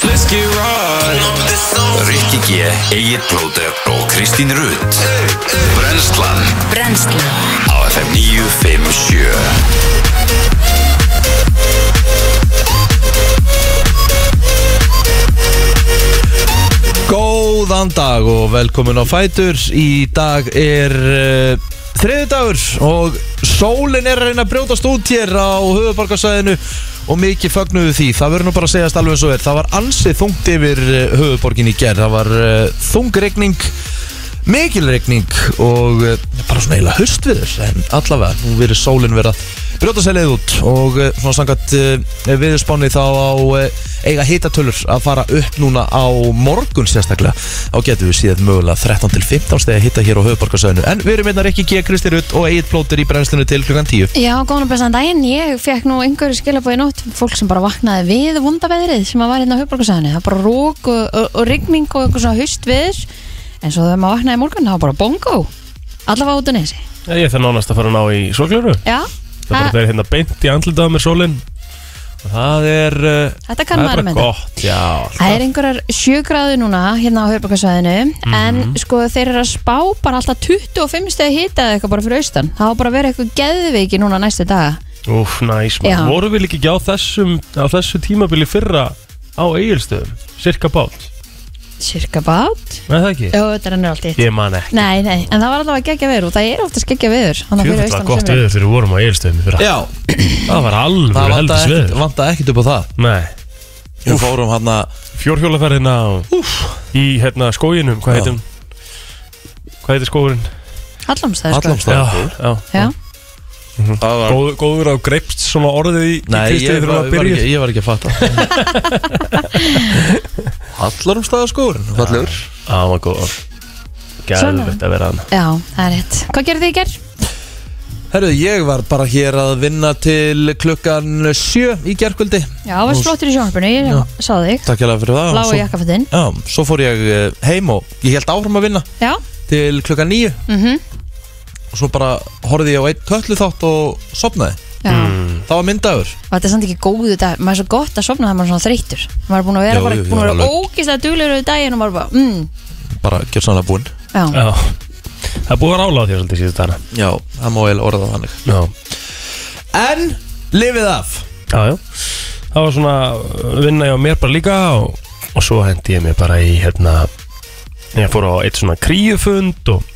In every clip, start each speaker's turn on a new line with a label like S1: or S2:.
S1: kannski ráð
S2: Rikki G, Egil Blóter og Kristín Rutt Brenslan
S3: Brennslan
S2: á FM 957
S1: Góðan dag og velkomin á Fætur Í dag er uh, þriði dagur og sólin er að reyna að brjótast út hér á höfuborgarsæðinu og mikið fögnuðu því, það verður nú bara að segjast alveg eins og er það var ansið þungt yfir eh, höfuborgin í gerð, það var uh, þungregning mikil regning og eh, bara svona eiginlega höstviður en allavega, nú verið sólinn vera brjóta sér leið út og eh, svona sangat viðspáni þá á eh, eiga hitatölur að fara upp núna á morgun sérstaklega þá getum við síðan mögulega 13 til 15 stegi hitta hér á höfubarkasöðinu en við erum einnig Rikki G. Kristi Rutt og Egil Plóter í brennslinu til klukkan 10
S4: Já, góðan og blessaðan daginn. Ég fekk nú einhverju skilabóði nótt, fólk sem bara vaknaði við vundaveðrið sem að var hérna á höfbrukarsæðinu. Það var bara rók og, og, og rigning og eitthvað svona haustveður. En svo þegar maður vaknaði í morgun, það var bara bongo. Allavega út á nesi.
S5: Ég ég þarf nánast að fara að ná í sólglöru
S4: Já,
S5: Það bara
S4: Ha.
S5: það er hérna beint í andlitað með sólin Og það er uh,
S4: Þetta kann
S5: Það
S4: maður
S5: er bara
S4: meta.
S5: gott, já
S4: það er einhverjar sjögráðu núna hérna á höfbrukarsæðinu.
S5: Mhm.
S4: En sko þeir eru að spá bara alltaf 25 stegi hita eða eitthvað bara fyrir austan. Það var bara að vera eitthvað geðviki núna næstu daga.
S5: Úf, næs
S4: Já.
S5: maður Vorum við líka ekki á þessum á þessu tímabili fyrra á eigilstöðum Cirka bát,
S4: Cirka bát.
S5: með það ekki?
S4: Jó, þetta rennur allt í eitt.
S5: Ég man ekki
S4: Nei, nei, en það var alltaf að gegja veður og það er ofta að gegja veður Þannig að fyrir
S5: Fjöfallega
S4: austan
S5: gott
S4: sumri.
S5: veður þegar við vorum á eigilstöðum í fyrra
S1: Já,
S5: Það var alveg
S1: það
S5: heldis
S1: vantaði
S5: veður
S1: ekkert vanta ekkit upp á það
S5: Nei,
S1: við fórum hann að
S5: fjórhjólaferðina og í hérna skóginum, hvað heitum Hvað heitir skógurinn?
S4: Hallormstæður
S1: allamstað
S5: já,
S4: sko. Já,
S5: Góð, Góður á greipst svona orðið í, í
S1: Nei,
S5: Kristi
S1: ég,
S5: þegar
S1: var,
S5: það
S1: var
S5: byrjuð
S1: ekki, ég var ekki að fatta Allar um staða skórin, fallegur
S5: Já, það var góð Gæðvegt að vera hann
S4: já, það er rétt Hvað gerðu þið í gerð?
S1: Herru, ég var bara hér að vinna til klukkan sjö í gerkvöldi
S4: Já, það var slottur í sjónarbrunni, ég sá þig
S1: Takk hérlega fyrir það
S4: Lágu
S1: svo,
S4: jakkafötinn
S1: Já, svo fór ég eh, heim og ég held áfram að vinna
S4: Já,
S1: til klukkan níu
S4: mhm,
S1: og svo bara horfði ég á einn köllu þátt og sopnaði
S4: já
S1: Það var myndagur
S4: Og þetta er samt ekki góðu dag Maður er svo gott að sofna það maður er svona þreyttur Maður er búin að
S1: Já,
S4: vera bara,
S1: já, já,
S4: búin að vera
S1: alveg.
S4: ógislega duglegur við daginn og maður bara, mm,
S1: bara gjör sannlega búinn
S4: já
S5: Já Það er búið að rála á þér svolítið síðust þarna
S1: Já, það má eiginlega orða það þannig
S5: Já
S1: En, lifið af
S5: Já, já Það var svona uh, vinna ég á mér bara líka og, og svo hendi ég mér bara í hérna Ég fór á eitt svona kríufund og,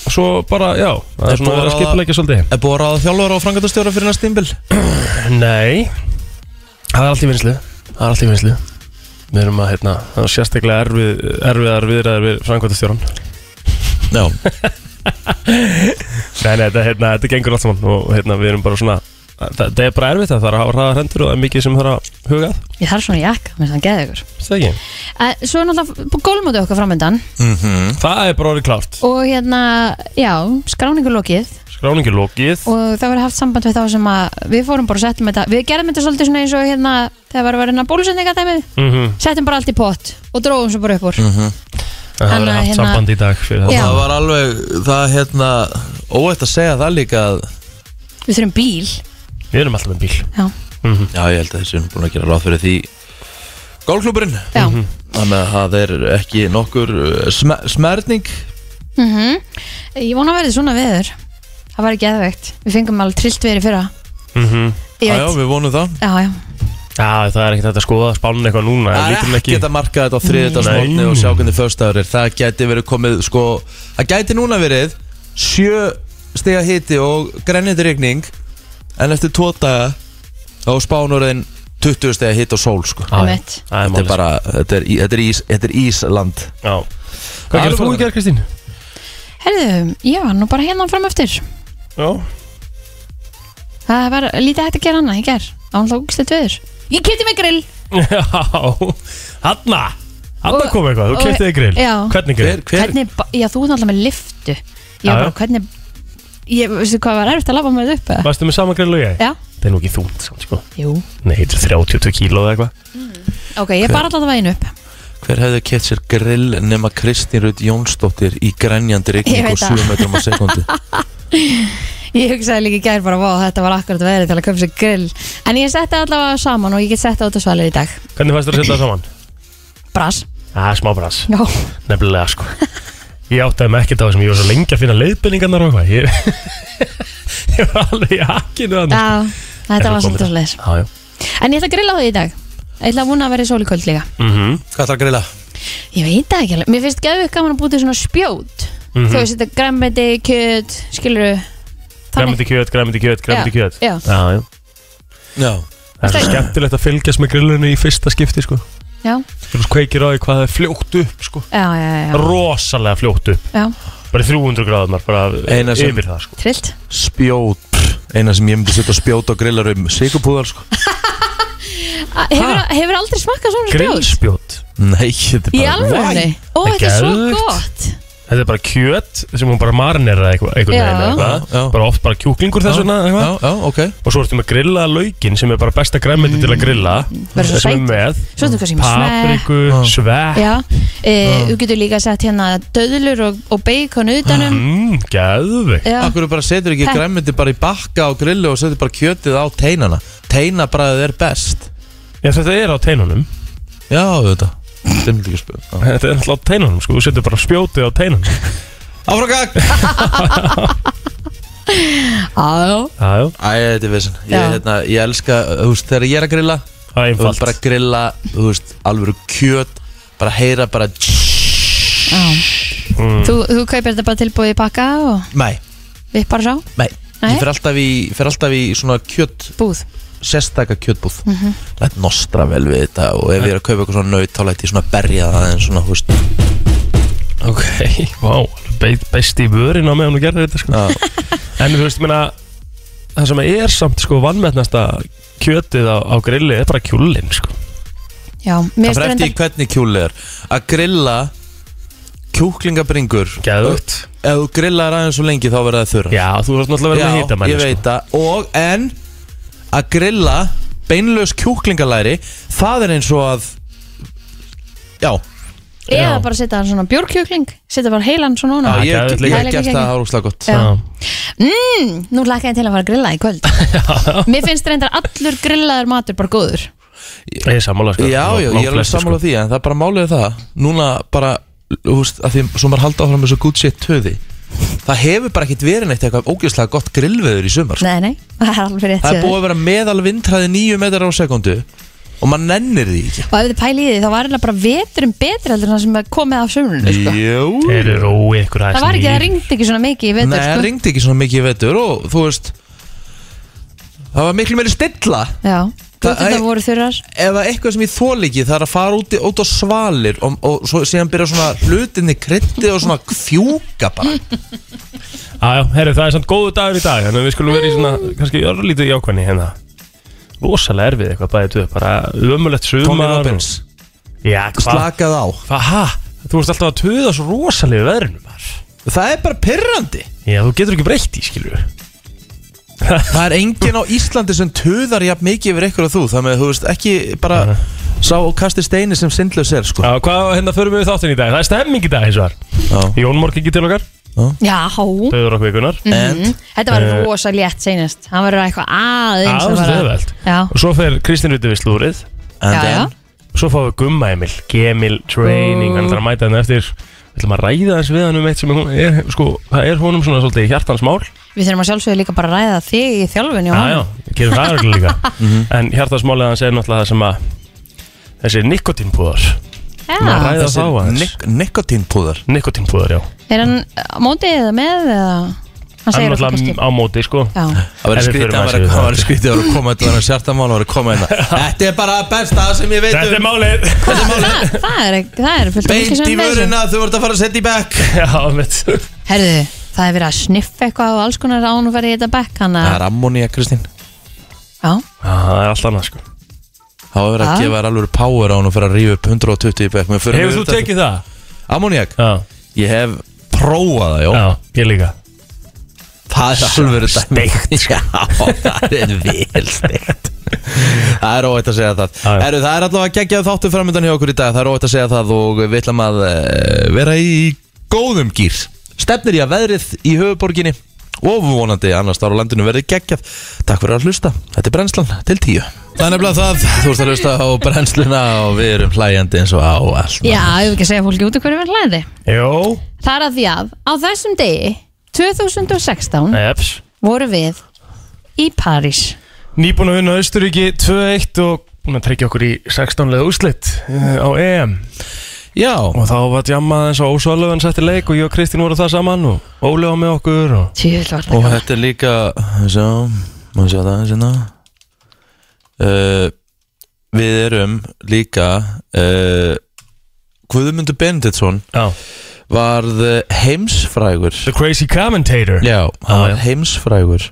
S5: og svo bara, já Það
S1: Er
S5: er svona
S1: búið
S5: verið að
S1: að-
S5: skipla ekki svolítið
S1: Er búið að ráða þjálfur og frangatastjóra fyrir næst tímbil?
S5: Nei Það er allt í vinslu Það er allt í vinslu Við erum að, hérna, það er sérstaklega erfið, erfiðar viðræðar við framkvæmtastjóran
S1: Já,
S5: Nei, nei, þetta, hérna, þetta gengur allt saman og hérna, við erum bara svona það, það er bara erfitt að það er að hafa hraða hendur og það er mikið sem þarf að huga að,
S4: Ég þarf svona jakka, mér þannig geði ykkur
S5: veist það ekki?
S4: Eh, Svo er náttúrulega gólmóti okkar framöndan
S1: Mhm.
S5: Það er bara orðið klárt
S4: Og hérna, já, skráningu lokið
S5: Skráningi lokið
S4: og það verið haft samband við þá sem að við fórum bara og settum þetta, við gerðum þetta svolítið svona eins og hérna, þegar var að vera hérna bólusetningadæmið
S5: mm -hmm.
S4: settum bara allt í pott og dróðum svo bara upp úr
S1: Mhm.
S5: Það
S4: Þannig
S5: verður
S4: að
S5: haft
S4: hérna-
S5: samband í dag fyrir
S4: Já.
S5: það
S1: það var alveg, það hérna, óætt að segja það líka að
S4: við þurfum bíl
S5: Við erum alltaf með bíl Mhm.
S4: já,
S1: Já, ég held að þessi erum búin að gera ráð fyrir því Gólklúburinn
S4: já.
S1: Þannig að það er ekki nokkur uh, sm smerning
S4: Mhm. ég vona að verði svona veður það var ekki eðvegt, við fengum alveg trillt veður í fyrra
S5: mm -hmm.
S4: ég
S1: Já, já,
S4: veit,
S1: við vonum það
S4: já, já,
S5: Já, það er ekkert hægt að skoða spánin eitthvað núna
S1: Það
S5: en
S1: er
S5: lítum
S1: ekki að marka þetta á þriðdagsmótni
S5: Nei.
S1: og sjá hvernig föstaður er Það gæti verið komið, sko Það gæti núna verið sjö stiga hiti og grennindi rigning En eftir tvo daga þá spánurinn 20 stiga hiti og sól, sko
S5: Já, já.
S4: einmitt
S5: Það er
S1: Þetta er
S5: málið.
S1: bara, þetta er, í- þetta er, ís, þetta er Ísland
S5: Já. Hvað
S1: Það
S5: gerir
S1: er
S5: þú
S1: bara-
S5: í gerð, Kristín?
S4: herðu, já, nú bara hérna fram eftir
S5: Já
S4: það var lítið hægt að gera annað, ég ger ánlók slett veður, ég kefti mig grill
S5: Hanna Hanna
S4: Og-
S5: kom eitthvað, þú
S4: og-
S5: kefti þig grill
S4: Já.
S5: Hvernig grill?
S1: Hver, hver,
S4: hvernig, ba- já, þú er náttúrulega með liftu ég
S5: Já,
S4: var
S5: já.
S4: bara, hvernig ég, veistu hvað var erfitt að labba með þetta upp eða?
S5: Varstu með sama grill og ég?
S4: já,
S5: Það er nú ekki þúnt, samt, sko
S4: jú
S5: Nei, þetta er 32 kíló eða eitthvað
S4: Mm. ok, ég bar alltaf veginn upp
S1: hver hefði kett sér grill nema Kristín Rutt Jónsdóttir í grænjandi
S4: Ég
S1: rigning
S4: veit
S1: og 7 metrum á sekundi
S4: Ég hugsaði líka í gær bara, vá, þetta var akkurat verið til að köpa sér grill En ég setti allavega saman og ég get sett það út á svalir í dag
S5: Hvernig fæst þér að setja það saman?
S4: bras
S5: Það er smá brans
S4: Já,
S5: Nefnilega sko Ég áttaði mig ekkert á þessum Ég var svo lengi að finna leiðbendingarnar og eitthvað ég... ég var alveg í hakinu þannig
S4: já þetta var svolítið svolítið
S5: Já, já
S4: En ég ætla að grilla á því í dag Ég ætla að vona að vera í sól í kvöld líka
S5: mm -hmm.
S1: Hvað ætlar að grilla?
S4: Ég veit það ekki alveg Mér finnst geðvögt gaman að búti svona spjót
S5: Mhm.
S4: Þú veist þetta græmmeti, kjöt, skilur
S5: Græmiti kjöt, græmiti kjöt, græmiti kjöt
S4: Já,
S5: Já, já
S1: Já
S5: Það er svo skemmtilegt að fylgjast með grillunni í fyrsta skipti sko
S4: já,
S5: Þú kveikir á því hvað það er fljótt upp sko
S4: já, já, já,
S5: Rosalega fljótt upp
S4: já.
S5: Bara í 300 gráðunar, bara
S1: Eina sem-
S5: yfir það sko
S4: Trillt
S1: Spjót Pff, Eina sem ég myndi setja spjót á grillarum Sigurpúðar sko
S4: A- hefur, hefur aldrei smakkað svona spjót?
S5: Grillspjót
S1: Nei, þetta er
S4: Í
S1: bara
S4: alvörni? Ó,
S5: Það er
S4: þetta er svo
S5: geðveikt.
S4: gott
S5: Þetta er bara kjöt sem hún bara marinerar eða eitthvað, einhvern
S4: Já.
S5: veginn eða
S1: Já, já.
S5: eitthvað Bara oft bara kjúklingur þess vegna
S1: Já,
S5: eitthvað
S1: já, já, ok
S5: Og svo ertu með grilla laukin sem er bara besta græmiti til að grilla
S4: Verður svo
S5: sem er
S4: sæt.
S5: með
S4: Svo þetta kannski með smeg
S5: papriku,
S1: Já.
S5: svekk
S4: Já, e,
S1: Ah.
S4: þú getur líka sett hérna döðlur og, og bacon um. utanum
S5: mm, Gæðvig
S4: Já,
S1: Akkur bara setur ekki
S4: Þetta-
S1: græmiti bara í bakka á grillu og setur bara kjötið á teinana Teinabræðið er best
S5: Já þetta er á teinunum
S1: Já, þetta Þetta er mjög ekki spjót Já.
S5: Þetta er alltaf á teinunum sko, þú setur bara spjótið á teinunum
S1: Áfram gang
S4: já,
S5: Já, já,
S1: Æ, þetta er vissin Ég,
S4: Já.
S1: hérna, ég elska, þú veist, þegar ég er að grilla
S5: það er
S1: Þú veist,
S5: einfalt
S1: bara grilla, þú veist, alvöru kjöt Bara heyra bara
S4: já.
S5: Mm.
S4: Þú, þú kaupir þetta bara tilbúið í pakka og
S1: Nei,
S4: við bara sá
S1: nei
S4: Nei?
S1: Ég fer alltaf í, fer alltaf í svona kjöt
S4: Búð Mhm.
S1: Sestaka kjötbúð mm -hmm. Lætt nostra vel við þetta Og ef ég er að kaupa eitthvað svona naut Þá lætt ég svona berja það en svona, þú veist
S5: Ok, vá, wow, besti í vörin á meðan þú gerðir þetta sko. En þú veist, ég meina Það sem er samt sko vannmetnasta kjötið á, á grilli er bara kjúlin sko.
S4: Já, mér
S1: Það fyrir eftir
S4: stendur
S1: í hvernig kjúli er Að grilla kjúklingabringur
S5: Gæðvögt
S1: Ef þú grillar aðeins svo lengi þá verða það þurra
S5: Já, þú veist náttúrulega verið að hýta
S1: ég veit það Og en að grilla beinlaus kjúklingalæri Það er eins og að Já,
S4: Eða
S5: Já.
S4: bara setja hann svona bjórkjúkling Setja bara heilan svona
S1: já
S4: núna
S5: Já,
S1: ég,
S5: geðveikt
S1: ég
S5: líka.
S1: hef gert það árúslega gott
S4: Já.
S5: Já.
S4: Mm, Nú lakka ég til að fara að grilla í kvöld Mér finnst reyndar allur grillaður matur bara góður
S5: Ég er sammála sko.
S1: Já, já, ég er alveg sammála því En það er bara málið það Núna bara, þú veist, að því sem maður halda áfram með svo good shit töði Það hefur bara ekkit verið neitt eitthvað ógeðslega gott grillveður í sumar sko.
S4: Nei, nei, það er alveg rétt
S1: Það
S4: hjá
S1: er
S4: þér.
S1: búið að vera meðal vindhraði 9 metrar á sekundu og maður nennir því ekki
S4: Og ef þið pæli í því þá var eiginlega bara veturinn betri heldur en það sem er komið af sömrunni sko.
S1: Jú
S5: Þeir eru rói ykkur aðeins
S4: Það var ekki, það
S5: niður.
S4: ringdi ekki svona mikið í
S1: Nei,
S4: vetur
S1: það
S4: sko.
S1: ringdi ekki svona mikið í vetur og þú veist Það var miklu meiri stilla
S4: Já,
S1: Það-
S4: þetta voru þurrar
S1: Ef það er eitthvað sem ég þól ekki það er að fara út, í, út á svalir og, og svo, síðan byrja svona hlutinni krytti og svona fjúka bara
S5: Já, já, herru, það er samt góðu dagur í dag Þannig að við skulum vera í svona, kannski örlítið jákvæðni hérna Rosalega erfið eitthvað bæðið tvö Bara ömulegt sumar
S1: Tony
S5: og-
S1: Robbins,
S5: Já, hvað?
S1: slakað á
S5: Hva, ha? Þú veist alltaf að töða svo rosalega veðrinu maður
S1: Það er bara pirrandi
S5: Já, þú getur ekki breytt í, skilur
S1: Það er enginn á Íslandi sem töðar jafn mikið yfir eitthvað og þú þannig að þú veist ekki bara sá og kasti steini sem sindlaus er sko
S5: Já, hvað hérna förum við í þáttinn í dag? Það er stemming í dag, eins og var
S1: Já.
S5: Jón Mór kikið til okkar,
S4: Já, Mhm.
S5: döður okkur vikunar
S1: And
S4: þetta var
S5: Eh.
S4: rosa létt seinast Hann verður eitthvað aðeins að
S5: Aðeins
S4: fara-
S5: leðveld
S4: Já,
S5: Og svo fer Kristín Ruti við slúrið
S1: And
S4: Já, já.
S1: then
S5: Svo fáum við Gumma Emil, Gemil Training Hann er að mæta hann eftir Við ætlum að ræða hans við hann um eitt sem hún er, sko, það er honum svona svolítið hjartans mál
S4: við þurfum að sjálfsögðu líka bara að ræða þig í þjálfunni og
S5: Já, já, við gerum það örgulega
S1: Mhm.
S5: líka En hjartans málið hans er náttúrulega það sem að Þessi nikotínpúðar
S4: Já.
S5: ræða þá aðeins.
S1: nik Nikotínpúðar
S5: Nikotínpúðar, já
S4: Er hann á móti eða með eða hann
S5: Hann
S4: segir okkur
S5: náttúrulega
S4: kannski
S5: á móti, sko
S4: Já,
S1: Það
S5: En
S1: var
S5: við
S1: skrítið
S5: förum
S1: að
S5: aðeins
S1: vera
S5: yfir
S1: Það
S5: það
S1: var sérta að koma Þetta var hann sértamál að vera að koma hérna Þetta er bara besta sem ég veit
S5: Þetta er
S1: um
S5: málið
S4: það, það, það er ekki- það er fullt af fólki
S1: Beint
S4: sem
S1: í
S4: er með þessu.
S1: vöruna þú ert að fara að setja í bekk
S5: Já, mitt
S4: Herðu, það er verið að sniffa eitthvað og alls konar án og fara í þetta bekk hann
S1: Það
S4: að
S1: er ammoníak Kristín
S4: Ah. Já,
S5: Já, það er allt annað, sko
S1: Það var verið
S4: Ha?
S1: að gefa þér alveg power á hún og fara að rífa upp 120 í bekk
S5: Hefur þú tekið það?
S1: Ammoníak?
S5: Já,
S1: Ég hef prófað það, já
S5: já, ég líka
S1: Það er alveg verið
S5: Steikt,
S1: Já, það er vel steikt Það er óætt að segja það
S5: Já, já.
S1: Heru, Það er allavega geggjað þáttu framöndan hjá okkur í dag Það er óætt að segja það og við ætlum að eh, vera í góðum gýr Stefnir í að veðrið í höfuborginni og vonandi annars þar á landinu verði geggjað Takk fyrir að hlusta, þetta er brennslan til tíu Það er nefnilega það, þú ert að hlusta á brennsluna og við erum hlæjandi eins og á allt
S4: Já, ég vil ekki að segja fólki út í hverju við hlæði
S5: Jó,
S4: Það er að því að á þessum degi 2016
S5: eps
S4: voru við í París
S5: Nýbúin að vinna Austuríki 2-1 og búin að tryggja okkur í 16 leða úslit á EM
S1: Já,
S5: og þá var djammað eins og Ósvalöfn setti leik og ég og Kristín voru það saman og Óli var með okkur og hérna,
S4: Tjöfull var
S1: og
S4: þetta
S1: þetta er líka Sjá, maður sjá það hérna. sinna uh, Við erum líka uh, Guðmundur Benediktsson
S5: Já,
S1: varð heimsfrægur
S5: The Crazy Commentator Ah,
S1: Já,
S5: já.
S1: hann var heimsfrægur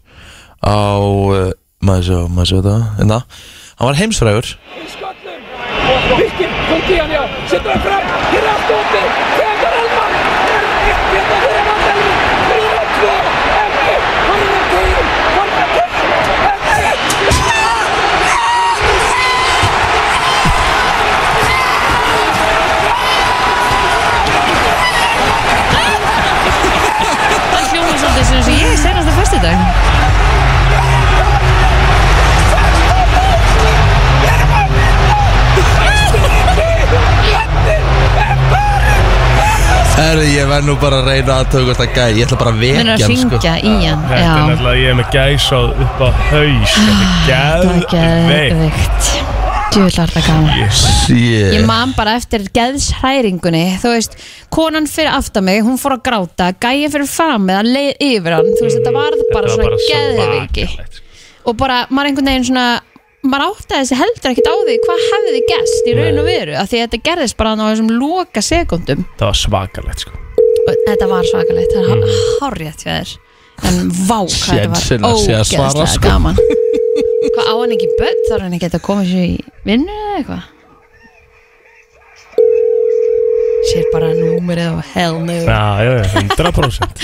S1: á, uh, maður sjá, maður sjá það hérna, hann var heimsfrægur
S3: Skottnum! Birkir, komdu í hann já! Settu hann fram! Hér er allt opið! Þegar Elmar! Er ekkert að þeirra vandelmi! Þrjá, tvö, enni! Hann er teginn! Hann er teginn! Enni!
S4: Það hljóma svolítið sem sem ég senast að fyrstu dag
S1: Herri, ég verð nú bara að reyna að tökast að gæja Ég ætla bara að vekja
S4: Mennur að
S1: hann, sko.
S4: syngja í hann
S5: Þetta er
S4: Já,
S5: náttúrulega ég er með gæsáð upp á haus
S4: það
S5: Þetta er
S4: er
S5: geðveikt
S4: geðvikt Tjöfull var þetta gaman
S5: Yes.
S1: Shit.
S4: Ég man bara eftir geðshræringunni Þú veist, konan fyrir aftan mig Hún fór að gráta, gæin fyrir fram með að leið yfir hann Þú veist, þetta varð bara
S5: Þetta var
S4: svona geðviki
S5: svakalegt, sko.
S4: Og bara, maður einhvern veginn svona Maður áttaði þessi heldur ekkert á því Hvað hefði þið gest í raun og veru af Því að þetta gerðist bara á þessum loka sekundum
S5: Það var svakalegt sko
S4: Og þetta var svakalegt, það er mm. hárjætt hjá þér En vá, hvað þetta
S1: Sjensinn
S4: var
S1: að Mhm. sé að svara,
S4: ógeðslega
S1: sko.
S4: gaman Hvað á hann ekki börn Þarf hann ekki að koma sér í vinnu eða eitthvað Sér bara númerið og hell no
S5: Já, já, já, 100%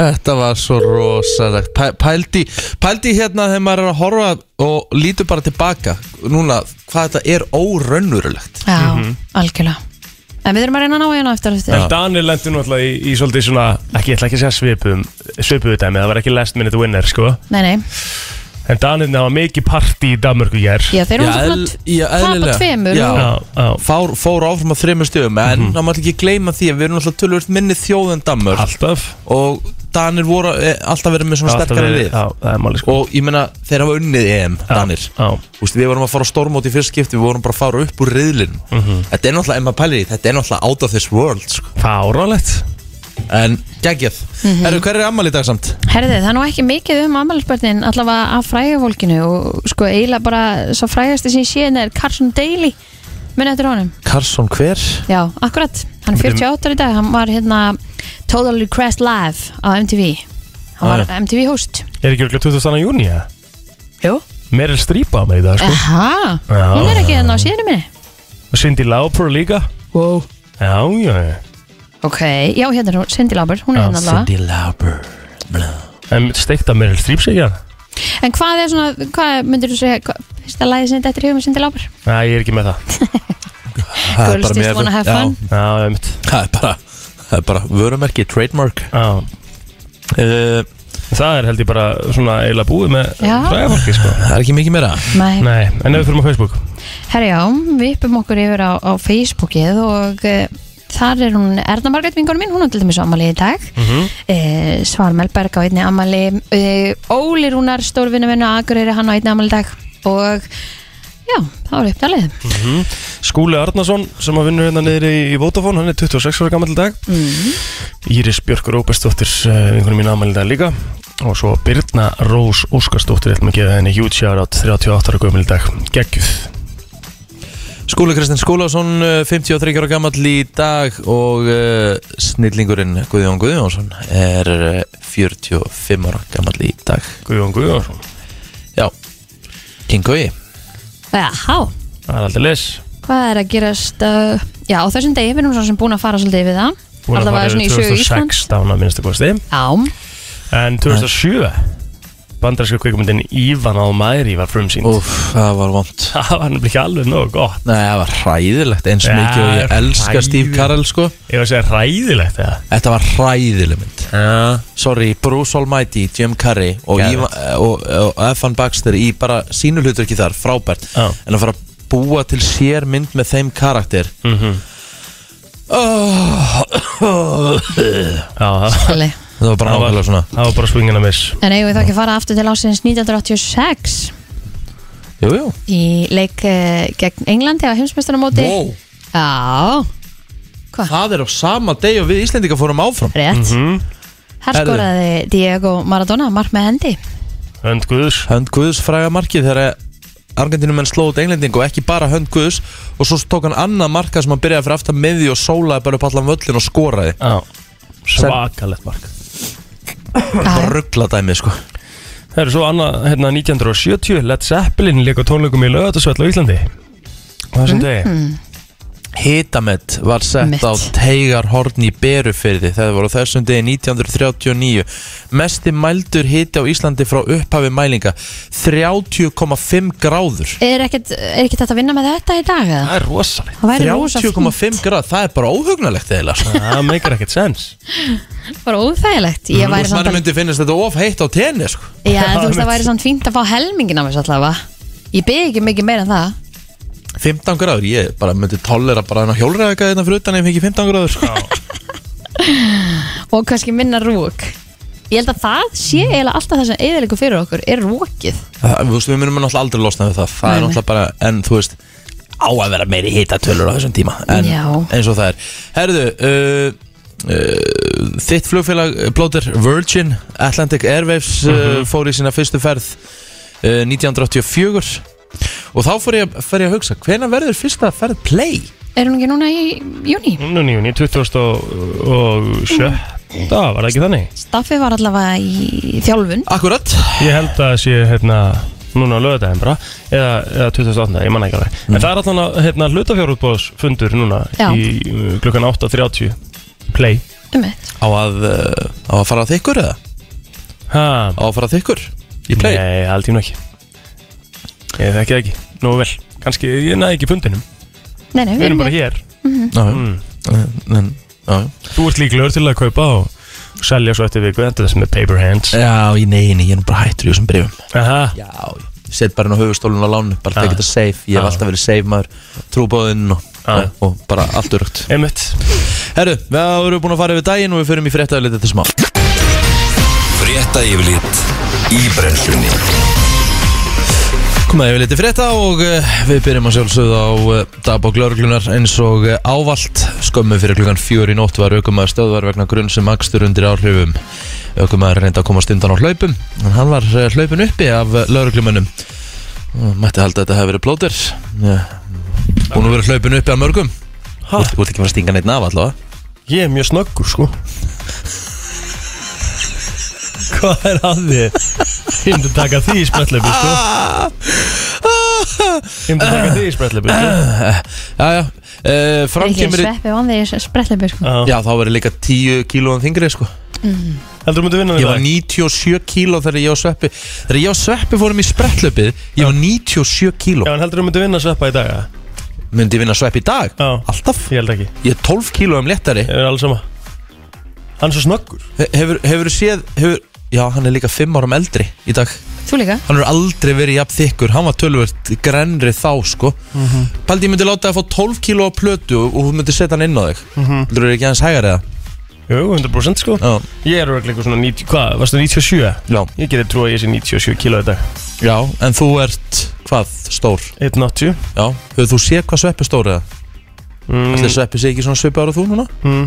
S1: Þetta var svo rosalegt Pæ- Pældi, pældi hérna þegar maður er að horfa og lítur bara tilbaka núna hvað þetta er óraunverulegt
S4: Já, algjörlega En við erum að reyna að ná hérna eftir eftir
S5: En Danir lendi náttúrulega í, í svolítið svona ekki, ég ætla ekki að segja svipum svipuðu dæmi, það var ekki last minute winner sko
S4: Nei, nei,
S5: en Danirna hafa mikið party í Danmörku hér
S4: já, þeir eru
S1: Já,
S4: svona
S1: eðl- já,
S4: að tapa
S1: eðlilega.
S4: tveimur
S1: Já.
S4: og-
S5: já, já,
S1: Fár, fór áfram á þreymur stöðum en
S5: Mhm.
S1: það má ekki gleyma því að við erum alltaf tölvöld minni þjóð en dammur
S5: alltaf
S1: og Danir voru e, alltaf verið með svona
S5: Alltaf
S1: sterkara
S5: verið-
S1: lið
S5: Já, það er máli sko
S1: og ég meina þeir hafa unnið EM Danir
S5: Já,
S1: Úst, við vorum að fara á stormót í fyrst skipti við vorum bara að fara upp úr riðlin
S5: Mhm.
S1: þetta er náttúrulega, ef maður pælir í því, þetta er náttúrulega out of this world sko.
S5: fáralegt
S1: en geggjað mm Herru, hver er ammali í dag samt?
S4: Herði, það er nú ekki mikið um ammælisbörnin allavega af frægjafólkinu og sko eiginlega bara svo frægjasti sem ég sé hérna er Carson Daly muni eftir honum
S1: Karlsson hver?
S4: Já, akkurat, hann er 48 í dag hann var hérna Totally Crest Live á MTV hann var
S1: Ah,
S4: MTV host
S5: Er ekki okkur 20. júni, ja?
S4: Jú
S5: Meryl Streep á með í dag sko
S4: Aha,
S5: Já.
S4: hún er ekki hérna á síðinu minni
S5: og Cindy Lauper líka
S4: Wow
S5: Já, já, já
S4: Ok, já hérna er hún, Cindy Lauber, hún er
S5: Já,
S4: hérna allavega
S1: Lauper
S5: En steikta Meryl Streep sig hérna
S4: En hvað er svona, hvað myndir þú segja hvað- fyrsta lagi sem þetta er í hugum Cindy Lauber?
S5: Nei, ég er ekki með það
S1: Það er
S4: Girls
S1: bara
S4: just
S1: mér-
S4: wanna have
S1: já,
S4: fun.
S5: Já, ég er mitt
S1: Það er bara Það er bara vörumerki, trademark
S5: Já
S1: uh,
S5: Það er held ég bara svona eiginlega búið með
S4: Já.
S5: fræðafólki sko
S1: Það er ekki mikið meira
S4: Nei,
S5: Nei, en ef við fyrir á Facebook
S4: Herjá, við uppum okkur yfir á, á Facebookið og uh, þar er hún Erna Margrét vingunum minn, hún er til dæmis ammali í dag
S1: Mhm.
S4: mm -hmm. uh, Svar Melberg á einni ammali uh, Óli Rúnar, stórvinna minn og Akureyri, hann á einni ammali í dag og já, það var uppdalið
S1: Mhm.
S5: Skúli Arnason sem að vinnur hérna niður í, í Vodafone hann er 26 ára gammal í dag
S4: Mhm.
S5: Íris Björk Róbestóttir einhvern mín aðmæli í dag líka og svo Birna Rós Óskarsdóttir ætlum að gefa henni huge shoutout 38 ára gammal í dag geggjuð
S1: Skúli Kristinn Skúlason, eh, 53 ára gamall í dag og uh, snillingurinn Guðjón Guðjónsson er eh, 45 ára gamall í dag
S5: Guðjón Guðjónsson
S1: Já, King Guði
S4: Já,
S5: það er aldrei les
S4: hvað er að gerast uh, já, á þessum degi, við erum svo sem búin að fara svolítið við það
S5: búin að
S4: Allavega
S5: fara
S4: svona í
S5: yfir
S4: sögu Íslands
S5: 2016 að minnstu kosti
S4: Já,
S5: en 2007 bandarinska kvikmyndin Ívan á Mæri var frumsýnd
S1: Úf, það var vond
S5: Það var nefnilega ekki alveg nógu gott
S1: Nei, það var hræðilegt eins
S5: Ja,
S1: mikið og ég elska
S5: hræðilegt.
S1: Steve Carell sko
S5: Ég var að segja ræðilegt eða
S1: Þetta var hræðileg mynd
S5: Já
S1: Sorry, Bruce Almighty, Jim Carrey og,
S5: Geðvegt.
S1: Ivan, eh, og, og, og F.N. Baxter í bara sínu hlutur ekki þar, frábært
S5: Já.
S1: en að fara að búa til sér mynd með þeim karakter mm
S5: Mhm. Já, það-
S4: Alli.
S1: Það var bara
S5: það var,
S1: nákvæmlega svona
S5: það var bara swingin að miss
S4: En eigum við þá ekki að fara aftur til ásins 1986
S1: Jú, jú,
S4: í leik uh, gegn Englandi á heimsmeistaramóti
S1: wow,
S4: Já,
S1: það er á sama deg og við Íslendinga fórum áfram
S4: rétt
S5: Mhm.
S4: Her
S1: Herðu.
S4: skoraði Diego Maradona mark með hendi
S5: Hönd Guðs
S1: Hönd Guðs fræga markið þegar Argentínumenn sló út englending og ekki bara Hönd Guðs og svo tók hann annað markað sem hann byrjaði fyrir aftan miði og sólaði bara upp allan völlin og skoraði
S5: Já Svakalegt mark
S1: bara
S4: Já,
S1: ruggla dæmið sko
S5: Það eru svo annað, hérna 1970 Led Zeppelin leik á tónleikum í Lögatasvöll á Íslandi Það sem degi
S1: Hitamett var sett
S4: Mitt.
S1: á teigarhorn í Berufyrði þegar það voru á þessum degi 1939 mesti mældur hiti á Íslandi frá upphafi mælinga 30,5 gráður
S4: er ekkert, er ekkert þetta að vinna með þetta í dag eða?
S5: Það er rosalegt
S4: Það væri rosa fínt,
S1: 30,5 gráð, það er bara óhugnalegt eiginlega
S5: Það meikar ekkert sens
S4: bara óþægilegt Ég væri samt
S1: Úsmanni
S4: að
S1: myndi finnast þetta of heitt á tenni sko.
S4: Já, en þú
S5: Já,
S4: veist,
S5: einmitt.
S4: það væri samt fínt að fá helmingin af þessu allavega Ég bygg ekki mikið meira en það
S1: 15 gráður, ég bara myndi tollera bara hennar hjólræðaka þetta hérna fyrir utan ef ég fengi 15 gráður sko.
S4: Og kannski minna rúk Ég held að það sé
S1: Mm.
S4: eiginlega alltaf það sem eðalegu fyrir okkur er rúkið
S1: Það- Þú veist, við munum náttúrulega aldrei losna við það
S4: Nei,
S1: Það er
S4: nei.
S1: náttúrulega bara, en þú veist á að vera meiri hitatölur á þessum tíma en
S4: Já.
S1: eins og það er Herðu, uh, uh, þitt flugfélag uh, blótir Virgin Atlantic Airwaves uh, fór í sína fyrstu ferð uh, 1984 og þá fór ég, að- fer ég að hugsa hvenær verður fyrsta ferð play?
S4: Er hún ekki núna í júni?
S5: Núni, júni, 2007 Það var það ekki þannig
S4: Staffi var allavega í þjálfun
S1: Akkurat
S5: Ég held að það sé hérna núna á lögadaginn bara eða, eða 2008, ég manna ekki alveg
S1: Mm.
S5: en það er allan að hérna, hlutafjárútbóðsfundur núna
S4: Já.
S5: í uh, klukkan 8.30 play
S4: um eitt
S1: á að, uh, á að fara að þykkur eða?
S5: ha,
S1: Á að fara að þykkur í play?
S5: Nei, aldrei nú ekki Ég þekki það ekki, nú vel kannski, ég næði ekki fundinum,
S4: Nei, nei,
S5: við erum bara hér
S1: Já, mm. en, já,
S5: Þú ert líklegur til að kaupa og selja svo eftir viku, þetta er sem er paper hands
S1: já, í neginni, ég er nú bara hættur í þessum brifum
S5: Aha,
S1: Já, ég set bara inn á höfustólun á lánu bara
S5: Já.
S1: tekið þetta safe, ég hef
S5: Já.
S1: alltaf verið safe maður trúbóðinn og,
S5: Já.
S1: og, og bara allt örugt
S5: einmitt
S1: Herru, við erum búin að fara yfir daginn og við förum í fréttaðalið þetta smá
S2: Frétta yfirlit í brennslunni
S1: Komum að yfir litið frétta og uh, við byrjum að sjálfsögða á uh, dagbók lauruglunar eins og uh, ávallt skömmu fyrir klukkan fjör í nótt var aukumæður stöðvar vegna grunn sem akstur undir áhrifum aukumæður reynda að komast undan á hlaupum en hann var uh, hlaupin uppi af uh, lauruglumönnum og mætti halda að þetta hefði verið blótir ja. búin að vera hlaupin uppi af mörgum Þú ert þú ert ekki bara að stinga neitt naf allavega
S5: Ég er mjög snöggur sko Hvað er að þið? Ég myndi taka því í sprettlöpu sko
S1: Ah!
S5: Ég myndi taka því í sprettlöpu sko
S1: Eh, Jæja, uh,
S4: Það er
S1: fram
S4: ekki
S1: kemur í
S4: sveppi vann því spretlefur sko.
S5: Já.
S1: Já, þá verið líka 10 kílóðan þingri sko
S5: Heldur þú myndi vinna
S1: Ég
S5: því
S1: var 97 kíló þegar ég og Sveppi Þegar ég og Sveppi fórum í sprettlöpið Ég var 97 kíló
S5: Já, en heldur þú myndi vinna sveppa í dag eða?
S1: Myndi ég vinna Sveppi í dag?
S5: Já.
S1: Alltaf
S5: Ég held ekki
S1: Ég er 12 kílóum léttari
S5: Ég er alls sama Hann er svo snöggur
S1: He- Hefur, hefur séð hefur, Já, hann er líka 5 árum eldri í dag
S4: Þú líka?
S1: Hann er aldrei verið jafn þykkur Hann var tölvöld grenri þá sko mm
S5: Mhm.
S1: Paldi, ég myndi láta það að fá 12 kíló á plötu Og og þú myndi setja hann inn á þig mm
S5: Mhm.
S1: -hmm. Þú eru ekki aðeins hægar eða?
S5: Jú, 100% sko
S1: Já,
S5: Ég er örugglega eitthvað svona 90 Hvað, varstu 97?
S1: já,
S5: Ég geti trúið að ég sé 97 kíló í dag
S1: já En þú ert, hvað, stór?
S5: 180
S1: Já, hefur þú séð hvað Sveppi er stór eða?
S5: Mm.
S1: Ætli Sveppi sé ekki svona svipið ára þú núna?
S5: Mm.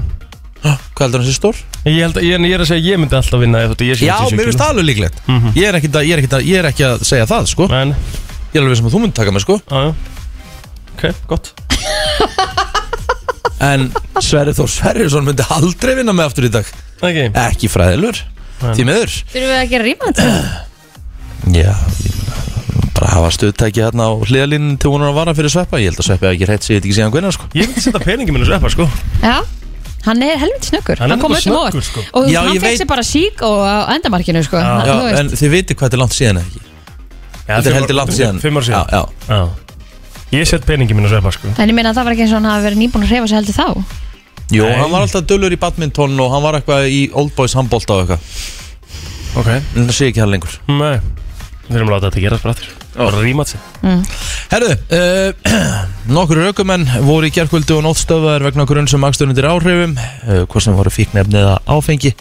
S1: Há, Hvað heldur hann sé stór?
S5: Ég held að, ég, en ég er að segja að ég myndi alltaf vinna Ég þótti ég sé
S1: Já,
S5: 97
S1: mér finnst það alveg líklegt
S5: Mhm.
S1: ég, er ekkit að, ég, er ekkit að, ég er ekki að segja það sko
S5: það En,
S1: Ég er alveg sem að þú myndi taka mig sko
S5: aðja Ok, gott
S1: En Sverri Þór Sverriðsson myndi aldrei vinna með aftur í dag
S5: Ok,
S1: Ekki fræðilur
S5: Nei.
S1: Því meður
S4: Þurfum við ekki að rýma þetta?
S1: Já, ég meina bara hafa stöðtæki hérna á hliðalínu til hún að vara fyrir sveppa Ég held að sveppa ekki rétt sér ekki síðan hvernig sko
S5: Ég myndi setja peningi minn að sveppa sko
S4: Já, Hann er helviti snöggur
S5: Hann er
S4: kom öllum á
S5: nefnilega
S4: óvart.
S5: snöggur, sko.
S4: Og
S1: Já,
S4: hann
S1: ég
S4: fekk
S1: veit-
S4: sér bara sík og á endamarkinu sko.
S5: Já.
S4: Hann-
S1: Já,
S4: þú veist.
S1: en þið viti hvað þetta er langt síðan eða ekki Þetta er heldur langt síðan
S5: Fimm ára síðan
S1: Já, já
S5: já. Ég set peningi mín að svepa sko
S4: En ég meina að það var ekki eins og hann hafi verið nýbúin að hreyfa sér heldur þá
S1: Jú,
S5: Nei.
S1: hann var alltaf dullur í badminton og hann var eitthvað í Old Boys handbólta og eitthvað
S5: sko. Ok
S1: En það sé ekki hann lengur
S5: Nei Við erum að láta þetta gerast bara aftur Bara rýmat sér
S4: Mm.
S1: Herðu, uh, nokkur raukumenn voru í gerkvöldu og nóttstöðar vegna grunn sem akstunundir áhrifum uh, Hvort sem voru fíknefni eða áfengi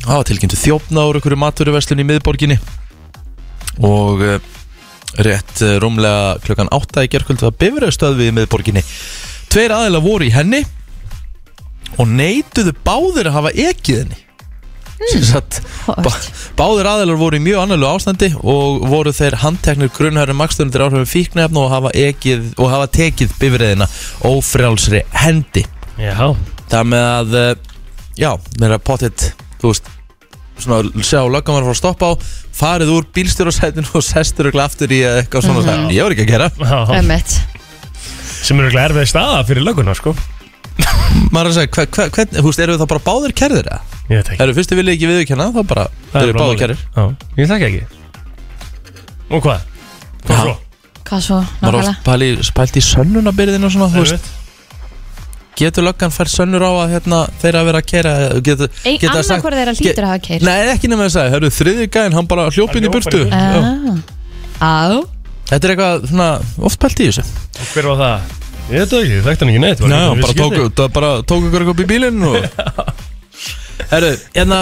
S1: Það var tilkynntu þjófna úr einhverju matveruverslun í miðborginni Og uh, rétt uh, rúmlega klukkan 8 í gerkvöldu var bifuröðstöðvi í miðborginni Tveir aðila voru í henni Og neituðu báðir að hafa ekið henni mm. Satt, Ba
S4: Hóðvart.
S1: báðir aðeinar voru í mjög annarlu ástandi og voru þeir handteknir grunnhæri makstundir áhrifum fíknefn og hafa, ekið, og hafa tekið bifriðina ófrjálsri hendi
S5: Já
S1: það með að eh, já, mér að potið þú veist, svona sjá löggan var að fara að stoppa á farið úr bílstjórasætinu og sestur og aftur í eða eitthvað svona mm ég var ekki að gera
S5: Já
S4: Ömmett
S5: Sem eru glæðir við staða fyrir löguna sko
S1: maður er að segja, hver, hver, hver, þú veist, eru það bara báðir kerðir eða?
S5: Ég veit ekki
S1: eru fyrst þið viljið ekki viðurkenna þá bara,
S5: Það bara
S1: eru báðir
S5: málið.
S1: kerðir
S5: Já Ég þekki ekki Og hvað?
S1: Já.
S5: Hvað svo?
S4: Hvað svo
S1: maður er
S4: nákvæmlega
S1: oft pæli- pælt í sönnunabyrðinu og svona, þú veist
S5: Einmitt.
S1: getur löggan fær sönnur á að hérna, þeirra að vera að kera getur,
S4: Ein-
S1: geta
S4: Annað hvort þeirra
S1: Ge-
S4: lítur að hafa keir
S1: Nei, ekki nema að segja, hörru, þriðju gæðin, hann bara hljóp
S5: Hann
S1: inn í
S5: hljóp
S1: burtu
S5: bara í
S1: Já.
S4: Ah. Á
S1: Þetta er eitthvað, svona, oft pælt í þessu
S5: Og Hver var það? Ég veit það ekki, ég þekkti hann ekki neitt var
S1: Nei,
S5: ekki
S1: hann bara
S5: vissi
S1: tók,
S5: ekki
S1: það bara tók ykkur eitthvað upp í bílinn og Herru, hérna,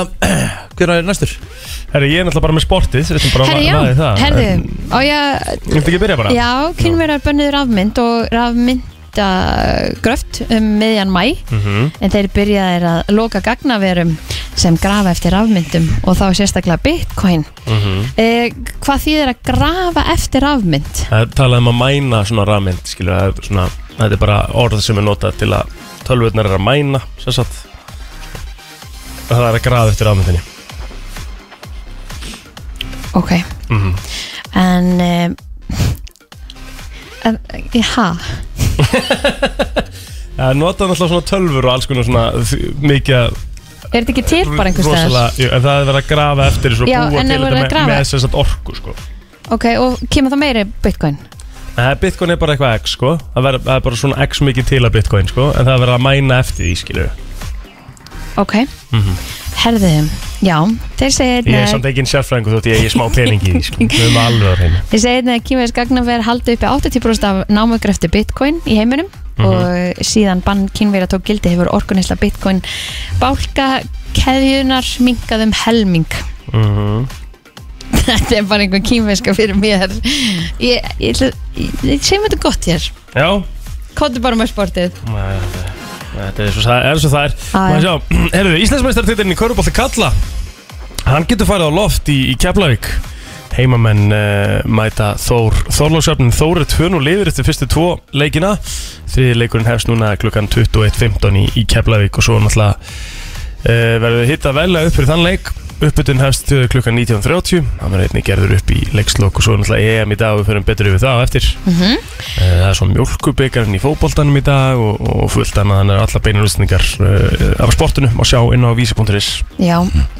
S1: hver er næstur?
S5: þig. Herri, ég er náttúrulega bara með sportið Þetta er bara
S4: Herri já,
S5: vaðið það.
S4: herri
S5: En-
S4: Og ég
S5: Viltu ekki byrja bara?
S4: Já, kynverðar bönnuðu rafmynd og rafmyndagröft um miðjan mæ
S5: Mhm.
S4: en þeir byrjaðir að loka gagnaverum sem grafa eftir rafmyndum og þá sérstaklega bitcoin
S1: Mhm.
S4: eh, Hvað þýðir að grafa eftir rafmynd?
S5: Það er talað um að mæna svona rafmynd, skilur það er svona, þetta er bara orð sem er notað til að tölvurnar er að mæna, sem sagt það er að grafa eftir rafmyndinni
S4: Ok,
S5: Mhm.
S4: en eh, en, eh, Ha,
S5: Það er notað náttúrulega svona tölvur og alls konar svona þ- mikið að-
S4: er þetta ekki til bara einhvers
S5: rosalega-
S4: staðar?
S5: jú, en það er verið að grafa eftir
S4: Já,
S5: svo búa
S4: en
S5: til
S4: er verið
S5: þetta
S4: að
S5: með,
S4: grafa?
S5: með sem sagt orku sko.
S4: Ok, og kemur það meiri bitcoin?
S5: Nei, Bitcoin er bara eitthvað X sko það, ver, það er bara svona X mikið til að Bitcoin sko en það er verið að mæna eftir því skilur
S4: Ok, herðu Já, þeir segja
S5: Ég er
S4: einnig-
S5: samt ekki sérfræðingu þótt ég eigi smá peningi í því sko. Við erum alveg á hreinu
S4: Ég segi einnig að kýmverðis gagnaver haldi uppi 80% af námugrefti bitcoin í heiminum og síðan bann kýmverða tók gildi hefur orkunisla bitcoin bálka keðjunar minkað um helming Mhm.
S5: mm
S4: Þetta er bara einhver kýmverðska fyrir mér Ég, ég, ætla- ég, ég segjum þetta gott hér
S5: Já,
S4: Kóttu bara með sportið
S5: Nei, Þetta er svo það er, svo það er.
S4: Já,
S5: Má ég sjá, Herðu, Íslandsmeistartitilin í Körubolti Kalla Hann getur farið á loft í, í Keflavík Heimamenn uh, mæta Þór Þórlóksöfnin Þór er 2 og lifir eftir fyrstu tvo leikina Þriði leikurinn hefst núna klukkan 21.15 í, í Keflavík og svo náttúrulega uh, verður hitta velja upp fyrir þann leik Uppbytun hefst eh, klukkan 19.30 Hann verður einnig gerður upp í leikslokk og svo náttúrulega EM í dag og við förum betur yfir það á eftir Eh, Það er svo mjölkubikarinn í fótboltanum í dag og, og fullt annað þannig að alla beinar útsendingar uh, af sportinu má sjá inn á vísi.is
S4: Já,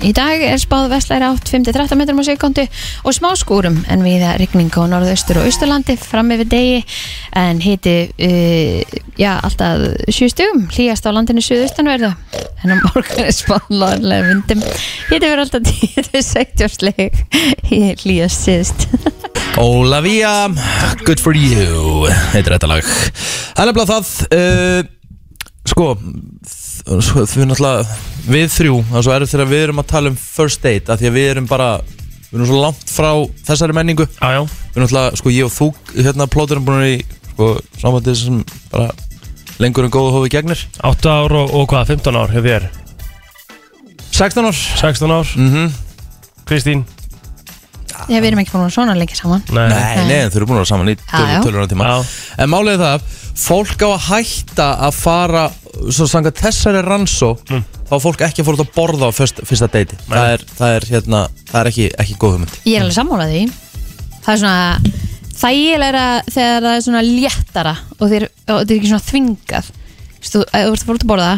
S4: í dag er spáð vestlæri átt 5-13 metrum á sekundu og smá skúrum en viða rigning á norðaustur og austurlandi fram yfir degi en hiti uh, já, alltaf 7 stugum hlýjast á landinu suðaustanverðu en á morgun er spáð loðanlega vindum hiti verður alltaf 10-16 sleg hlýjast síðust
S1: Ólavía, good for you heitir þetta lag Það er nefnilega það uh, Sko þ- svo- Við náttúrulega, við þrjú það er svo erfitt þegar við erum að tala um first date af því að við erum bara, við erum svo langt frá þessari menningu,
S5: Jájá,
S1: við náttúrulega sko ég og þú, hérna plóturum búin í sko, samvættið sem bara lengur en góðu hófi gegnir
S5: 8 ár og, og hvað, 15 ár hjá þér
S1: 16 ár
S5: 16 ár,
S1: mm
S5: Kristín
S4: Já, við erum ekki búin að svona lengi saman
S5: Nei,
S1: Nei, nei, en þau eru búin að vera saman í
S4: já.
S1: tölunar tíma
S5: Já.
S1: En málið er það, fólk á að hætta að fara, svo sanga þessari rannsó
S5: Mm.
S1: þá er fólk ekki að fóra út að borða á fyrst, fyrsta deiti það er, það er, hérna, það er ekki, ekki góð hugmynd
S4: Ég er alveg sammála því Það er svona þægilega þegar það er svona léttara og þeir- og þetta er ekki svona þvingað þú veist, ef þú ert að fara út að borða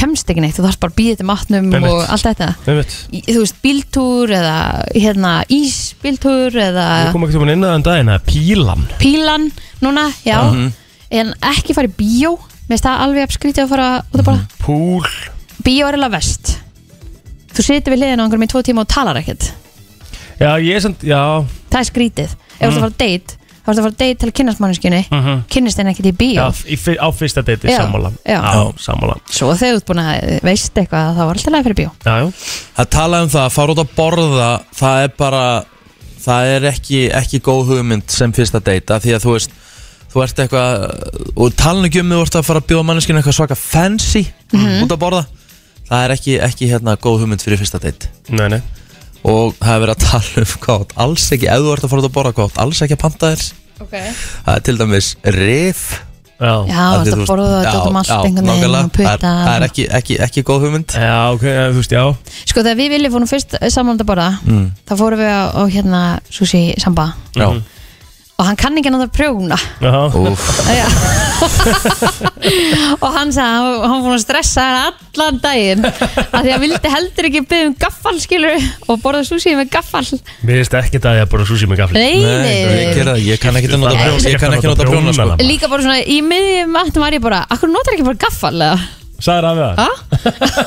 S4: kemst ekki neitt, þú þarfst bara að býða þetta matnum
S5: Einmitt.
S4: og allt þetta
S5: Einmitt.
S4: Í- þú veist, bíltúr eða hérna, ísbíltúr eða
S5: Ég kom ekki til að inn að þann daginn að pílan Ah.
S4: pílan núna, já
S5: Mhm.
S1: Mhm.
S4: en ekki fara í bíó mér finnst það alveg apskrítið að fara út að borða
S5: Mhm. Púl
S4: bíó er alveg vest þú situr við hliðin á einhverjum í tvo tíma og talar ekkert
S5: Já, ég er samt, já
S4: það er skrítið, ef þú ert að fara að date þá ertu að fara að date til að kynnast manneskjunni
S5: Mhm.
S4: kynnist henni ekkert í bíó
S5: Já, í, fyr- á fyrsta deiti,
S4: Já,
S5: sammála
S4: já.
S5: sammála
S4: svo þegar þú ert búin að eh, veist eitthvað þá var alltaf leið fyrir bíó
S5: Já, já
S1: að tala um það, að fara út að borða það er bara, það er ekki ekki góð hugmynd sem fyrsta deyta því að þú veist, þú ert eitthvað og talan ekki um þú ert að fara að bjóða manneskinu eitthvað svaka fancy út að borða, það er ekki, ekki hérna góð hugmynd fyrir fyrsta deyt
S5: Nei, nei
S1: og það er verið að tala um hvað átt alls ekki, ef þú ert að fara út að borða hvað átt alls ekki að panta þér,
S4: okay.
S1: það er til dæmis rif
S5: Já,
S4: já,
S1: Af
S4: þú ert
S1: því þú
S4: að
S1: veist-
S4: borða
S1: Já,
S4: þetta um allt
S1: já,
S4: einhvern veginn
S1: nákvæmlega.
S4: og
S1: Það er-
S4: putta
S1: það er ekki, ekki, ekki góð hugmynd
S5: já ok, já, þú veist, já
S4: sko þegar við viljum fórum fyrst eh, saman út að borða
S5: Mm.
S4: þá fórum við á, á hérna sushi samba
S1: Mm. Já.
S5: Mhm.
S4: og hann kann ekki að það prjóna
S5: Já,
S1: Úff.
S4: Já. og hann sagði að hann- hann var búinn að stressa hann allan daginn að því að vildi heldur ekki byggja um gaffal skilur og borða sushi með gaffal
S5: mér veist ekki það að ég bara súsi með gafli
S4: nei, nei, nei.
S1: ég gera það, ég kann ekki að nota
S5: Það er
S1: prjóna, ég
S5: ekki
S1: kann
S5: að
S1: ekki að
S5: nota
S1: nota prjóna sko.
S5: prjónana.
S4: líka bara svona í miðjum vatnum var ég bara akkur notar ekki bara gaffal eða
S5: Sæður af það?
S4: Ha?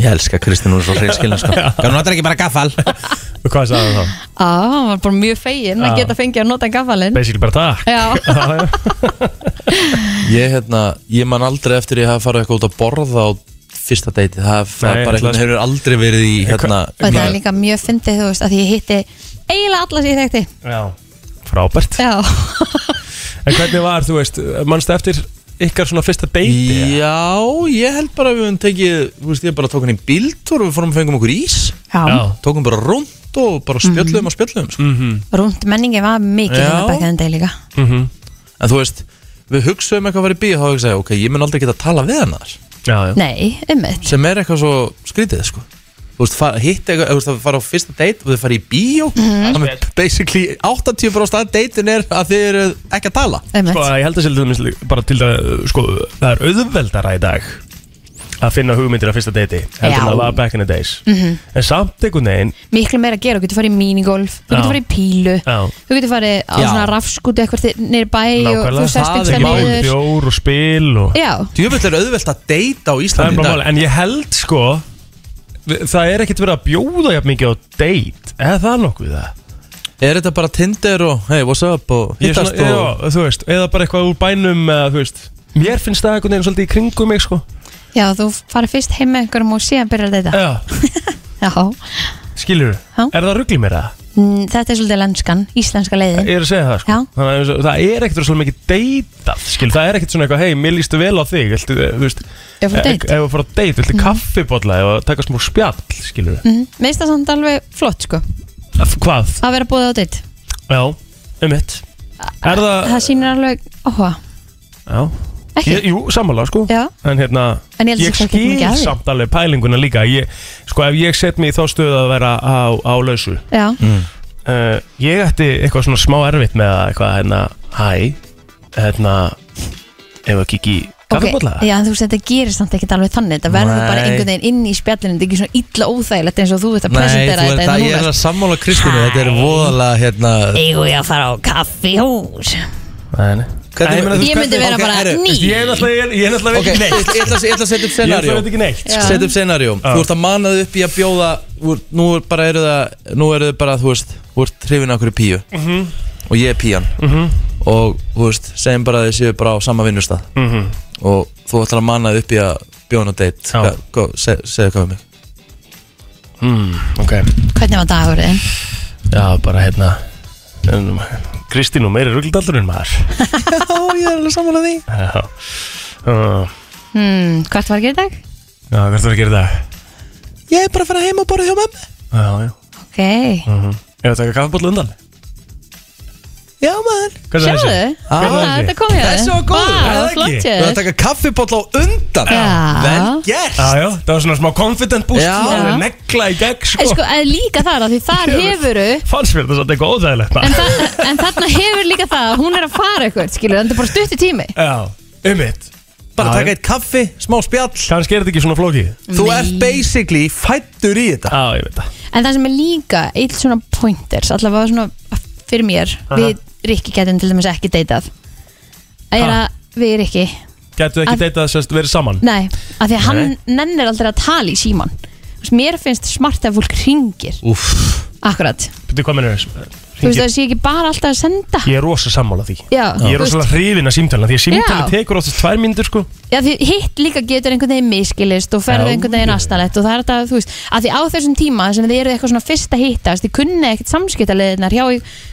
S1: Ég elska Kristín, hún er svo hreinskilin sko. Hún notar ekki bara gaffal
S5: Og hvað sæður það?
S4: á, hann var bara mjög fegin að
S5: Já.
S4: geta fengið að nota gaffalinn
S5: Basically bara takk
S4: já,
S5: Já, já.
S1: Ég, hérna, ég man aldrei eftir ég hafa farið eitthvað út að borða á fyrsta deiti
S5: Nei,
S1: Það, það
S5: sko.
S1: bara
S5: ætlaði-
S1: einhvern hefur aldrei verið í hérna
S4: og þetta er
S1: mínu-
S4: líka mjög fyndið þú veist að því ég hitti eiginlega alla sem ég þekkti
S5: já Frábært
S4: já,
S5: En hvernig var, þú veist, mannstu eftir ykkar svona fyrsta deiti?
S1: Já, ég held bara að við höfum tekið Þú veist, ég bara tók hann í bíltúr og við fórum að fengum okkur ís
S5: Já. Mhm.
S1: Tókum bara rúnd og bara spjöllum og spjöllum sko.
S4: rúnd menningi var mikið
S1: Já.
S4: hérna bakkið en deg líka
S1: En þú veist, við hugsaum eitthvað að fara í bíó Þá hugsaði, ég, ok, ég mun aldrei geta að tala við hann þar
S5: Já, já
S4: nei, ummitt
S1: Sem er eitthvað svo skrítið, sko Þú veist, fara- hitt eitthvað, þú veist, að fara á fyrsta date og þið fara í bíó
S4: Mhm.
S1: Þannig að basically 80% að deitin er að þið eru ekki að tala
S4: ummitt
S5: Sko, ég held að selja þetta bara til að, sko, það er auðveldara í dag að finna hugmyndir af fyrsta deiti heldur
S4: Já. Mhm.
S5: en það var back in the days -hmm. en samt einhvern veginn
S4: miklu meira að gera, þú getur farið í minigolf þú
S5: Já.
S4: getur farið í pílu,
S5: Já.
S4: þú getur farið á
S1: Já.
S4: svona rafskúti eitthvað þi- niður í bæ og
S5: nákvæmlega,
S4: þú sest
S1: það er
S4: einhvers
S1: ekki
S4: staðar
S1: málið.
S4: niður
S5: bjór og spil og
S4: já,
S1: Djöfull er auðvelt að deyta á
S5: það er
S1: Íslandi í
S5: bara
S1: dag
S5: máli, en ég held sko við- það er ekkert verið að bjóða jafn mikið á date, eða það nokkuð það
S1: Er þetta bara Tinder og hey, what's up og
S5: Ég er
S1: hittast
S5: svona,
S1: og
S5: já, þú veist, eða bara eitthvað úr bænum eða, þú veist, mér finnst það einhvern veginn svolítið í kringum mig sko
S4: já, þú farið fyrst heim með einhverjum og síðan byrjar þetta
S5: já,
S4: já,
S5: skilur,
S4: Já.
S5: er það ruggli mér það?
S4: Mm, þetta er svolítið lenskan, íslenska leiðin
S5: Ég er að segja það sko
S4: Eh, Já.
S5: Þannig að það er ekkert svolítið mikið deytað skil, það er ekkert svona eitthvað, hei, mér lístu vel á þig viltu, eh, þú veist,
S4: Ef þú Mm. date?
S5: ef þú fór að deyt, viltu kaffibotla eða taka smúr spjall, skilur mm.
S4: Mhm. Mér finnst það samt alveg flott sko
S5: Hvað?
S4: að vera búið á deitt,
S5: Já, um mitt Er það,
S4: það
S1: Eh,
S4: sýnir alveg áhuga,
S5: já
S4: ekki?
S5: Ég, jú, sammála sko
S4: Já.
S5: En hérna,
S4: En ég held að sé ekki
S5: skil
S4: mikið að því.
S5: samt alveg pælinguna líka ég, Sko, ef ég set mig í þá stöðu að vera á, á lausu
S4: já,
S1: Mm.
S5: uh, Ég ætti eitthvað svona smá erfitt með að eitthvað, hérna, hæ Hérna, ef ekki ekki kaffibotla
S4: já, en þú veist, þetta gerir samt ekkert alveg þannig þetta verður
S1: Nei.
S4: bara einhvern veginn inn í spjallinu þetta er ekki svona illa óþægilegt eins og þú veist að
S1: Nei,
S4: presentera
S1: þú
S4: þetta
S1: er
S4: hérna
S1: það, ég er
S4: núna,
S1: að sammála Kristínu Þetta er voðalega, hérna
S4: Eigum við að fara á kaffihús?
S5: Nei, nei.
S1: Hvernig-
S5: Ég meina, þú-
S4: Ég myndi vera
S1: Ok,
S4: bara
S1: herru,
S4: ný
S5: Ég er náttúrulega, ég er- ég er náttúrulega
S1: Ok,
S5: okay.
S1: ég
S5: ekki neitt
S1: ætla ég ætla að setja upp
S5: Ég er náttúrulega
S1: scenario
S5: ekki neitt sko.
S4: Já.
S1: Setja upp scenario Þú ert að mana þau upp í að bjóða þú ert- Nú er bara eru það Nú eru þau bara, þú veist Þú ert hrifin af okkur píu Og ég er pían Og, þú veist, segjum bara að þið séu bara á sama vinnustað Og þú ætlar að mana þau upp í að bjóða á date
S5: Já.
S1: Hvað- hvað- seg- Segðu hvað við mig
S5: Hmm, Ok
S4: Hvernig var dagurinn?
S5: Já, bara hérna um, Kristín og meiri rugldaldur en maður
S1: Já, ég er alveg sammála því
S5: Já uh,
S4: Hmm, hvert var að gera í dag?
S5: Já, hvað þarf að gera í dag?
S1: Ég er bara að fara heim og borða hjá mamma
S5: Já, já
S4: Ok,
S5: uh -huh. Ég var að taka kaffabóll undan
S1: Já maður
S5: Hvað
S4: sjáðu, Ah,
S5: Hvernig var þessi?
S4: þetta kom hér
S1: Þessi var góður, er það
S4: Vá,
S1: ekki?
S4: flott
S1: Þú ert að
S4: hér
S1: taka kaffiboll á undan
S4: Já.
S1: Vel gert
S5: Já, já, það var svona smá confident boost
S1: Já.
S5: Það er negla í gegn, sko,
S4: En sko, en líka þar, af því þar hefuru
S5: Fannst mér þetta svolítið eitthvað óþægilegt
S4: en,
S5: maður.
S4: þa en þarna hefur líka það að hún er að fara eitthvað, skilur, en þetta er bara stutt í tími
S5: Já, um mitt
S1: bara
S5: Já,
S1: taka
S5: já.
S1: eitt kaffi, smá spjall
S5: Kannski er þetta ekki svona flókið
S1: Þú ert basically fættur í þetta
S5: Já, ég veit það
S4: En það sem er líka eitt svona pointers allavega svona fyrir mér við Rikki getum til dæmis ekki deytað Það er
S5: Ha?
S4: að við Rikki
S5: Gætu ekki
S4: Að-
S5: deytað sérst verið saman
S4: Nei, af því að hann nennir aldrei að tala í síman Mér finnst smart að fólk ringir
S1: Úff,
S4: Akkurat,
S5: Býttu, hvað mennir
S4: þú veist
S5: Ég
S4: það sé ekki bara alltaf að senda
S5: ég er rosa sammála því
S4: Já,
S5: Ég er
S4: þú veist-
S5: rosalega hrifin að símtala Því að símtala
S4: Já.
S5: tekur oftast tvær myndur sko
S4: Já, því hitt líka getur einhvern veginn miskilist og
S5: Já,
S4: ferðu einhvern veginn
S5: já.
S4: astalett og það er þetta, þú veist, að því á þessum tíma sem þið eru eitthvað svona fyrst að hittast, þið kunni ekkert samskiptaleðinar hjá,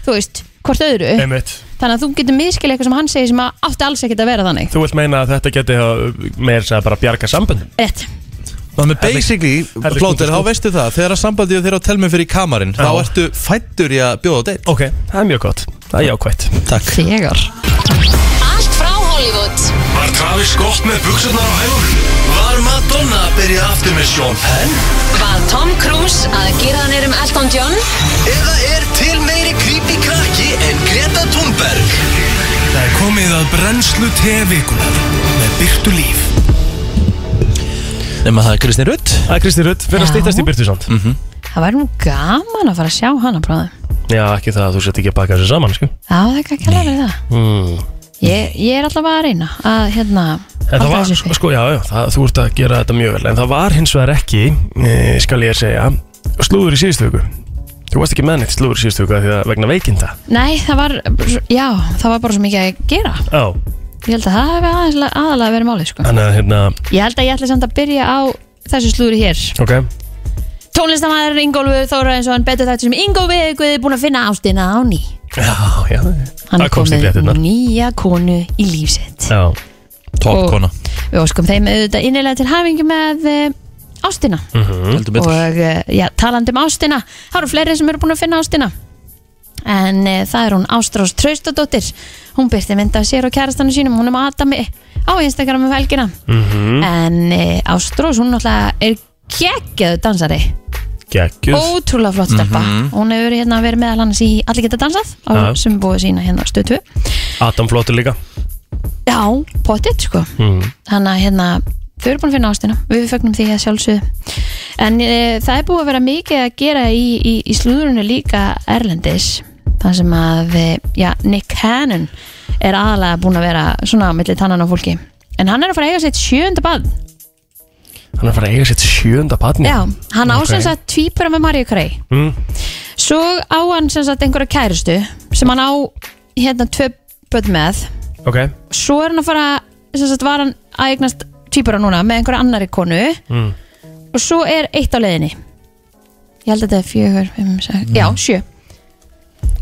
S4: þú veist, hvort öðru
S5: Einmitt
S4: þannig að þú getur miskilið eitthvað sem hann segir sem að átti alls ekkert að vera þannig
S5: Þú vilt meina að þetta geti hafa- meira sem að bara bjarga samböndum
S4: Rétt,
S1: þannig að basically,
S5: heldur
S1: plóter,
S5: kútur,
S1: þá
S5: sko.
S1: veistu það þegar að sambandið þeirra á telmi fyrir kamarinn þá
S5: Já.
S1: ertu fættur í að bjóða á deitt
S5: Ok, það er mjög gott Það er jákvætt
S1: Takk
S4: þegar
S6: Allt frá Hollywood
S2: Var Travis gott með buksarnar á hægum? Var Madonna að byrja aftur með Sean Penn?
S6: Var Tom Cruise að gera hann erum Elton John
S2: Eða er til meiri creepy krakki en Greta Thunberg? Það er komið að brennslu tevikunar með Byrtu Líf.
S1: Nefn það er Kristni Rutt
S5: Það er Kristi Rutt, fyrir að
S4: Já.
S5: stýttast í Byrtusand mm.
S2: Mhm.
S4: Það væri nú gaman að fara að sjá hana bráðum
S5: Já, ekki það að þú sett ekki að baka þessu saman, sko
S4: Já, það er ekki að kæra verið það
S5: mm.
S4: ég, ég er allavega að reyna að hérna
S5: En það
S4: halda
S5: var,
S4: þessu uppi.
S5: sko, já, já, það, þú ert að gera þetta mjög vel En það var hins vegar ekki, e, skal ég segja, slúður í síðustu viku Þú varst ekki með neitt slúður í síðustu viku af því að vegna veikinda
S4: Nei, það var, já, það var bara svo mikið að gera
S5: Já,
S4: Ég held að það hefði aðeins- aðalega verið málið, sko
S5: þannig að, hérna,
S4: Ég held að ég ætla samt að byrja á þessu slúri hér
S5: ok
S4: Tónlistamæður Ingólfur Þóra eins og hann betur þættu sem Ingólfur Guði búin að finna ástina á ný
S5: Já, já,
S4: Hann
S5: það
S4: er
S5: komst í
S4: komið
S5: brettinnar
S4: nýja konu í lífsitt
S5: Já,
S1: Top
S4: Og-
S1: kona
S4: Við óskum þeim auðvitað innilega til hafingi með eh, ástina
S1: Heldur betur
S4: og eh, já, talandi um ástina það eru fleiri sem eru búin að finna ástina en e, það er hún Ástrós Traustadóttir hún byrti mynda sér og kærastanu sínum hún er með Adami á Instagram um helgina
S5: Mhm. Mm.
S4: en e, Ástrós hún náttúrulega er geggjöðu dansari
S5: geggjus
S4: ótrúlega flott steppa hún hefur hérna verið meðal hans í Allir geta dansað
S5: Já.
S4: á, sem búið sína hérna á stöð 2
S5: Adam flottur líka
S4: já, pottitt sko
S5: mm.
S4: þannig að hérna þau eru búin að finna ástina, við fögnum því að sjálfsögðu en e, það er búið að vera mikið að gera í, í, í slúðurinu líka Erlendis þar sem að, e, já, Nick Cannon er aðalega búin að vera svona á milli tannan á fólki en hann er að fara að eiga sitt sjönda bad
S5: Hann er að fara að eiga sitt sjönda patni
S4: já, hann á
S5: Ok.
S4: sem sagt tvípura með Mario Kray
S5: Mm.
S4: svo á hann sem sagt einhverja kærustu sem hann á hérna tvö börn með
S5: Ok,
S4: svo er hann að fara sem sagt var hann að eignast týpura núna með einhverja annari konu
S5: Mm.
S4: og svo er eitt á leiðinni ég held að þetta er fjögur, fimm, sex,
S5: Mm.
S4: já, sjö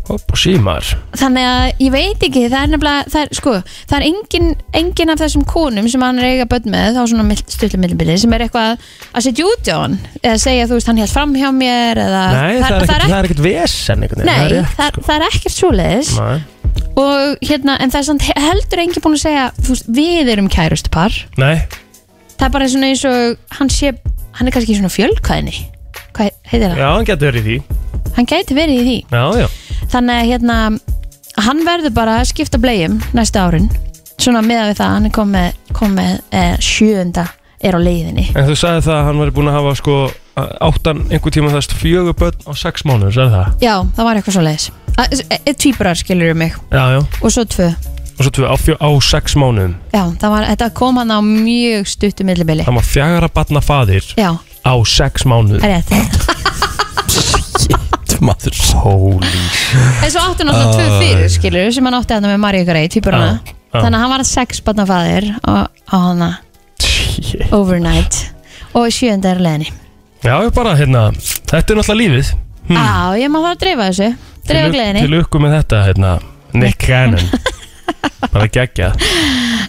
S5: hopp og símar
S4: þannig að ég veit ekki, það er nefnilega það er, sko, það er engin, engin af þessum konum sem hann er að eiga börn með, þá svona stuttum millibili, sem er eitthvað að setja út á hann, eða segja, þú veist, hann held fram hjá mér eða,
S5: Nei, það er ekkert- það
S4: ekki,
S5: er ekkert vesen einhvern veginn,
S4: nei,
S5: það er rétt,
S4: það er,
S5: sko.
S4: það er ekkert svoleiðis
S5: Nei.
S4: og hérna, en það er samt heldur engin búin að segja, þú veist, við erum kærustu par
S5: Nei,
S4: það er bara svona eins og hann sé hann er kannski í svona fjölkvæðinni hvað heitir það?
S5: já, hann getur verið í því
S4: Hann gæti verið í því
S5: Já, já,
S4: þannig að hérna hann verður bara að skipta blegjum næstu árin svona meðan við það hann er komið, komið eh, sjöunda er á leiðinni
S5: en þú sagði það að hann væri búin að hafa sko áttan einhver tíma þess fjögur börn á sex mánuður, sagði það?
S4: já, það var eitthvað svo leiðis e, tvíbrar skilur um mig
S5: Já, já,
S4: og svo tvö
S5: og svo tvö á, fjö, á sex mánuðum
S4: já, það var, þetta kom hann á mjög stuttu millibili
S5: hann var fjagara barna faðir
S4: já,
S5: á sex mánuðum
S4: rétt
S1: maður
S5: Holy
S4: en svo átti hann alltaf tvö fyrir skilur sem hann átti hann með Maríu Grey tvíbrarna
S5: Já, já.
S4: þannig að hann var sex barnafæðir á, á hana
S5: shit.
S4: overnight og sjönda er á leiðinni
S5: Já, ég bara hérna, þetta er náttúrulega lífið
S4: á, ég má fara að dreifa þessu dreifa
S5: Hmm. Til-
S4: gleðinni
S5: Til lukku með þetta, hérna, Nick Cannon Bara geggja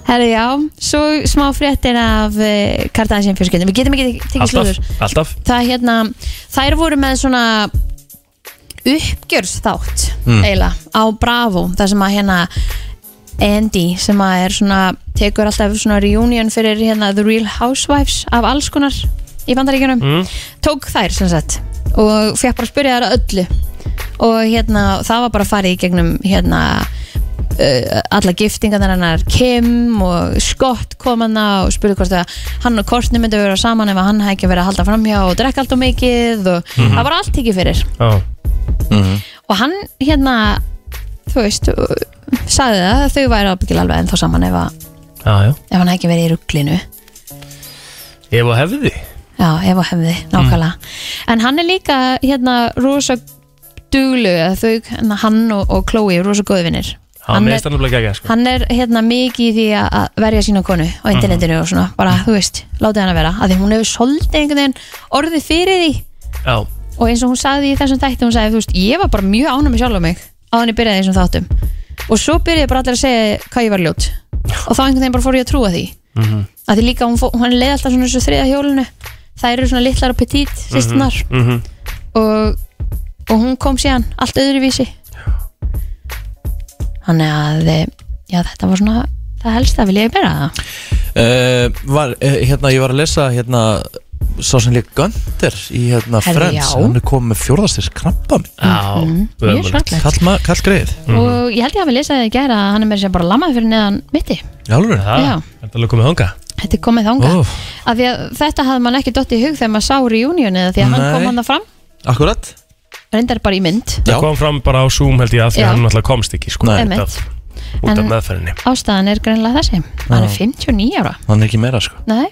S4: herri já, svo smá fréttir af uh, Kardashian fjörskjöndum, við getum ekki tek- tekið
S5: Alltaf,
S4: slúður
S5: alltaf
S4: það er hérna, þær voru með svona uppgjörsþátt eiginlega á Bravo þar sem að hérna Andy sem að er svona tekur alltaf svona reunion fyrir hérna The Real Housewives af alls konar í bandaríkjunum
S5: Mm.
S4: tók þær sem sagt og fekk bara að spyrja þær að öllu og hérna það var bara að fara í gegnum hérna uh, alla giftingarnar hennar Kim og Scott kom hann og spurði hvort að hann og Courtney myndi vera saman ef að hann hefði ekki verið að halda framhjá og drekka allt og mikið og það var allt ekki fyrir
S5: Já,
S1: Mhm.
S4: og hann hérna þú veist, uh, sagði það að þau væri ábyggilega alveg ennþá saman ef, að,
S5: já, já
S4: ef hann hefði ekki verið í rugglinu
S5: Ef að hefði
S4: Já, ef og hefði,
S5: Mm.
S4: nákvæmlega En hann er líka hérna rosa duglu þau, hérna, hann og, og Chloe eru rosa góðvinir
S5: Hann
S4: er,
S5: meðist hann að gegja sko
S4: hann er hérna mikið í því að- að verja sína konu á internetinu og svona, bara,
S5: Mm.
S4: þú veist, látið hann að vera að því hún hefur soldið einhvern veginn orðið fyrir því
S5: Já,
S4: og eins og hún sagði í þessum þætti, hún sagði, þú veist, ég var bara mjög ánum með sjálf á mig á hann ég byrjaði í þessum þáttum og svo byrjaði bara allir að segja hvað ég var ljót og þá einhvern veginn bara fór ég að trúa því mm
S5: Mhm.
S4: að því líka hún, fó- hún leiði alltaf svona þessu þriða hjólinu þær eru svona litlar og petit sýstunar
S5: mhm.
S4: og, og hún kom síðan allt öðruvísi þannig að eh, já, þetta var svona það helst að vilja ég bera það
S1: Uh, var, eh, hérna, ég var að lesa hérna, sá sem líka Gunther í hérna
S4: Herðu,
S1: Friends,
S4: já. Mhm.
S1: hann er komið með fjórðastis krampa minn,
S5: já
S4: mjög
S5: ömurlegt.
S4: skallegt
S1: kall, ma- kall greið
S5: Mhm.
S4: og ég held ég að við lesaði í gæra að hann er meira sér bara lamað fyrir neðan mitti
S1: í alveg
S5: Það,
S4: Já.
S5: þetta er alveg komið þanga
S4: Þetta er komið þanga
S1: Ó.
S4: oh. Af því að þetta hafði mann ekki dott í hug þegar maður sá reunion eða því að
S1: Nei.
S4: hann kom hann fram
S1: akkurat
S4: reyndar bara í mynd
S1: Já.
S5: Það kom fram bara á Zoom held ég að því
S4: Já.
S5: að hann náttúrulega komst ekki sko
S1: Nei.
S5: út
S4: Einmitt.
S5: af- Út af
S4: En-
S5: meðferðinni
S4: Ástæðan er greinlega þessi Hann er 59 ára
S1: hann er ekki meira sko
S4: Nei,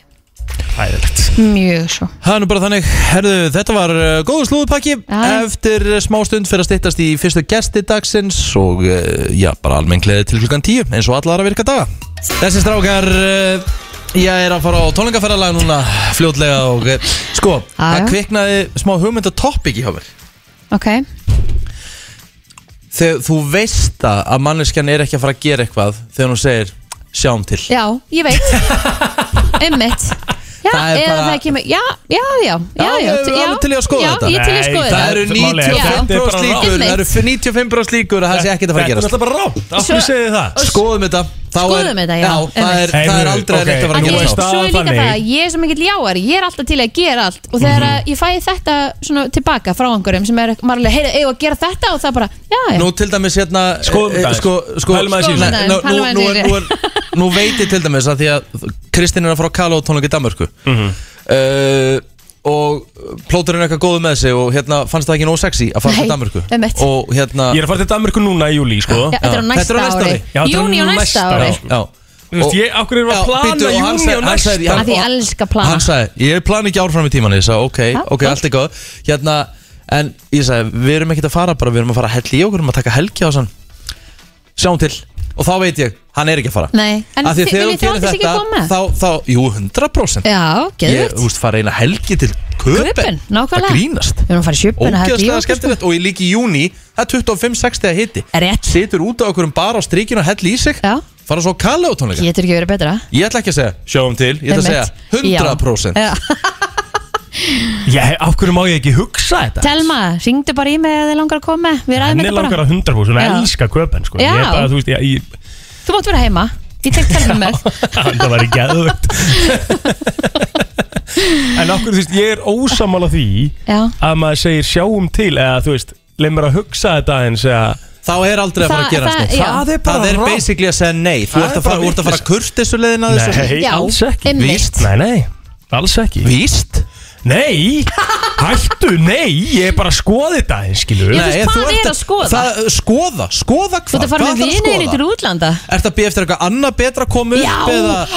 S5: Æðilegt
S4: mjög svo
S1: Það er nú bara þannig, herðu, þetta var uh, góðu slúðupakki
S4: Já.
S1: Eftir uh, smá stund fyrir að styttast í fyrstu gesti dagsins Og uh, já, bara almenn gleði til klukkan 10 Eins og alla aðra virka daga Þessi strákar, uh, ég er að fara á tónlingaferðalag núna Fljótlega og uh, sko,
S4: Já, já.
S1: það kviknaði smá hugmynda topic í hjá mér
S4: Ok,
S1: Þegar þú veist það að manneskjan er ekki að fara að gera eitthvað Þegar hún segir, sjáum til
S4: já, ég veit Einmitt Já,
S1: Það er
S4: eða
S1: bara-
S4: það kemur Já, já, já Já,
S1: Já,
S4: já,
S1: við erum alveg til í að skoða
S4: já,
S1: þetta.
S4: Ég til í að
S5: Nei,
S4: skoða
S1: Það
S5: það
S4: þetta
S1: eru
S5: er- málið er- Þetta
S1: 95%
S5: er bara
S1: líkur Það
S4: rangt.
S1: eru 95% líkur að það sé ekkert að fara
S5: Þetta er
S1: að gerast
S5: náttúrulega bara rátt Af
S4: Svo-
S5: hverju segið þið það?
S1: Skoðum þetta Þá
S4: Skoðum
S1: er-
S4: þetta, já.
S1: það er, það er
S5: Heyrðu,
S1: aldrei
S5: ok.
S1: okay. neitt
S5: Nú
S1: að fara
S4: En
S1: að
S4: ég,
S5: er
S1: gerast
S5: staðan
S4: svo er líka
S5: þannig-
S4: það, að ég er svo mikill jáari, ég er alltaf til að gera allt og þegar
S1: Mhm.
S4: mm ég fæ þetta svona tilbaka frá einhverjum sem er margulega, heyrðu, eigum við að gera þetta og það bara, já, já,
S1: Nú til dæmis hérna
S5: Skoðum
S1: eh,
S5: þetta
S1: sko, sko,
S5: Pælum aðeins í
S4: þessu.
S1: Nei, nú- nú- nú er- nú er- Nú veit ég til dæmis að því að Kristinn er að fara á Kala og tónleika í Danmörku
S5: Mhm.
S1: Eh, Og plóturinn er eitthvað góðu með sig Og hérna fannst það ekki nóg sexy að fara
S4: Nei,
S1: til Danmörku
S4: einmitt.
S1: Og hérna
S5: Ég er að fara til Danmörku núna í júli sko
S4: Já, þetta er á
S1: Já.
S4: næsta,
S1: Þetta er
S4: ári,
S5: Já,
S1: á næsta ári.
S5: þetta er
S4: Júní á
S5: núna
S4: næsta
S5: næsta
S4: ári
S5: ári.
S1: Já
S5: Þú veist, ég, af hverju erum við
S1: Já,
S5: að plana
S1: bíddu, og hann
S5: júni
S1: sagði-
S5: og
S1: hann
S5: næsta?
S1: sagði- hann-
S4: Af því ég
S1: og-
S4: elska að plana.
S1: Hann sagði, ég plana ekki árfram í tíman Ég sagði, ok,
S4: Já,
S1: ok,
S4: flott.
S1: allt er góð Hérna, en ég sagði, við erum ekkert að fara bara Við erum að fara að hella í okkur, við erum að taka helgi á sann Sjáum til Og þá veit ég, hann er ekki að fara
S4: Nei, en
S1: Af því
S4: þi-
S1: þegar
S4: viljið
S1: þú
S4: þið
S1: gerir
S4: aldrei ekki koma?
S1: Þá, þá, jú, 100%
S4: Já,
S1: Ég,
S4: geðvögt
S1: þú veist, fara eina helgi til Köpen,
S4: Köben, nákvæmlega.
S1: Það grínast
S4: Við erum að fara í sjöpun
S1: Ógeðslega skemmtilegt og ég líka í júni Það er 25-60 að hitti
S4: Rétt,
S1: Situr út á okkur um bara á strikinu og hella í sig
S4: já,
S1: Fara svo á Kalle og tónleika
S4: getur ekki verið betra
S1: Ég ætla ekki að segja sjáum til Ég ætla að segja
S4: Einmitt.
S1: 100%
S4: Já. Já.
S5: Ég, af hverju má ég ekki hugsa þetta?
S4: Telma, ringdu bara í mig eða þið langar að koma Við ræðum
S5: Henni
S4: þetta
S5: langar
S4: bara
S5: að hundra búið, svona
S4: Já.
S5: elska köpen sko. Ég
S4: Já.
S5: er bara, þú veist, ég, ég,
S4: Þú mátt vera heima, ég tek telma með
S5: það væri geðvögt En okkur, þú veist, ég er ósamála því
S4: Já,
S5: að maður segir sjáum til eða þú veist, leið mér að hugsa þetta eins eða
S1: Þá er aldrei að fara
S4: Það-
S1: að gera
S4: það-
S1: það,
S4: já.
S5: Það er bara
S1: það er
S5: rangt.
S1: basically að segja nei Þú
S5: Það
S1: ert
S5: er
S1: að fara,
S5: bara
S1: þú ert að fara
S5: vitlaust.
S1: kurtissu leiðin að þessu
S5: Nei,
S4: Já,
S5: alls ekki
S4: einmitt.
S5: Víst. Nei, nei, alls ekki
S1: Víst?
S5: Nei, hættu, nei, ég er bara að skoða þetta eins, skilur
S4: Ég- veist, hvað
S1: ert
S4: er að skoða?
S1: Það, skoða, skoða hvað?
S4: þú ert að fara með
S1: Hvað ætlarðu að
S4: vinninni
S1: skoða?
S4: til útlanda
S1: Ertu að býja eftir eitthvað annað betra að koma upp
S4: Já,
S1: eða,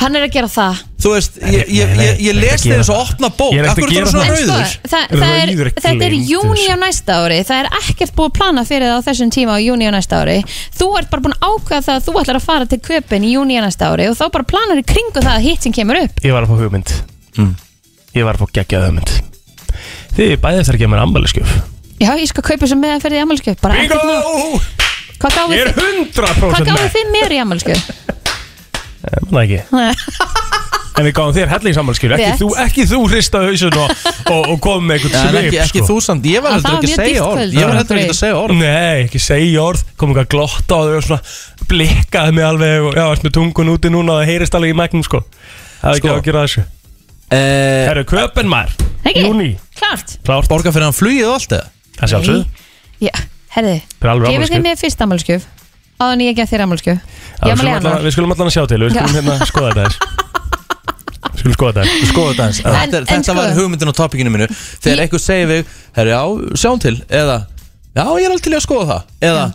S4: hann er að gera það
S1: þú veist, ég, ég,
S5: nei,
S1: ég,
S5: ég
S1: ég
S5: er ekki að
S1: les þig
S5: gera
S1: eins og
S5: það.
S1: opna bók
S5: Ég er
S1: Af
S5: ekki að
S1: hverju
S5: gera
S1: ertu
S5: það.
S1: svona
S4: En sko,
S1: rauður?
S4: það, það er,
S5: Rauður er
S4: þetta er
S5: gleymdur.
S4: júni á næsta ári Það er ekkert búið að plana fyrir það á þessum tíma á júni á næsta ári Þú ert bara búin að ákveða það að þú ætlar að fara til köpinn í júni á næsta ári og þá bara planar í kringu það að hitt sem kemur upp
S5: Ég var að fá hugmynd
S1: Mm.
S5: Ég var að fá geggjað hugmynd Þið er bæðið þar að gefa mér ammæliskjöf
S4: Já, ég skal kaupa sem meðan fyrir í ammálskjöf bara
S5: Bingo!
S4: ekkert mál. Hvað
S5: Ég er
S4: gáðu þið? Hvað
S5: 100%
S4: gáðu
S5: með
S4: þið mér í ammálskjöf?
S5: Manna ekki En við gáðum þér hellingsammæliskjöf ekki,
S4: Rétt.
S5: þú, ekki þú hrista hausun og, og, og kom með
S1: Já,
S5: eitthvað
S1: en
S5: svip
S1: ekki, ekki
S5: sko.
S1: þú samt, ég
S4: Já,
S1: var heldur
S4: það var
S1: ekki að
S4: mjög
S1: segja
S4: dýrt
S1: orð
S4: kvöld.
S1: Ég var heldur ekki að segja orð
S5: Nei, ekki segja orð, kom eitthvað að glotta á þau og svona blikkaði mig alveg og já, erst með tungun úti núna og það heyrist alveg í magnum sko Það er ekki
S1: Sko.
S5: að gera þessu
S1: Eh,
S5: Það eru köpen maður,
S4: Ekki?
S5: júni,
S4: Klart
S5: klárt
S1: Borga fyrir hann flugið og allt eða?
S5: Það sjálfsög,
S4: Já, herði
S5: það er alveg
S4: Gefið þið
S5: ammæliskjöf
S4: mér fyrst ammálskjöf áðan ég gef þér ammálskjö
S5: Já,
S4: hérna- ég
S5: við,
S4: ammál í
S5: skulum allan,
S4: januar
S5: við skulum allan að sjá til, við skulum
S4: Já.
S5: hérna skoða þetta aðeins. Við skulum skoða þetta aðeins.
S1: Skoða dans
S4: En-
S1: Þetta,
S4: en
S1: er, þetta
S4: sko-
S1: var hugmyndin á topikinu minu Þegar einhver segir við Herri já, sjáum til Eða Já, ég er alveg til í að skoða það Eða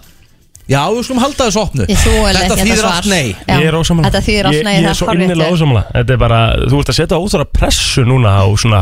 S1: Já, við skulum halda þessu opnu
S4: Ég þoli
S1: Þetta
S4: ekki
S1: þýðir
S4: svar.
S1: allt nei
S4: Já,
S5: Ég er ósamlega
S4: Þetta þýðir allt nei
S5: Ég,
S4: það
S5: er svo
S4: hárrétt
S5: innilega
S4: er.
S5: ósamlega Þetta er bara, þú ert að setja óþara pressu núna á svona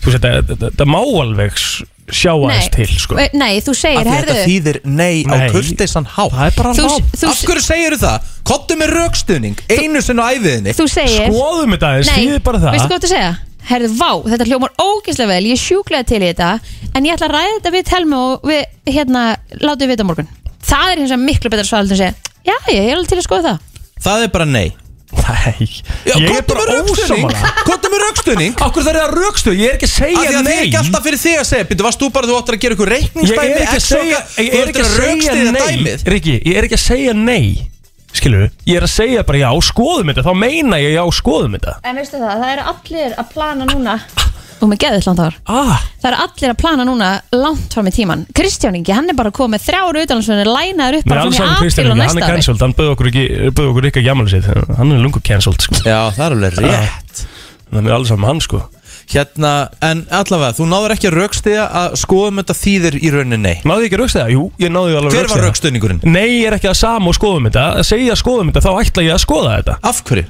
S5: Þú setja, þetta- þetta þetta má alveg s- sjá aðeins
S4: Nei.
S5: til, sko
S4: Ve- Nei, þú
S1: Af
S4: segir,
S1: því Þetta
S4: herðu
S1: þýðir nei á
S5: Nei.
S1: kurteisan hátt
S5: Það er bara
S4: Þú-
S5: rám
S4: þú-
S1: Af hverju segirðu það? Kottu með raukstuðning Einu sinn á æfiðinni
S4: Þú segir
S5: Skoðum þetta aðeins, þýðir bara það
S4: veistu hvað þú ert að segja? Herðu, vá, þetta hljómar ógeðslega vel, ég er sjúklega til í þetta En ég ætla að ræða þetta við Telma og við, hérna, látum við vita á morgun Það er hins vegar miklu betra svar heldur en að segja Já, ég er alveg til að skoða það
S1: Það er bara nei
S5: Nei,
S1: Já,
S5: ég er
S1: kottu með
S5: bara
S1: raukstuðning
S5: ósamlega
S1: Kottu með raukstuðning
S5: Akkur það er að raukstu, ég er ekki að segja
S1: Af því að það er
S5: nei
S1: ekki alltaf fyrir þig að segja Býttu, varst þú bara þú ættir að gera ykkur
S5: Ég er
S1: reikningsdæmi
S5: ekki að
S1: X og-
S5: segja Ég
S1: Þú
S5: er
S1: ættir
S5: ekki að segja
S1: rökstyðja
S5: nei
S1: dæmið.
S5: Riki, ég er ekki að segja nei Skilur ég er að segja bara já, skoðum þetta Þá meina ég já, skoðum þetta
S4: En veistu það, það eru allir að plana núna Og með geðið langt ár
S5: ah,
S4: Það eru allir að plana núna langt fram í tíman Kristján Ingi, hann er bara komið með þrjáru utanlandsfjörnir Lænaður upp
S5: Mér er
S4: bara
S5: alls
S4: fram í
S5: saman
S4: apil
S5: Kristján
S4: og
S5: Ingi, hann
S4: næsta
S5: er
S4: ári
S5: cancelled Hann bauð okkur ekki, bauð okkur ekki að gjammali sitt Hann er lungu cancelled, sko
S1: Já, það er alveg rétt
S5: Það er alls saman hann, sko
S1: Hérna, en allavega, þú náður ekki að raukstuðja að skoðum þetta þýðir í rauninni nei
S5: Náðu ekki að raukstu það? Jú, ég náðu alveg að
S1: Hver var
S5: rökstyðja.
S1: raukstuðningurinn?
S5: Nei, ég er ekki að sama og skoðum þetta Að segja skoðum þetta, þá ætla ég að skoða þetta
S1: Af hverju?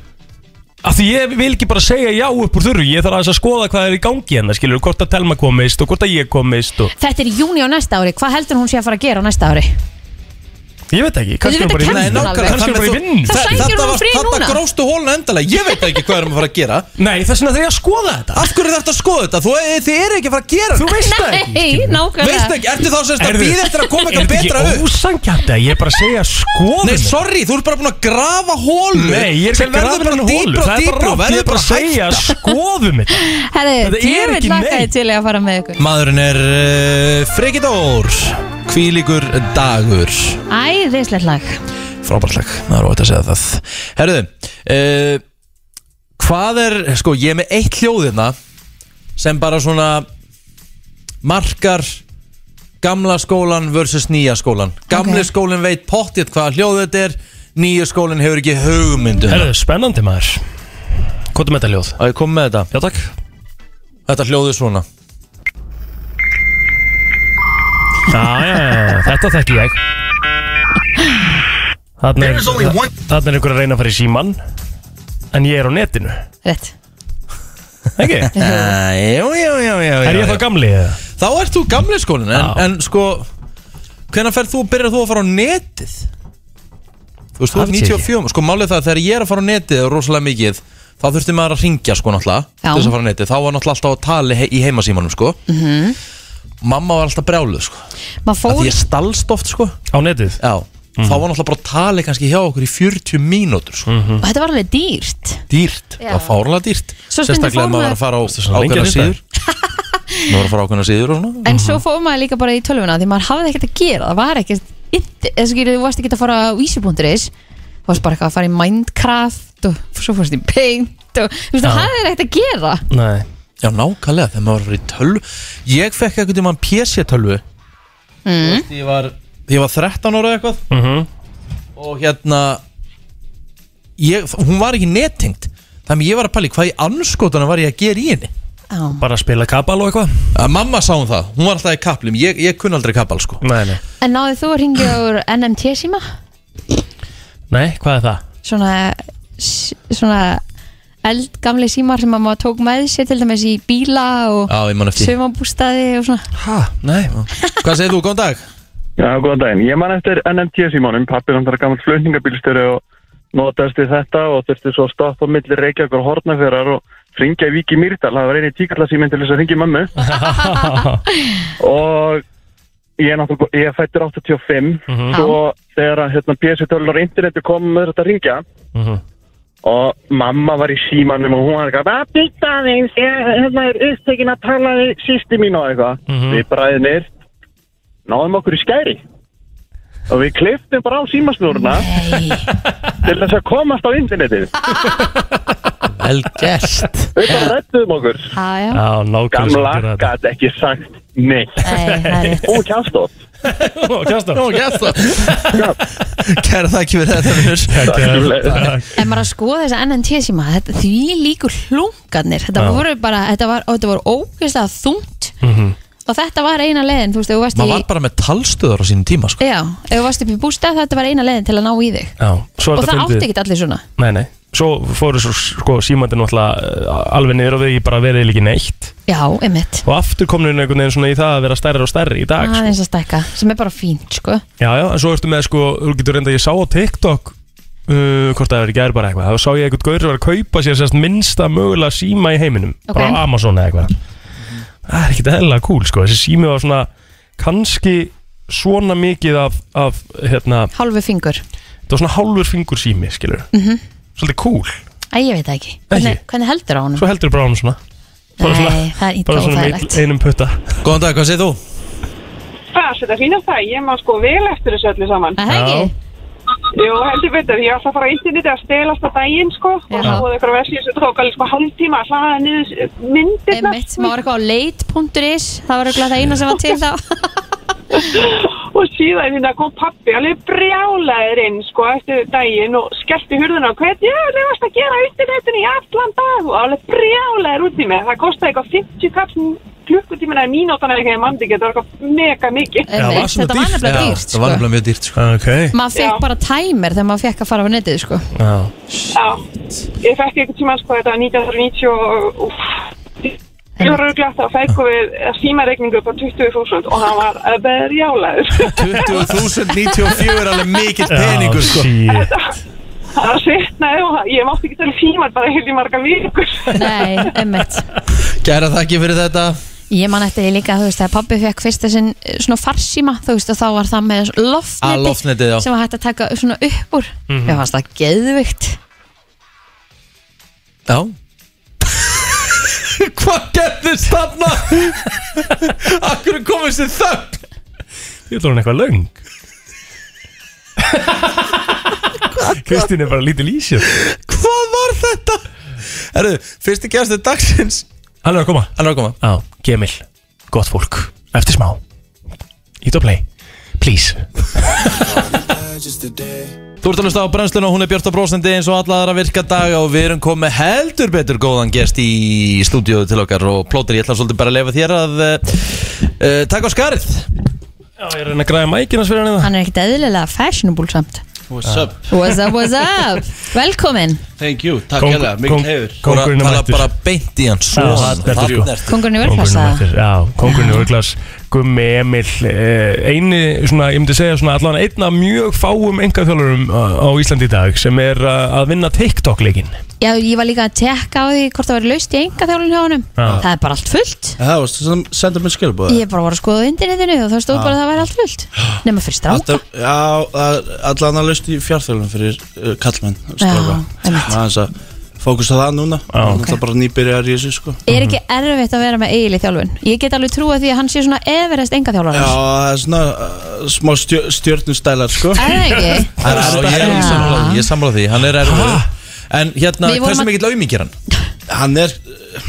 S5: Af því ég vil ekki bara segja já upp úr þurru Ég þarf aðeins að skoða hvað er í gangi hennar Skilur, hvort að Telma komist og hvort að ég komist og...
S4: Þetta er í júni á næsta ári, hvað heldur hún sé að fara að gera á næsta ári?
S5: Ég veit ekki, kannski
S4: Þú
S5: er
S4: veit
S5: bara í
S4: ekki
S5: vinnu.
S4: Nei, nákvæmlega,
S5: Kannski er bara í
S1: þannig
S5: vinnu
S1: þú-
S4: Þá
S1: Þe-
S4: sækir
S1: þetta
S4: hún
S1: var-
S4: frí núna.
S1: Þarna gróstu hólun endalega, ég veit ekki hvað erum að fara að gera
S5: Nei, þess vegna þegar ég að skoða þetta
S1: Af hverju þarftu að skoða þetta? Þú, eh, þið eru ekki að fara að gera
S5: Þú veist það ekki
S4: Nei, nákvæmlega
S1: Veistu ekki, ertu þá semst að
S5: Heyrðu,
S1: býða eftir að koma
S5: Er
S1: eitthvað betra
S5: þetta
S1: upp?
S5: ekki ósangjandi að ég er bara að um segja skoðum
S1: Nei, sorry, þú ert bara búin að grafa hólu
S5: Nei, ég er ekki
S1: sem
S5: að grafa
S1: verður bara
S5: hennar hólu
S1: dýpra og
S5: Það er bara rátt, ég er bara
S1: dýpra og verður bara
S5: að segja
S1: hægt
S5: skoðum þetta
S4: Herðu,
S5: Þetta er
S4: ég vil
S5: ekki
S4: laka
S5: nei.
S4: þið til í að fara með ykkur
S1: Maðurinn er uh, Frigidór Kvílíkur dagur
S4: Æðislegt lag
S1: Frábærtleg, það er óvægt að segja það Herðu, uh, hvað er Sko, ég er með eitt hljóðina sem bara svona markar gamla skólan versus nýja skólan Gamli
S4: Ok.
S1: skólinn veit pottið hvaða hljóð þetta er Nýja skólinn hefur ekki hugmyndu
S5: Herðu, spennandi maður Hvað er með þetta ljóð?
S1: Að ég kom með þetta
S5: Já, takk
S1: Þetta hljóði svona
S5: Já, já, já, þetta þekki ég Þarna er, þarna er einhver að reyna að fara í símann En ég er á netinu
S4: Rétt
S5: Ekki?
S1: Æ, Jú, jú, jú, jú, jú
S5: Er ég þá gamli? eða?
S1: Þá ert þú gamli skólinn en,
S5: Já.
S1: en sko Hvenær ferð þú, byrjar þú að fara á netið? Þú veist, þú ert
S5: Það veit ég
S1: 94 Sko málið það, að þegar ég er að fara á netið rosalega mikið þá þurfti maður að ringja sko náttúrulega
S4: Já.
S1: til þess að fara á netið, þá var náttúrulega alltaf að tala he í heimasímanum sko -hmm. Mamma var alltaf brjáluð sko
S4: Maður
S1: Af Því
S4: Mhm. fór
S1: ég stalst oft sko
S5: Á netið? Mhm.
S1: Já, þá var náttúrulega bara að tala kannski hjá okkur í 40 mínútur sko
S5: Mhm.
S4: og þetta var alveg dýrt
S1: Dýrt,
S4: Já.
S1: það var fárlega dýrt
S4: Svo stundum fór
S1: Sérstaklega ef maður var
S4: maður-
S1: að fara á
S5: svona lengi
S1: ákveðna
S5: að
S1: síður Maður var að fara á ákveðna síður og svona
S4: En svo fóðum maður líka bara í tölvuna því maður hafði ekkert að gera, það var ekkert inti- eða skilur þú varst ekkert að fara á vísi.is þú varst bara eitthvað að fara í Minecraft og svo fórst í Paint og þú veist
S5: Já.
S4: það hafði ekkert að gera
S5: Nei
S1: Mhm. Já, nákvæmlega, þegar maður var í tölvu Ég fekk eitthvað tímann PC-tölvu mm. ég, var- ég var 13 ára eða eitthvað
S5: mm -hmm.
S1: Og hérna ég, Hún var ekki nettengt Þannig ég var að pæli hvað í anskotunum var ég að gera í henni
S4: Já,
S5: Bara að spila kabal og eitthvað?
S1: að Mamma sá hún það, hún var alltaf í kaplum Ég, ég kunni aldrei kapal sko
S5: Nei, nei
S4: En náðu þú að ringja úr NMT síma
S5: Nei, hvað er það?
S4: svona, s- svona eldgamli símar sem að maður tók með sér til dæmis í bíla og
S1: Já, ég man eftir því.
S4: sömabústaði og svona
S5: Hæ, nei
S1: Hvað segir þú, góðan dag?
S7: Já, góðan daginn. Ég man eftir NMT símónum, pappir hann þar gammal flutningabílstöru og notaðist við þetta og þurfti svo að stoppa á milli Reykjavík og Hortnafjörðar og ringja í Vík í Mýrdal. Það var eini tíkallasíminn til þess að ringja í mömmu og ég er náttúrulega, ég er fættur 85
S5: Mhm.
S7: svo þegar að, hérna PS12 og internetu komum með þetta að ringja
S5: Mhm.
S7: og mamma var í símanum og hún var eitthvað að bytta aðeins, ég hérna er upptekin að tala við sýsti mín og eitthvað við bræðinir náðum okkur í skæri og við kliftum bara á símasnúruna til þess að komast á internetið
S1: Vel gest
S7: við bara rettum okkur
S4: Já, já,
S5: Já, nákvæmlega sem
S7: gamla
S5: gerir þetta.
S7: gæti ekki sagt Nei,
S4: Nei, það er rétt.
S7: og kjafstótt
S5: Ó, kjasta
S1: Nú, gæst það Kæra þakki fyrir þetta vinnur
S4: En maður að skoða þess að NNT síma þetta, Því líkur hlungarnir Þetta
S5: Já.
S4: voru bara, þetta var, og þetta voru ógeðslega þungt
S5: Mhm.
S4: Og þetta var eina leiðin Þú veist, ef þú varst
S1: Maður
S4: í
S1: var bara með talstöðar á sínum tíma sko.
S4: Já, ef þú varst upp í bústað þetta var eina leiðin til að ná í þig
S5: Já, svo er
S4: Og
S5: þetta
S4: það átti
S5: fundið
S4: ekkert allir svona
S5: Nei, nei Svo fóru svo sko símandi náttúrulega eh, alveg niður og þau bara verið ekki neitt
S4: Já, einmitt
S5: og aftur komnir einhvern veginn svona í það að vera stærri og stærri í dag sko.
S4: aðeins að stækka, sem er bara fínt sko.
S5: Já, já, en svo ertu með sko, þú getur reynda ég sá á TikTok uh, hvort það er í gær bara eitthvað þá sá ég eitthvað gaur sem var að kaupa sér sérst minnsta mögulega síma í heiminum
S4: Ok.
S5: bara á Amazon eða eitthvað Það er ekkert eðlilega cool sko, þessi sími var svona kannski svona mikið af, af hérna,
S4: hálfu fingur,
S5: það var svona hálfur fingur sími skilur, -hmm. svolítið cool
S4: Mhm. Æ, ég veit það ekki hvernig,
S5: Ekki?
S4: hvernig heldur á honum?
S5: svo heldur bara á hann svona bara svona-
S4: Nei, það er
S5: bara
S4: ítla og
S5: svona
S4: það er
S5: með einum putta
S1: Góðan dag, hvað segir þú?
S8: Það sé þetta fínast það, ég maður sko vel eftir þessu öllu saman.
S4: Það er
S5: Já.
S4: ekki,
S8: Jú, heldur betur, ég ætla að fara á interneti að stelast á daginn sko og
S4: Já.
S8: það voru eitthvað versið sem tók alveg sko hálftíma að hlaða niður myndirna
S4: einmitt, sem var eitthvað á leit.is það var eitthvað það eina sem var til þá
S8: og síðan hérna kom pappi alveg brjálaður inn sko eftir daginn og skellti hurðuna og hvað, já, það varst að gera á internetinu í allan dag og alveg brjálaður út í mig. Það kostaði eitthvað 50 kapsn klukkutímina í mínútana eða eitthvað ég mandi þetta var eitthvað mega mikið.
S5: það var
S4: Einmitt,
S5: svona
S4: þetta var
S5: dýrt.
S4: nefnilega
S1: Já,
S4: dýrt
S1: Það var
S4: sko.
S1: nefnilega mjög dýrt sko.
S5: ok
S4: maður fekk
S8: Já.
S4: bara tæmir þegar maður fekk að fara á netið sko.
S5: já.
S8: Já, ég fekk eitthvað tíma sko þetta var 1990 og úff, ég var röglega þá fækku við eh, símareikningu upp á 20.000 og hann var eh, berjálaður.
S1: 20.094 er alveg mikill peningur sko.
S5: shit.
S8: Það svitnaði og ég mátti ekki tala símar bara heilt í marga vikur.
S4: nei, einmitt
S1: Kæra þakki fyrir þetta
S4: Ég man eftir því líka, þú veist, þegar pabbi fekk fyrsta sinn eh, svona farsíma, þú veist, og þá var það með loftneti,
S1: Að loftnetið, já.
S4: sem var hægt að taka svona upp úr.
S5: Mhm.
S4: Ég fannst það geðvikt.
S1: Já Hvað gerðist þarna? Akkur komist þið þögn?
S5: Ég ætla hún eitthvað löng Kristín er bara lítið lýsjur
S1: Hvað var þetta? Herru, fyrsti gæstu dagsins
S5: Hann er að koma
S1: Hann er að koma
S5: Já, gemil, gott fólk Eftir smá Ít og play, please
S1: Þú ert að hlusta á brennsluna og hún er Björta Brósandi eins og alla aðra virka daga og við erum komið heldur betur góðan gest í stúdíu til okkar og plótir ég ætla svolítið bara að lefa þér að uh, uh, taka á skarið
S5: Já, ég er að reyna að græða mækina sverja hann um
S4: Hann er ekkert eðlilega fashionable samt.
S9: What's up?
S4: What's up, what's up? Velkomin.
S9: Thank you, takk
S5: Kóng-
S9: hérlega, mikil
S5: kóng-
S9: hefur
S1: og að
S5: Kóngurinn er
S1: tala
S5: mættur
S1: bara beint í hann
S5: Já,
S1: Svo
S5: þetta er sko.
S1: þarna ertu.
S4: Kongurinn í
S5: Kóngurinn er
S4: vörflassa.
S5: mættur, já, kóngurinn er vörglas Gummi, Emil, eh, eini svona, ég myndi segja svona allan einna mjög fáum engaþjólarum á Íslandi í dag sem er eh, að vinna TikTok-leikinn
S4: Já, ég var líka að tekka á því hvort það var laust í enga þjálun hjá honum.
S5: Já.
S4: Það er bara allt fullt.
S9: Já, Það varst að senda mér skilbúða
S4: Ég bara var að skoða á internetinu og það stóð bara að það væri allt fullt. Nefna fyrir stráka.
S9: Já, það er allan að laust í fjárþjálfum fyrir uh, kallmenn stráka.
S4: einmitt.
S9: Það er þess að fókusa það núna Það er náttúrulega bara nýbyrjar í þessu sko
S4: Er ekki erfitt að vera með eigil í þjálfun? Ég get alveg trúa því að hann sé svona everest enga
S9: Já, það er svona uh, smá stjör, stjörnustælar sko
S4: Er það ekki?
S1: Já, ég er
S4: Já.
S1: sammála því, ég er sammála því, hann er erfur En hérna,
S4: Við vorum
S1: hversu
S4: að-
S1: mikill aumingir hann?
S9: Hann er, uh,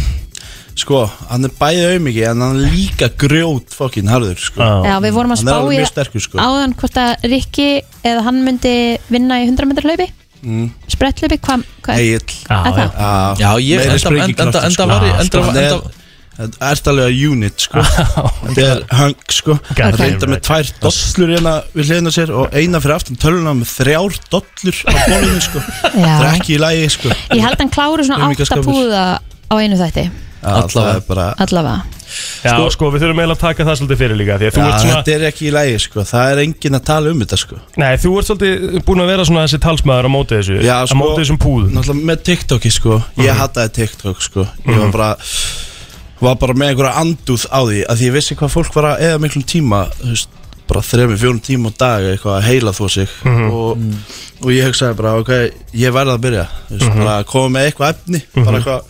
S9: sko, hann er bæði auðmiki En hann er líka grjót fokkin harður sko
S4: Já, við vorum að
S9: Hann er
S4: spá
S9: alveg
S4: í
S9: mjög sterkur, sko.
S4: áðan hvort að Rikki eða hann myndi vinna í 100 metrar hlaupi
S9: Mm.
S4: sprettlaupi, hvað hva,
S9: Egil
S4: er
S5: já.
S4: það?
S1: Já, ég,
S9: meiri
S1: enda,
S9: sprengikraftur, sko.
S1: enda, enda, enda var ég, enda,
S9: Hann
S1: enda,
S9: er Þetta er alveg að unit sko Þetta er hang sko
S5: God
S9: Það reynda
S5: damn
S9: með tvær dollur hérna við hliðina sér Og eina fyrir aftan töluna með þrjár dollur á borðinu sko Það er
S4: Já.
S9: ekki í lægi sko Já,
S4: Ég held hann kláru svona átta
S9: Aumingjaskapur.
S4: púða á einu þætti,
S9: Það
S1: Allavega.
S9: er bara
S4: allavega
S5: Já, sko, við þurfum eiginlega að taka það svolítið fyrir líka Því að
S9: Já,
S5: þú ert svona
S9: Þetta er ekki í lægi sko Það er engin að tala um þetta sko
S5: Nei, þú ert svolítið búin að vera svona þessi talsmaður á móti þessu
S9: Já,
S5: Á
S9: sko,
S5: móti þessum púðum
S9: Náttúrulega með TikToki sko
S5: Mhm.
S9: Ég hattaði TikTok sko Ég var bara Var bara með einhverja andúð á því Að því ég vissi hvað fólk var að eða miklum tíma Þú veist bara þremi, fjórum tíma á dag eitthvað að heila þó sig
S5: Mhm.
S9: og, og ég hugsaði bara ok, ég verði að byrja Þú
S5: Mhm.
S9: veist, bara að koma með eitthvað efni bara eitthvað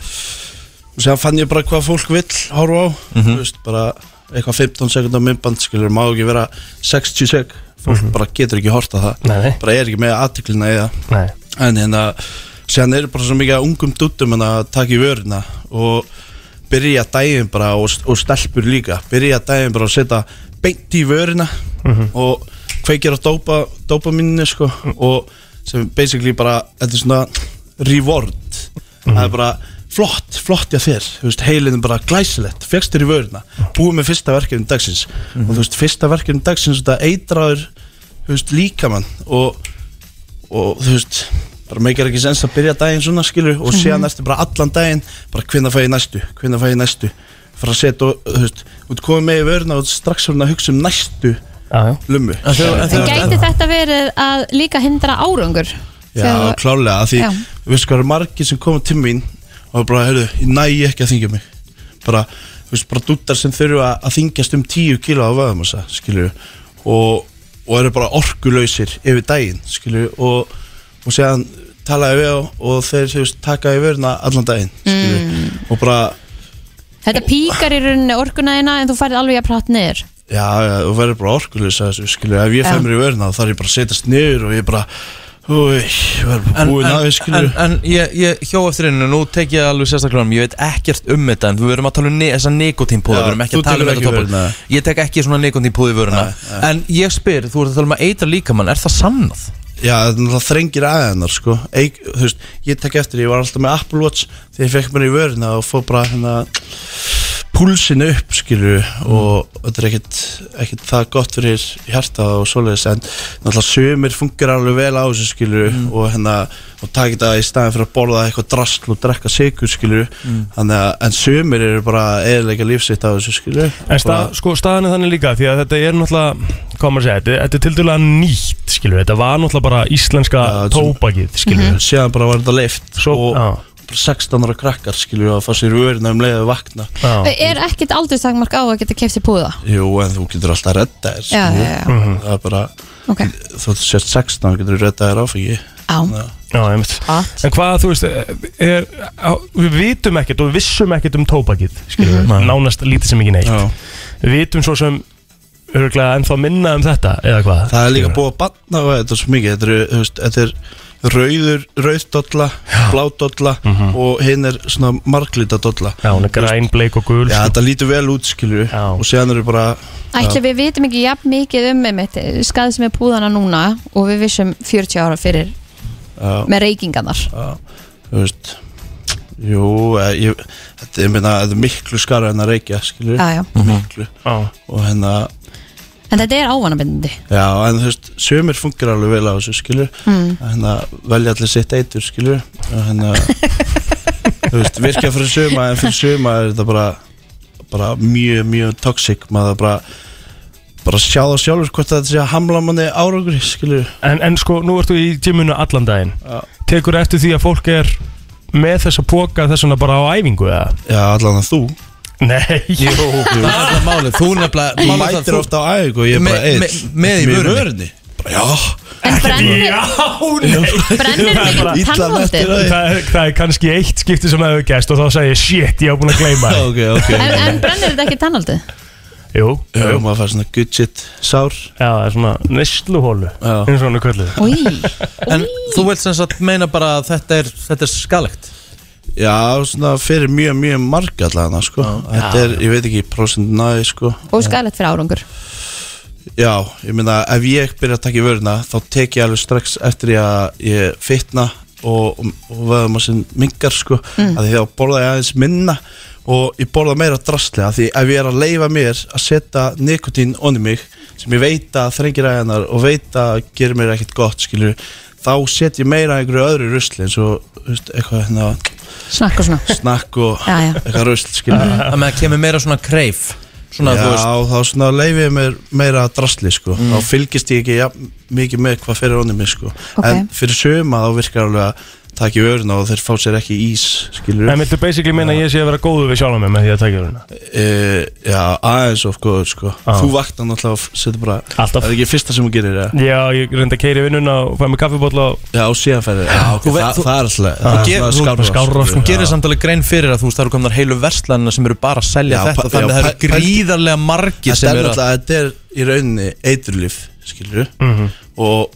S9: og séðan fann ég bara hvað fólk vill horfa á
S5: Mhm.
S9: þú veist, bara eitthvað 15 sekundar myndband skilur, má ekki vera 60 sek fólk bara getur ekki horta það
S5: Mhm. Nei, nei.
S9: bara er ekki með aðtiklina í það
S5: Nei,
S9: en hérna síðan er bara svo mikið af ungum duttum hérna, að taka í vörina og byrja daginn bara og, og stelpur líka byrja daginn bara að setja beint í vörina og kveikir að dópa, dópa minni sko og sem basically bara þetta er svona reward það er bara flott, flott já þér þú veist, heilin er bara glæsilegt fegst þér í vörina, búið með fyrsta verkefni dagsins og þú veist, fyrsta verkefni dagsins þetta eitraður, þú veist, líkamann og og þú veist bara meikar ekki sens að byrja daginn svona skilur og séðan
S5: Mhm.
S9: mm eftir bara allan daginn bara hvenna fæ ég næstu, hvenna fæ ég næstu fara að setja og þú veist út komið með í vöruna og strax svona að hugsa um næstu
S5: já.
S9: lummu
S4: En gæti þetta verið að líka hindra árangur?
S9: Já, klálega, af því
S4: Já.
S9: við veist hvað eru margir sem koma til mín og bara, heyrðu, ég næ ekki að þingja mig bara, þú veist, bara dúttar sem þurfa að þingjast um 10 kíla á vöðamassa skilju, og, og eru bara orkulausir yfir daginn skilju, og, og séðan talaði við á og þeir, þú veist, taka í vörna allan daginn, skilju og bara,
S4: Mm. Þetta píkar í rauninni orkuna eina en þú færið alveg að prata niður
S9: já, já, þú verður bara orkulaus að þessu, skilju, ef ég
S4: Já.
S9: fæ mér í vörna þá þarf ég bara að setjast niður og ég bara Úi, verður bara búin að því, skilju
S1: en, en ég, ég hjó eftir einu Nú tek ég alveg sérstaklega um Ég veit ekkert um þetta En við verum að tala um ne þessa nikotínpúða
S9: Já,
S1: Við verum ekki
S9: þú
S1: að
S9: tekur
S1: tala um þetta
S9: ekki
S1: tópa
S9: vöruna.
S1: Ég tek ekki svona nikotínpúði vöruna En ég spyr, þú ert að tala um að eitra líkamann Er það sannað?
S9: Já, það er náttúrulega þrengir aðeinar sko. Eik, þú veist, ég tek eftir, ég var alltaf með Apple Watch þegar ég fekk mér í vörina og fór bara hérna púlsinu upp skilju
S1: Mm.
S9: og þetta er ekkit, ekkit það gott fyrir hjarta og svoleiðis en náttúrulega sömur fungur alveg vel á þessu skilju
S1: Mm.
S9: og hérna og takir það í staðin fyrir að borða eitthvað drasl og drekka sigur skilju
S1: Mm.
S9: þannig að en sömur eru bara eðilega lífsitt á þessu skilju
S5: En stað, sko, staðan er þannig líka því að þetta er náttúrulega, hvað maður segja, þetta, þetta er tildulega nýtt, skilur við, þetta var náttúrulega bara íslenska
S9: Já, þetta er svona-
S5: tópakið, skilur við.
S9: séðan bara var þetta leift
S5: Svo,
S9: og
S5: já,
S9: bara 16 ára krakkar skilju að fá sér í vörina um leiðu vakna
S5: já,
S4: Er ekkit aldurstakmark á að geta keft sér púða?
S9: Jú, en þú getur alltaf að redda þér
S4: Já,
S9: skilju.
S4: já, já,
S5: Mhm.
S9: Það er bara,
S4: ok
S9: þú ert sért 16 og getur að redda þér áfengi
S4: Á,
S5: já, ég veit.
S4: gott
S5: En hvað, þú veist, er, á, við vitum ekkert og við vissum ekkert um tópakið, skilur við, nánast lítið sem ekki neitt.
S9: Mhm. Já.
S5: Við vitum svo sem, örgulega, ennþá minna um þetta, eða hvað?
S9: Það er líka
S5: skilurðu?
S9: búið að banna á þetta svo mikið Þetta er, veist, þetta er rauður, rauðdolla, bládolla og hinn er svona marglitadolla
S5: Mhm. Já, hún er græn, bleik og gul,
S9: Já,
S5: sko.
S9: þetta lítur vel út skilju
S5: Já.
S9: og séðan eru bara
S4: Ætli við vitum ekki jafn mikið um einmitt skað sem er púðana núna og við vissum 40 ára fyrir
S9: Já.
S4: með reykingarnar
S9: þú veist Jú, eh, ég, þetta, ég meina, þetta er miklu skara en að reykja, skilju
S4: Já, já.
S9: Miklu
S5: Mhm. Já,
S9: Og hérna,
S4: En þetta er ávanabindandi
S9: Já, en þú veist, sömur funkar alveg vel á þessu, skilur mm. Þannig að velja allir sitt eitur, skilur Þannig að, þú veist, virka fyrir söma En fyrir söma er þetta bara, bara mjög, mjög toxic Maður bara, bara sjá það sjálfur hvort þetta sé að hamla manni árangur, skilur
S5: En, en sko, nú ertu í gyminu allan daginn Tekur eftir því að fólk er með þessa póka þess vegna bara á æfingu eða?
S9: Já, allan að þú
S5: Nei Jú
S1: Það er nefnilega málið Þú nefnilega
S9: Þú
S1: málið það
S9: mætir
S1: þú-
S9: ofta á æg og ég er
S1: Me-
S9: bara eitt
S1: me- með í vörunni.
S9: Bara, já,
S4: En brennir,
S5: Já, nei
S4: brennir
S5: Það er bara-
S4: ekki
S9: illa
S4: tannhóttir
S9: nættir að
S5: það er, það er kannski eitt skipti sem það hefur gæst og þá sagði ég shit, ég hef búin að gleyma það
S9: Ok, ok
S4: En, en brennir þetta ekki tannhaldið?
S5: Jú,
S9: Já,
S5: jú, já,
S9: maður fær svona good shit sár
S5: það er svona neysluhólu
S9: Já.
S5: eins og hann er kvöldið
S4: Új,
S1: En þú vilt sem sagt meina bara að þetta er, þetta er skalegt
S9: Já, svona fyrir mjög, mjög marga allan, sko Þetta er, ég veit ekki, prosent næði, sko
S4: og skæðlegt fyrir árangur
S9: Já, ég meina ef ég byrja að taka í vöruna þá tek ég alveg strax eftir ég að ég fitna og, og, og veðum að sem mingar sko mm. að því þá borða ég aðeins minna og ég borða meira drastlega því ef ég er að leifa mér að setja nikotín onni mig sem ég veit að þrengir aðeinar og veit að gerir mér ekkert gott skilur þá set ég meira að einhverju öðru rusli eins og þú veist, eitthvað hérna,
S4: Snakk og svona
S9: snakk og
S4: Já, já.
S9: eitthvað rusl skilur
S1: Það með að kemur meira svona kreif Svona þú veist Mm.
S9: Já, þá svona leifi ég mér meira drasli sko. þá fylgist ég ekki ja, mikið með hvað fyrir honum mig sko.
S4: Ok.
S9: en fyrir söma þá virkar alveg að taka í öruna og þeir fá sér ekki ís skilur
S5: En viltu basically meina að ég sé að vera góður við sjálfum mig með því að taka hérna
S9: Eh, já, aðeins of góður sko.
S5: Já.
S9: þú vaknar náttúrulega og setur bara
S5: Alltaf.
S9: það er ekki fyrsta sem þú gerir ja.
S5: Já, ég reyndi að keiri vinnuna og fæði mig kaffibólla og
S9: já, og síðan færi já,
S1: Þú
S9: okay,
S1: veit-
S9: það,
S1: þú-
S9: það er alltaf
S1: Þú
S9: það
S1: ge-
S9: er
S1: þú-
S9: svona skárra,
S5: skárra,
S1: Þú
S5: sko.
S9: sko.
S1: gerir samt alveg grein fyrir að þú veist það eru komnar heilu verslanina sem eru bara að selja
S9: Já,
S1: þetta
S9: pa- já,
S1: Þannig að það eru
S9: pæl- pæl-
S1: gríðarlega margir
S9: þetta
S1: sem
S9: er
S1: eru að Mhm.
S9: náttúrulega, þetta er í rauninni eiturlif skilur og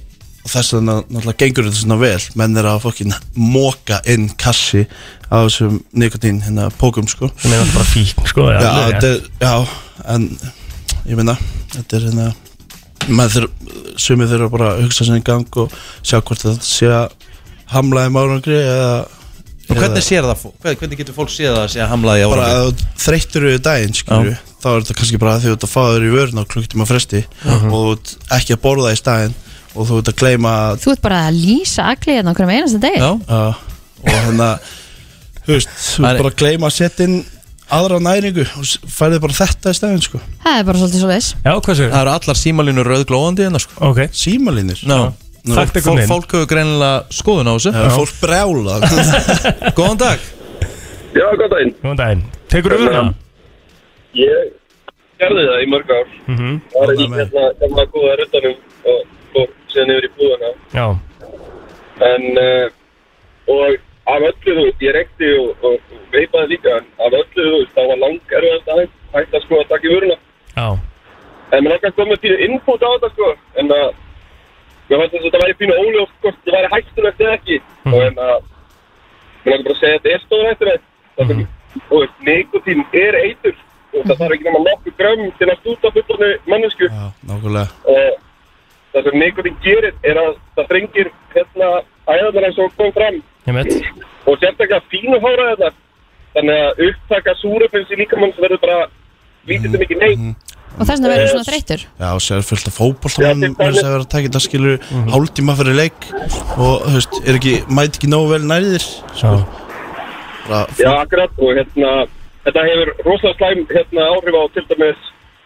S9: og þess vegna náttúrulega gengur þetta svona vel menn er að fokkin móka inn kassi á þessum nikotín hérna pókum sko
S5: Sem er náttúrulega bara fíkn, sko,
S9: já,
S5: eða alveg
S9: þetta er, já en ég meina þetta er hérna maður þurr sumið þurfa bara að hugsa sinni í gang og sjá hvort þetta sé að hamlaði márangri eða
S1: Og hvernig sér það, fólk? Hver- hvernig getur fólk séð það að sé að hamlaði á
S9: bara að þú þreyttur við daginn skilju, þá er þetta kannski bara að því þú ert að fá þér í vörun á klukkutíma fresti og þú ert ekki að borða í staðinn og þú ert að gleyma að
S4: Þú ert bara að lýsa allir hérna okkur um einasta deg
S1: Já.
S9: uh, og þannig að þú veist, þú ert bara að gleyma að setja inn aðra næringu og s- færðu bara þetta í staðinn sko
S4: Það er bara svolítið svo leis
S5: Já, hvað sér?
S1: Það eru allar símalínur rauðglóðandi hérna sko
S5: Ok,
S9: símalínir
S1: Ná,
S9: Nú,
S5: Takk. Þetta er
S1: fólk,
S5: komin.
S1: fólk hefur greinilega skoðun á þessu
S9: það er fólk brjála
S1: Góðan dag
S10: Já, góð daginn.
S5: góðan daginn Tekur öfuna?
S10: Ég gerði það í mörg ár. Mm
S5: Mhm.
S10: -hmm. Það var í
S9: Ánægð með
S10: hérna gamla góða röttanum og fór síðan yfir í búðana.
S5: Já,
S10: En, uh, og af öllu, þú veist, ég reykti og, og, og veipaði líka, en af öllu, þú veist, það var lang erfiðast aðeins, hægt að sko að taka í vöruna.
S5: já
S10: En mér langar að koma með pínu input á þetta, sko, en að, mér fannst þess að þetta væri pínu óljóft, hvort það væri hægtulegt eða ekki. Og en að, mér langar bara að segja að þetta er stóður hægtulegt. Það er, þú veist, nikotín er eitur, þú veist, það þarf ekki nema nokkuð grömm til að stúta fullorðinu mannesku.
S9: já, nákvæmlega
S10: Og það sem nikotín gerir er að það þrengir hérna æðarnar eins og kom fram
S5: Ég mitt
S10: og sérstaklega fínu hóra þetta. Þannig að upptaka súrefnins í líkamann verður bara lítið sem ekki neitt.
S4: Og þess vegna verður svona þreyttur
S9: já, og sér fullt af
S10: Já,
S9: fótbolta
S10: til
S9: menn verður
S10: dæmis.
S9: að vera að taka þetta skilur
S1: Mhm.
S9: hálftíma fyrir leik og þú veist, er ekki, mæti ekki nógu vel nærðir sko.
S5: Já,
S9: bara
S10: Já, akkurat og hérna þetta hefur rosalega slæm hérna, áhrif á til dæmis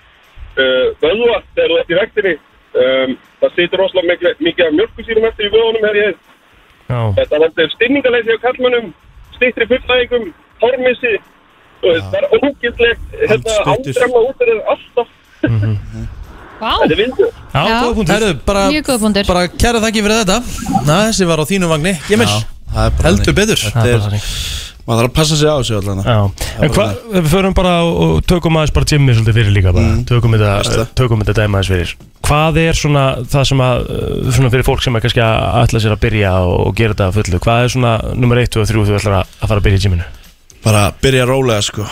S10: uh, vöðva þegar þú ert í vektinni um, það situr rosalega mikla, mikið af mjölkusýrum eftir í vöðunum hef ég
S5: já,
S10: þetta vandir stinningaleysi á kallmönnum stittri fullnægingum, hármissi þú veist, það er ógildlegt hérna,
S9: Andstuttur.
S10: áfram út er alltaf
S4: Vá,
S10: þetta er vindur
S5: já,
S4: Já.
S5: góða punktur
S1: Herðu, bara,
S4: mjög góð fundur
S1: bara kæra þakki fyrir þetta Na, Þessi var á þínum vagni Gemil,
S9: Já, það er bara
S1: heldur
S9: þannig.
S1: betur
S5: Það er
S9: Þetta
S5: bara þannig.
S9: maður þarf að passa sig á þessu allan
S5: Já,
S9: bara
S5: en hvað, við förum bara og- og tökum aðeins bara Jimmy svolítið fyrir líka bara, tökum þetta,
S9: Besta.
S5: tökum þetta dæma aðeins fyrir Hvað er svona það sem að, uh, svona fyrir fólk sem er kannski að ætla sér að byrja og, og gera þetta að fullu Hvað er svona nummer 1 og 3 þú ætlar að, að fara að byrja í Jimmynu?
S9: bara byrja rólega sko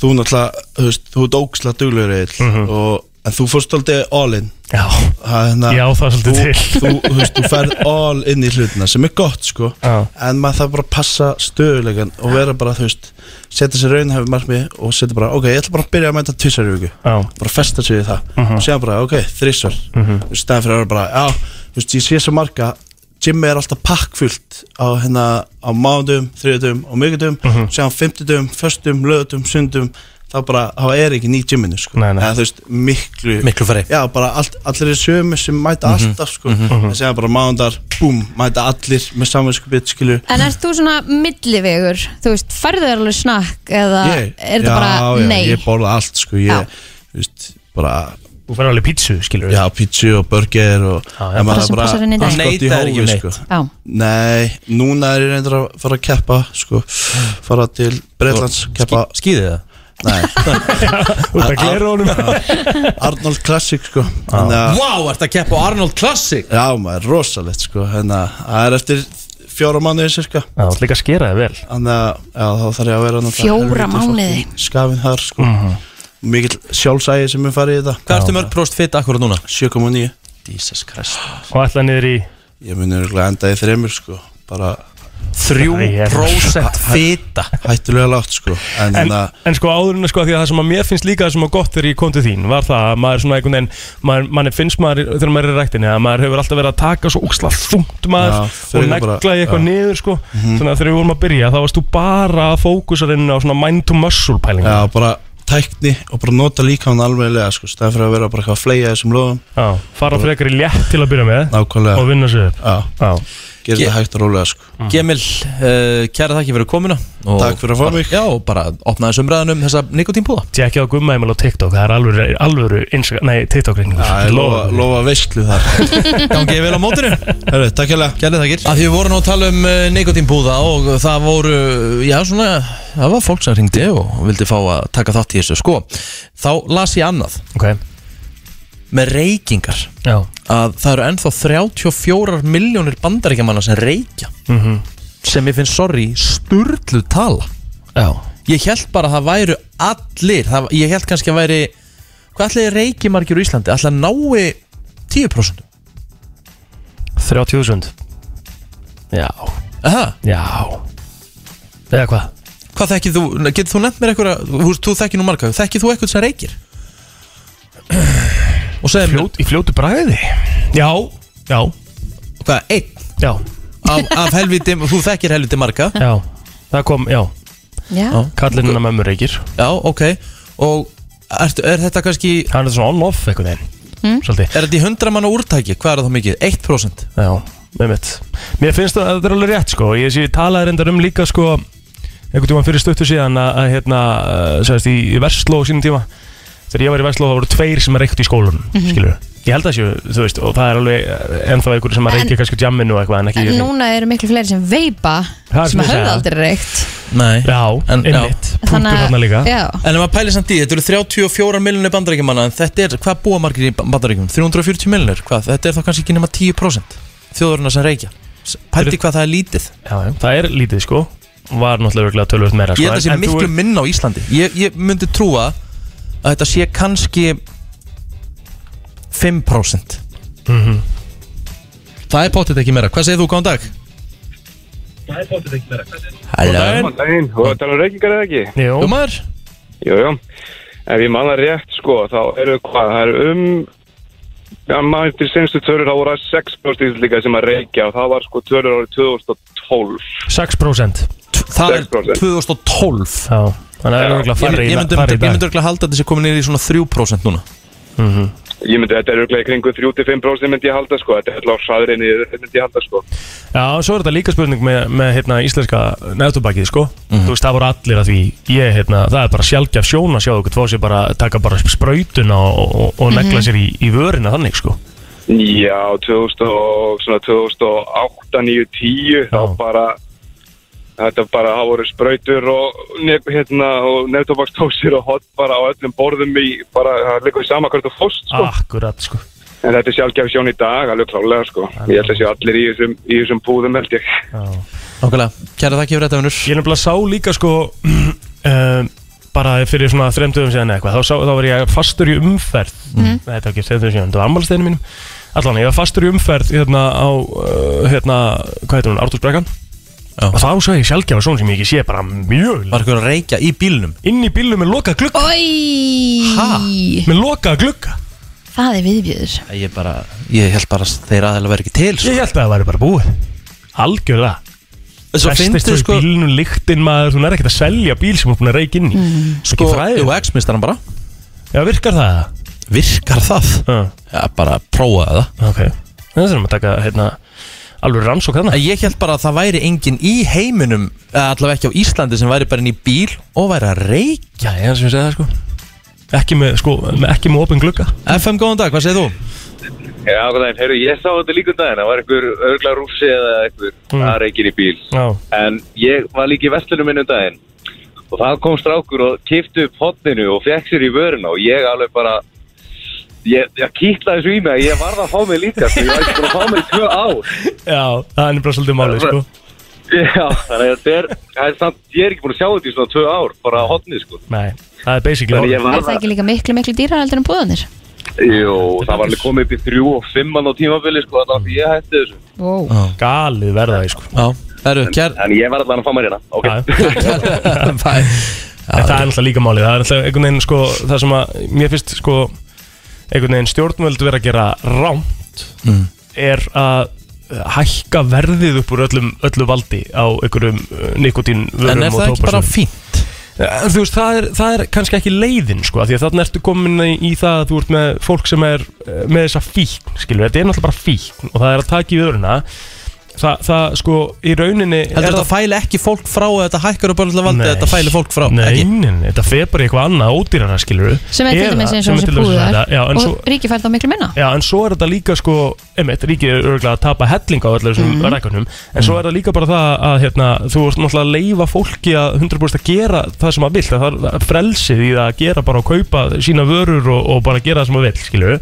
S9: þú náttúrulega, þú veist, þú ert ógislega duglegur eil og en þú fórst aldrei all in
S5: Mhm. Já,
S9: Það er hérna-
S5: Ég á það svolítið
S9: þú,
S5: til.
S9: þú, þú, veist, þú ferð all in í hlutina sem er gott sko
S5: Já.
S9: en maður þarf bara að passa stöðulegan og vera bara, þú veist, setja sér raunhæfi markmið og setja bara, ok, ég ætla bara að byrja að mæta tvisar í viku,
S5: Já. Mhm.
S9: bara festa sig við það og segja bara, ok, þrísar mm -hmm. staðan fyrir að vera bara, já, þú veist, ég sé svo marga Jimmy er alltaf pakkfullt á hérna, á mánudum, þriðutum og mikitum, mm -hmm. segja á fimmtudum föstum, lögutum, sundum þá bara, þá er ekki ný Jimmynu sko
S5: Nei, nei.
S9: Eða, þú veist, miklu
S1: Miklu færri. Mhm.
S9: já, bara allt, allir er sömu sem mæta alltaf sko, en segja bara mánudar búm, mæta allir með samvinskupið skilju,
S4: En ert þú svona millivegur? Þú veist, færðu þér alveg snakk eða
S9: ég,
S4: er þetta bara
S9: já,
S4: nei?
S9: ég borða allt sko, ég,
S4: Já.
S9: þú veist, bara
S5: Þú færði alveg pítsu, skilur við
S9: já, pítsu og burger og
S5: Já, já.
S9: en maður
S4: Bara sem
S9: bara-
S4: passar inn í dag.
S9: allt gott í
S1: Neitar ekki
S9: hófi
S1: neitt.
S9: sko.
S4: Já,
S9: nei, núna er ég reyndur að fara að keppa sko, fara til Breitlands keppa,
S1: Skýði það
S9: nei,
S5: Út að glera honum
S9: Arnold Classic sko, þannig að
S1: Vá, ert að keppa á Arnold Classic
S9: já, maður, rosalegt sko, hérna, það er eftir fjóra mánuði cirka
S5: Já, þú ætlar líka að skera þig vel
S9: Þannig að já, þá þarf ég að vera náttúrulega
S4: Fjóra
S9: helvítið
S4: mánuði.
S9: fucking Skafinn þar sko
S5: Mhm.
S9: Mikill sjálfsægi sem er farið í þetta
S1: Hvað ertu mörg próst fitt akkurat núna?
S9: 7,9
S1: Jesus Christ
S5: Og ætla niður í
S9: Ég muni örugglega enda í þremur sko Bara
S1: 3% fita
S9: hættulega lágt sko En
S5: En,
S9: þannig að
S5: en sko áðurinn sko því að það sem að mér finnst líka sem að gott þegar ég kom til þín var það að maður svona einhvern veginn maður, maður finnst maður þegar maður er í ræktinni að maður hefur alltaf verið að taka svo úksla þungt maður
S9: Já,
S5: og
S9: frekar bara-
S5: negla í
S9: já.
S5: eitthvað
S9: Mhm.
S5: niður sko þannig að þegar við vorum að byrja þá varst þú bara að fókusar inn á svona mind to muscle pælinga
S9: Já, bara tækni og bara nota líka hann alveglega sko Stæðan fyrir að vera bara eitthvað að fleia þessum loðum
S5: fara frekar í létt til að byrja með og
S9: Nákvæmlega
S5: vinna sér upp
S9: Já,
S5: Já,
S9: gera
S1: Ég-
S9: þetta hægt og rólega sko
S5: Mm.
S1: Gemil, uh, kæra þakki fyrir komuna og
S9: Takk fyrir að fá
S1: bara-
S9: mig.
S1: Já, og bara opnaði sumræðan um þessa nikotínpúða
S5: tjekkja á gumma emil á TikTok það er alvöru, alvöru Instagram, nei TikTok reyningur
S9: Já, ég lofa, lofa veistlu þar
S1: Gangi ég vel á mótinu
S9: Herru, takk hérlega
S1: Kæra þakkir Að því við vorum nú að tala um uh, nikotínpúða og það voru, já svona, það var fólk sem ringdi og vildi fá að taka þátt í þessu Sko, þá las ég annað
S5: ok,
S1: með reykingar
S5: já,
S1: að það eru ennþá 34 miljónir bandaríkjamanna sem reykja
S5: Mhm.
S1: sem ég finnst, sorry, sturlu tala Já Ég held bara að það væru allir það, Ég held kannski að væri Hvað allir reykja margir úr Íslandi? Allir nái 10%
S5: 30.000 Já
S1: Aha.
S5: Já Eða hvað?
S1: Hvað þekkið þú, getur þú nefnt mér eitthvað Þú, veist, þú þekkið nú marga, þekkið þú eitthvað sem reykir? Og segir Fljót,
S5: Í fljótu bræði? Já, já
S1: Hvað, einn?
S5: Já
S1: Af, af helviti, þú þekkir helviti marga
S5: Já, það kom, já
S4: Já.
S5: Kallinn hennar mömmu reykir
S1: Já, ok Og er, er þetta kannski
S5: Hann er svona on-off einhvern veginn
S1: Mm.
S5: Svolítið
S1: Er þetta í 100 manna úrtæki? Hvað er það mikið? 1%?
S5: Já, með mitt Mér finnst það að þetta er alveg rétt sko Ég sé talaði reyndar um líka sko einhvern tíma fyrir stuttu síðan að, að hérna, uh, sagðist, í, í Vestló á sínum tíma þegar ég var í Vestló þá voru tveir sem reykti í skólunum mm
S4: Mhm.
S5: Ég held að séu, þú veist, og það er alveg eh, ennþá einhverju sem að reykja kannski á jamminu og eitthvað en ekki
S4: Núna eru miklu fleiri sem veipa
S5: Það er
S4: sem
S5: sem ég
S4: höfðu
S5: segi.
S4: aldrei reykt
S1: Nei
S5: Já, en, einmitt Punktur þarna líka
S4: já.
S1: En ef maður pælir samt í, þetta eru 34 miljonir bandaríkjumanna En þetta er, hvað búa margir í bandaríkjum? 340 miljonir, hvað? Þetta er þá kannski ekki nema 10% Þjóðurinn sem reykja S- Pældi hvað það er lítið
S5: Já, já, það er lítið sko Var náttúrulega örugglega tölvöld meira sko
S1: Ég held
S5: en-
S1: að það sé
S5: en þú-
S1: miklu minna á Íslandi ég, ég myndi trúa að þetta sé kannski 5%
S5: Mhm.
S1: Það er potið ekki meira Hvað segir þú, góðan dag?
S10: Það er bóttið ekki meira, hvað segir
S1: Halló
S10: Góðan daginn, þú ert að tala um reykingar eða ekki?
S5: Jú
S1: maður
S10: Jú, jú Ef ég manna rétt, sko, þá eru hvað, það eru um Já, maður til senstu tölur, þá voru það 6% íslendinga sem að reykja og það var sko tölur árið 2012
S5: 6%
S1: Það er
S10: 6%.
S1: 2012
S5: Já, þannig að það er örugglega færri í-
S1: Ég myndi,
S5: færri í
S1: ég
S5: dag.
S1: myndi örugglega halda að þetta sé komin niður í svona 3% núna
S5: Mhm.
S10: Ég myndi, þetta er auðvitað í kringu 3-5% myndi ég halda, sko, þetta er alveg hraðurinn í myndi ég halda, sko
S5: Já, og svo er þetta líka spurning með, með hérna, íslenska nefntubakið, sko. Þú veist, það voru allir að því, ég, hérna, það er bara sjálfgjaf sjón að sjá okkur tvo sér bara, taka bara sprautuna og, og, og negla
S10: Mhm.
S5: sér í, í vörina þannig, sko.
S10: Já, 2000 og, svona 2008, 9, 10 þá bara þetta bara, það voru sprautur og nef, hérna, og nefntobakstósir og hot bara á öllum borðum í bara, það liggur í sama hvert þú fórst sko.
S5: Akkurat, sko.
S10: en þetta er sjálfgæf sjón í dag, alveg klálega sko. ég held að sé allir í þessum, í þessum búðum held ég
S1: Nákvæmlega, kæra þakki fyrir þetta vinnur
S5: Ég nefnilega sá líka, sko, um, bara fyrir svona þremdöfum síðan eða eitthvað, þá, sá, þá var ég fastur í umferð, mm.
S10: Mhm.
S5: þetta var ekki þremdöfum síðan, þetta var ammálsteinu mínum. Allan, ég var fastur í umferð, hérna, á, uh, hérna, hvað heitir hún, Ártúrsbrekkan? Og þá sá ég sjálfgjafa svon sem ég ekki sé bara mjög Var
S1: eitthvað að reykja í bílnum?
S5: Inn í bílnum með loka glugga
S4: Oi,
S5: Með loka glugga
S4: Það er viðbjöður
S1: Ég bara, ég held bara að þeir aðeins verið ekki til sko.
S5: Ég held að það væri bara búið Algjörlega
S1: En svo
S5: Festist
S1: fyndið,
S5: þú
S1: sko-
S5: í bílnum, lyktin maður Þú er ekkert að selja bíl sem þú er búin að reyka inn í mm.
S1: Sko, jú, X-mistar hann bara
S5: Já, virkar það?
S1: Virkar það? Já, bara prófaði
S5: það Ok, það þurfum að taka, hérna Alveg rannsók þarna
S1: Ég held bara að það væri engin í heiminum eða Allavega ekki á Íslandi sem væri bara inn í bíl Og væri að reykja
S5: Já, ég hans sem ég segi það sko Ekki með, sko, með- ekki með opin glugga
S1: FM, góðan dag, hvað segir þú?
S11: Já, hvað daginn, heyrðu, ég sá þetta líka um daginn, það var einhver örgla rúsi eða einhver
S5: Mm.
S11: að reykir í bíl.
S5: Já
S11: En ég var líka í vestlunum minn um daginn og það kom strákur og kifti upp hotninu og fekk sér í vöruna og ég alveg bara, ég, ég kýtlaði þessu í mig, ég varð að fá mig líka, því ég var ekki búin að fá mig í tvö ár.
S5: Já, það er bara svolítið málið sko
S11: Já, þannig að þetta er, það er samt, ég er ekki búin að sjá þetta í svona tvö ár, bara hotnið sko.
S5: Nei, það er basically
S11: Þannig ég
S4: Er
S11: var
S4: það ekki líka miklu, miklu dýrar heldur en búðanir?
S11: Jú, það var alveg komið upp í þrjú og fimmann á tímabili sko, þannig að ég hætti þessu.
S4: Wow.
S5: Galið verðaði sko
S1: Já, það eru kjær
S11: En ég var allan að fá mér hérna, ok.
S1: Bæ
S5: En það er náttúrulega líka málið, það er náttúrulega einhvern veginn sko, það sem að mér finnst sko einhvern veginn stjórnvöld vera að gera rámt
S1: Mm.
S5: er að hækka verðið upp úr öllum, öllu valdi á einhverjum nikotín
S1: En
S5: vörum
S1: er
S5: og
S1: það ekki bara
S5: tóbaksvörum.
S1: fínt?
S5: En Eh, Þú veist, það er, það er kannski ekki leiðin sko, af því að þarna ertu komin í, í það að þú ert með fólk sem er eh, með þessa fíkn, skilur, þetta er náttúrulega bara fíkn og það er að taka í vöruna Þa, það sko í rauninni er
S1: Heldur þetta fæli ekki fólk frá eða Þetta hækkar upp öllu valdi Þetta fæli fólk frá
S5: Nei,
S1: ekki?
S5: nei, nei, þetta fer bara í eitthvað annað ódýrara skilur
S4: Sem er til dæmis eins og þessi búðar
S5: já, en
S4: Og
S5: svo,
S4: ríki fær þá miklu minna
S5: já, en svo er þetta líka sko einmitt, ríkið er örgulega að tapa helling á öllu þessum
S4: Mhm.
S5: rækunum en svo er þetta líka bara það að hérna, þú ert náttúrulega að leifa fólki að 100% að gera það sem að vill það er- það
S4: Mhm.
S5: er frelsið í það að gera bara og kaupa sína vörur og, og bara gera það sem að vill skilur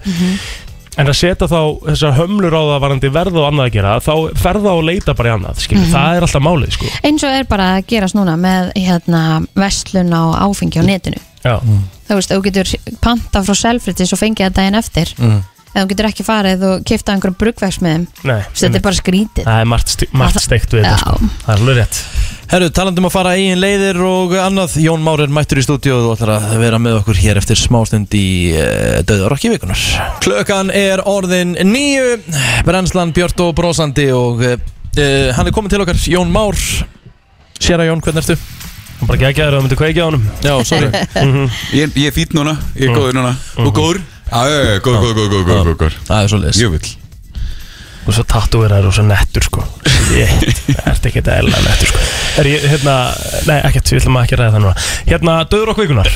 S5: En að setja þá þessar hömlur á það varandi verð og annað að gera þá ferða og leita bara í annað, skilur,
S4: Mhm.
S5: það er alltaf málið, sko
S4: eins og er bara að gerast núna með hérna, vestlun á áfengi á netinu
S5: Já
S4: þú veist, þú getur panta frá Selfridges og fengið það daginn eftir eða þú getur ekki farið og kipta einhverjum brugverks með þeim
S5: Mm. Nei,
S4: Þú veist, þetta er bara skrítið
S5: Það er margt, sti- margt
S4: Það-
S5: steikt við þetta, sko Það er alveg rétt
S1: Herru, talandi um að fara eigin leiðir og annað Jón Már er mættur í stúdíu og ætlar að vera með okkur hér eftir smástund í uh, Döðarokki vikunar Klökan er orðin nýju Brennslan Björn og Brósandi og uh, hann er komin til okkar Jón Már Séra Jón, hvernig ertu?
S5: Hann bara geggjæður og myndi kveikja á honum
S1: Já, sorry
S12: Oh, Ég, ég er fýtt núna, ég er góður núna Og góður? Mhm. Ah, Já, já, já, góður, góður, góður, góður, góður, góður
S1: Það er svo leiðis
S12: Jöfull
S5: Og svo tattúirar og svo nettur, sko Ég, það ert ekki þetta eðla nettur, sko Er ég, hérna, nei, ekkert, við ætlum að ekki ræða það núna Hérna, döður okkur vikunar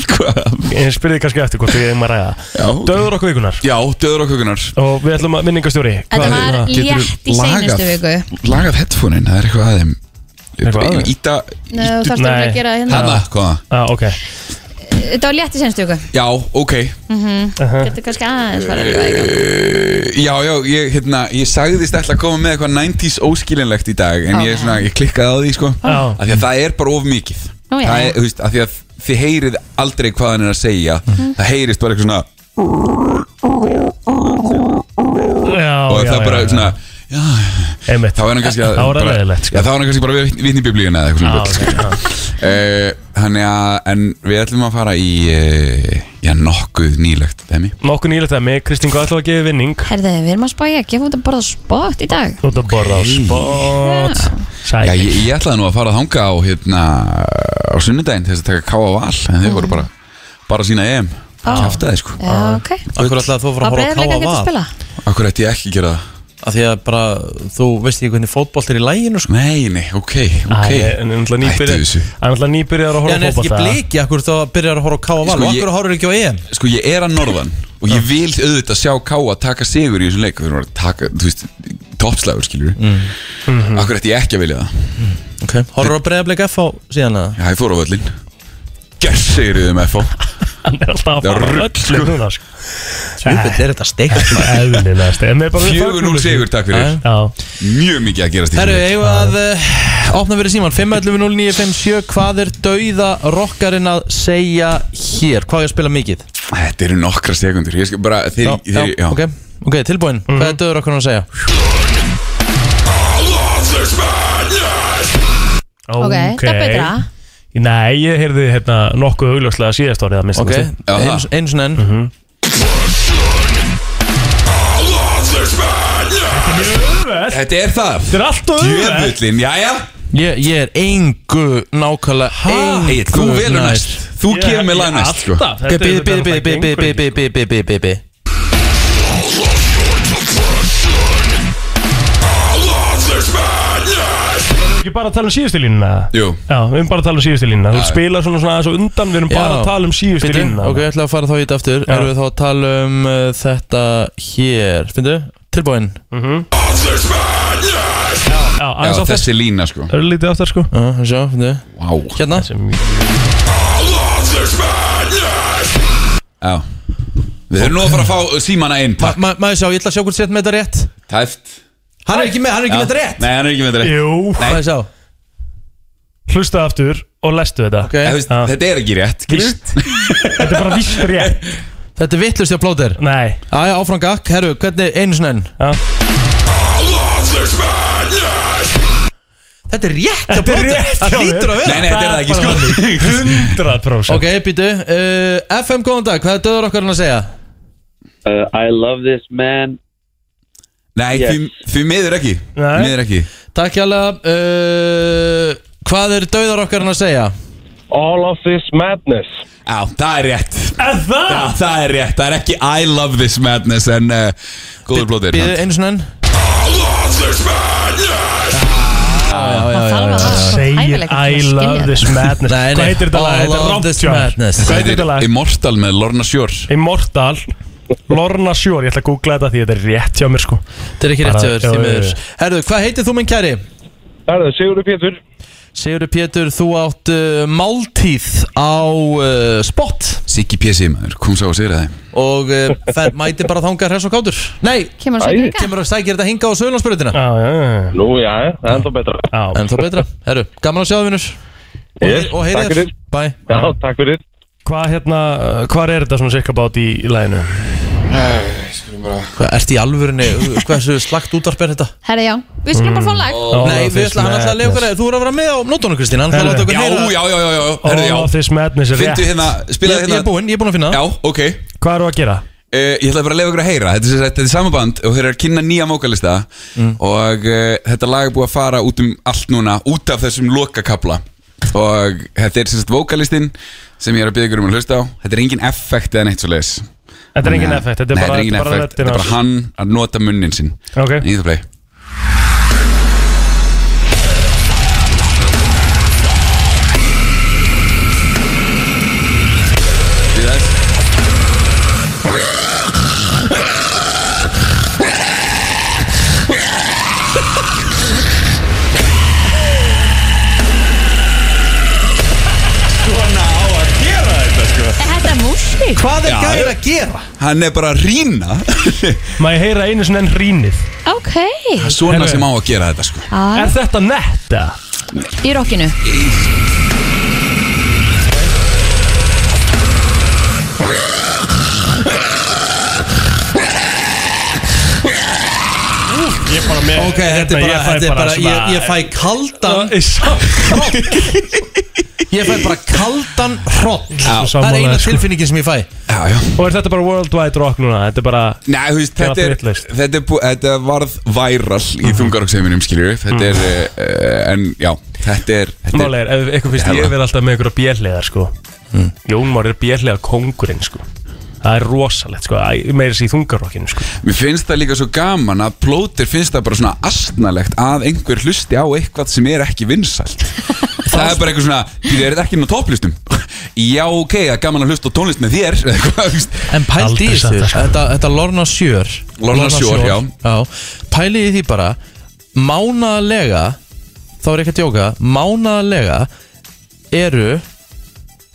S12: Sko,
S5: Ég spyrði kannski eftir hvort við eigum að ræða Já, Döður okkur vikunar
S12: Já, döður okkur vikunar
S5: Og við ætlum að minningastjóri
S4: Þetta var létt í seinustu viku
S12: Lagað headphone-in, það er eitthvað aðeim Eitthvað
S5: að þeim?
S12: Íta
S4: Nei, þú þarfst alveg að gera hérna
S12: Hanna, hvaða?
S5: Já, ok
S4: Þetta var létt í seinustu viku
S12: Já, ok
S4: mm Þetta er kannski aðeins farið að ræða.
S12: Eh, Já, já, ég, hérna, ég sagðist ætla að koma með eitthvað 90s óskilinlegt í dag En ég, er svona, ég klikkaði á því, sko
S5: Já.
S12: Af því að það er bara of mikið
S5: Nú, já,
S12: Það er,
S5: já.
S12: þú veist, af því að þið heyrið aldrei hvað hann er að segja
S5: Mhm.
S12: Það heyrist bara eitthvað svona
S5: Já,
S12: Og
S5: já,
S12: það
S5: já,
S12: bara
S5: já.
S12: svona Já,
S5: Einmitt.
S12: þá er hann kannski að
S5: Þá er það sko.
S12: bara-
S5: leiðilegt,
S12: Já, þá er hann kannski bara við vitni í biblíuna eða
S5: Ah, Já,
S12: eitthvað svona bull, sko. Eh, Þannig að, en við ætlum að fara í, eh, já, nokkuð nýlegt, Demi
S5: Nokkuð nýlega það með Kristín, hvað ætlum við að gefa í vinning?
S4: Herðu, við erum að spája að gefa út að borða spott í dag
S5: Þú ert að borða á spott
S12: Já, ég, ég ætlaði nú að fara að hanga á hérna á sunnudaginn til þess að taka ká á val en þau voru bara, bara sína EM
S4: Mm. Ó.
S12: kæftaði sko
S4: Já, ok
S1: Akkur ætlaði þú að fara að horfa á
S4: Breiðablik
S1: K.A.
S4: ekkert að
S1: Val
S4: spila?
S12: Akkur ætti ég ekki að gera það
S1: Af því að bara, þú veist ekki hvernig fótbolt er í læginu sko.
S12: Nei, nei, ok,
S5: ok. en náttúrulega nýbyrjar- Það er náttúrulega nýbyrjar að horfa
S1: En er ekki bliki, akkur þá byrjar að horfa á K.A. Val og akkur horfur ekki á EM
S12: Sko ég er að norðan og ég vil auðvitað sjá ká að taka sigur í þessum leik þau eru að taka, þú veist, toppslagur skilur mm.
S1: Mhm.
S12: Akkur ætti ég ekki að vilja það
S1: Ok, horfur á breyðablik F á síðan að
S12: Já, ég fór á völlin Gersir í þeim FO
S5: Hann er alltaf að
S12: Það er
S5: fara
S12: rugl,
S5: öllu núna sko.
S1: Djúpill er þetta steikt
S5: Eðlilega steikt
S12: 4-0 sigur, takk fyrir
S5: Já.
S12: Mjög mikið að gerast í
S1: Herru,
S12: þessum leik.
S1: eigum við að uh, opna fyrir síman 5.11.09.57 Hvað er dauða rockarinn að segja hér? Hvað er að spila mikið?
S12: Þetta eru nokkra sekundur Ég skal bara, þeir,
S1: Já,
S12: þeir,
S1: já, ok, ok, tilbúin Hvað er dauða rockarinn að segja?
S4: Ok, þetta er betra
S5: Nei, ég heyrði hérna nokkuð augljóslega síðast árið að Mhm. minnst
S1: Ok, eins- eins og enn
S12: Þetta er það
S5: Þetta er allt og auðvelt.
S12: Jöfullin, jæja
S1: Ég, ég er engu nákvæmlega
S12: Egill, þú velur næst. Þú Ég- kemur með lag næst, sko. alltaf, þetta er-
S1: Bibi,
S12: þetta
S1: bibi,
S12: er
S1: bibi,
S12: bara
S1: bibi, bibi, bibi, bibi, bibi
S5: Erum við ekki bara að tala um síðustu línuna?
S12: Jú
S5: Já, við erum bara að tala um síðustu línuna Þú
S1: Já.
S5: spila svona svona aðeins og undan Við erum bara
S1: Já.
S5: að tala um síðustu
S1: Bíddu,
S5: línuna
S1: Ok, ég ætla að fara þá í þetta aftur Erum við þá að tala um uh, þetta hér Fyndu, tilbúin
S5: Já, aðeins
S12: Já,
S5: á
S12: þessi lína sko
S5: Örlítið aftar sko
S1: Já, uh, sjá, fyndu
S12: Vá
S1: Hérna
S12: Já Við þurfum nú að fara að fá símana inn Takk
S1: Ma- Maður sjá, ég ætla að sjá hvort sett með þetta rétt
S12: Tæft
S1: Hann er ekki með, hann er ekki með þetta rétt
S12: Nei, hann er ekki með þetta rétt
S5: Jú
S1: Maður sjá
S5: Hlusta aftur og lestu þetta
S1: Ok.
S12: Þú veist,
S5: Já.
S12: Þetta er ekki rétt skilur við?
S5: Víst Þetta er bara víst rétt
S1: Þetta er vittlust hjá plóter
S5: Nei
S1: Æja, áfram gakk, herru, hvernig einu snenn
S5: Já.
S1: Þetta er rétt hjá plóter Það lítur að vera
S12: Nei, nei, þetta er það ekki sko
S5: 100%
S1: Ok, býtu uh, FM, góðan dag, hvað er döður okkar að segja?
S13: Uh, I love this man
S12: Nei, því- því miður ekki Því
S5: Nei.
S12: miður ekki
S1: Takk hjálega uh, Hvað er döðar okkar að segja?
S13: All of this madness
S12: Já, það er rétt
S5: Er það?
S12: Já, það er rétt Það er ekki I love this madness En uh, góður blóðir
S1: Býðu einu svona enn
S4: Það þarf að hafa svo
S5: Segir
S4: hæfileika til
S5: Uh, I
S4: að skilja
S5: love
S4: þetta.
S5: this madness
S1: Nei, nei,
S5: Hvað heitir þetta lag?
S1: All
S5: Þetta
S1: of
S5: er rámt
S1: this
S5: hjá mér.
S1: madness.
S5: Hvað heitir þetta lag?
S12: Immortal með Lorna Shore
S5: Immortal Lorna Shore Ég ætla að googla þetta því þetta er rétt hjá mér sko
S1: Þetta er ekki rétt
S5: Bara-
S1: hjá
S5: já,
S1: þér, því
S5: já,
S1: miður
S5: já.
S1: Herðu, hvað heitir þú minn kæri?
S13: Það er Sigurður Pétur
S1: eh, Sigurður Pétur, þú átt uh, máltíð á uh, spott
S12: Siggi Pési maður, kom sá að segja það
S1: og uh, fer, mæti bara þangað hress og kátur Nei,
S4: Kemur hann sækir hingað?
S1: Kemur hann sækir þetta hinga á Söðlandsbrutina
S13: Nú, já, það er ennþá betra
S1: Ennþá betra, herru, gaman að sjá þig vinnur
S13: Yes,
S1: Og
S13: takk
S1: heyrið
S13: fyrir.
S1: þér Bye
S13: Já, takk fyrir
S5: Hvað hérna, hvað er þetta svona cirka bát í, í læginu?
S1: Hvað, ert í alvörinni, hversu slagt útvarp er þetta?
S4: Herra já, við skulum bara fá lag
S1: Mm. Nei, við ætla, hann ætla að lega okkur að þú eru að vera með á nótunum Kristín Hann ætla að láta okkur
S12: Já,
S1: heyra
S12: já, já, já, já, herðu,
S5: All of
S12: já
S5: Oh, this madness er rétt
S12: Fyndu hérna, spilaðu
S1: Ég-
S12: hérna
S1: Ég er búinn, ég er búinn að finna það
S12: Já, ok
S5: Hvað eru að gera?
S12: Uh, ég ætla bara að lefa ykkur að heyra Þetta er, sem sagt- þetta er sama band og þeir eru að kynna nýja mókalista
S5: Mm.
S12: Og uh, þetta lag er búið að fara út um allt núna Út af þessum lokakabla Og þetta er sem sagt vókalistin Sem ég er að byggja ykkur um að hlusta á Þetta er engin effekt eða neitt svo leis
S5: Þetta er engin effekt, þetta er bara-
S12: engin
S5: bara
S12: effekt
S5: röddin
S12: Þetta er
S5: hans.
S12: bara hann að nota munnin sinn
S5: Ok.
S12: Ég ætla að play Við þess
S4: Þetta er músík
S1: Hvað
S12: Já, já.
S1: að gera?
S12: Hann er bara að rýna
S5: Má ég heyra einu svona enn rínið?
S4: Ok
S12: Svona sem á að gera þetta sko
S4: Ah,
S5: Er þetta netta?
S4: Í rockinu
S5: Ég er bara með
S1: Ok, þetta er bara, þetta er bara, ég, ég fæ kaldan Ég fæ bara kaldan hroll
S12: Já,
S1: Það
S5: sko.
S1: er eina tilfinningin sem ég fæ
S12: Já, já
S5: Og er þetta bara worldwide rock núna? Þetta er bara
S12: Nei, þú veist,
S5: Gera
S12: þetta er,
S5: bitlist.
S12: þetta, er bú, þetta varð væral í þungaroksheiminum, skiljur Þetta er, uh, en já, þetta er þetta er-
S5: Málega er, ef ykkur finnst ég
S12: Hella.
S5: verið alltaf með ykkur á bjelliðar sko mm. Jón Már er bjelliðar kongurinn sko Það er rosalegt sko, Æ, meira sér í þungarokkinu sko
S12: Mér finnst það líka svo gaman að plótir finnst það bara svona astnalegt að einhver hlusti á eitthvað sem er ekki vinsælt Það er bara eitthvað svona, því er þetta ekki inn á topplistum Já, ok, það er gaman að hlusta á tónlist með þér eða eitthvað, þú veist.
S1: En pældi í
S5: Aldrei
S1: þessu,
S5: satt, sko.
S1: þetta, þetta Lorna Sjör
S12: Lorna Shore, já.
S1: Pældi í því bara Mánaðlega Þá er ekki að djóka Mánaðlega eru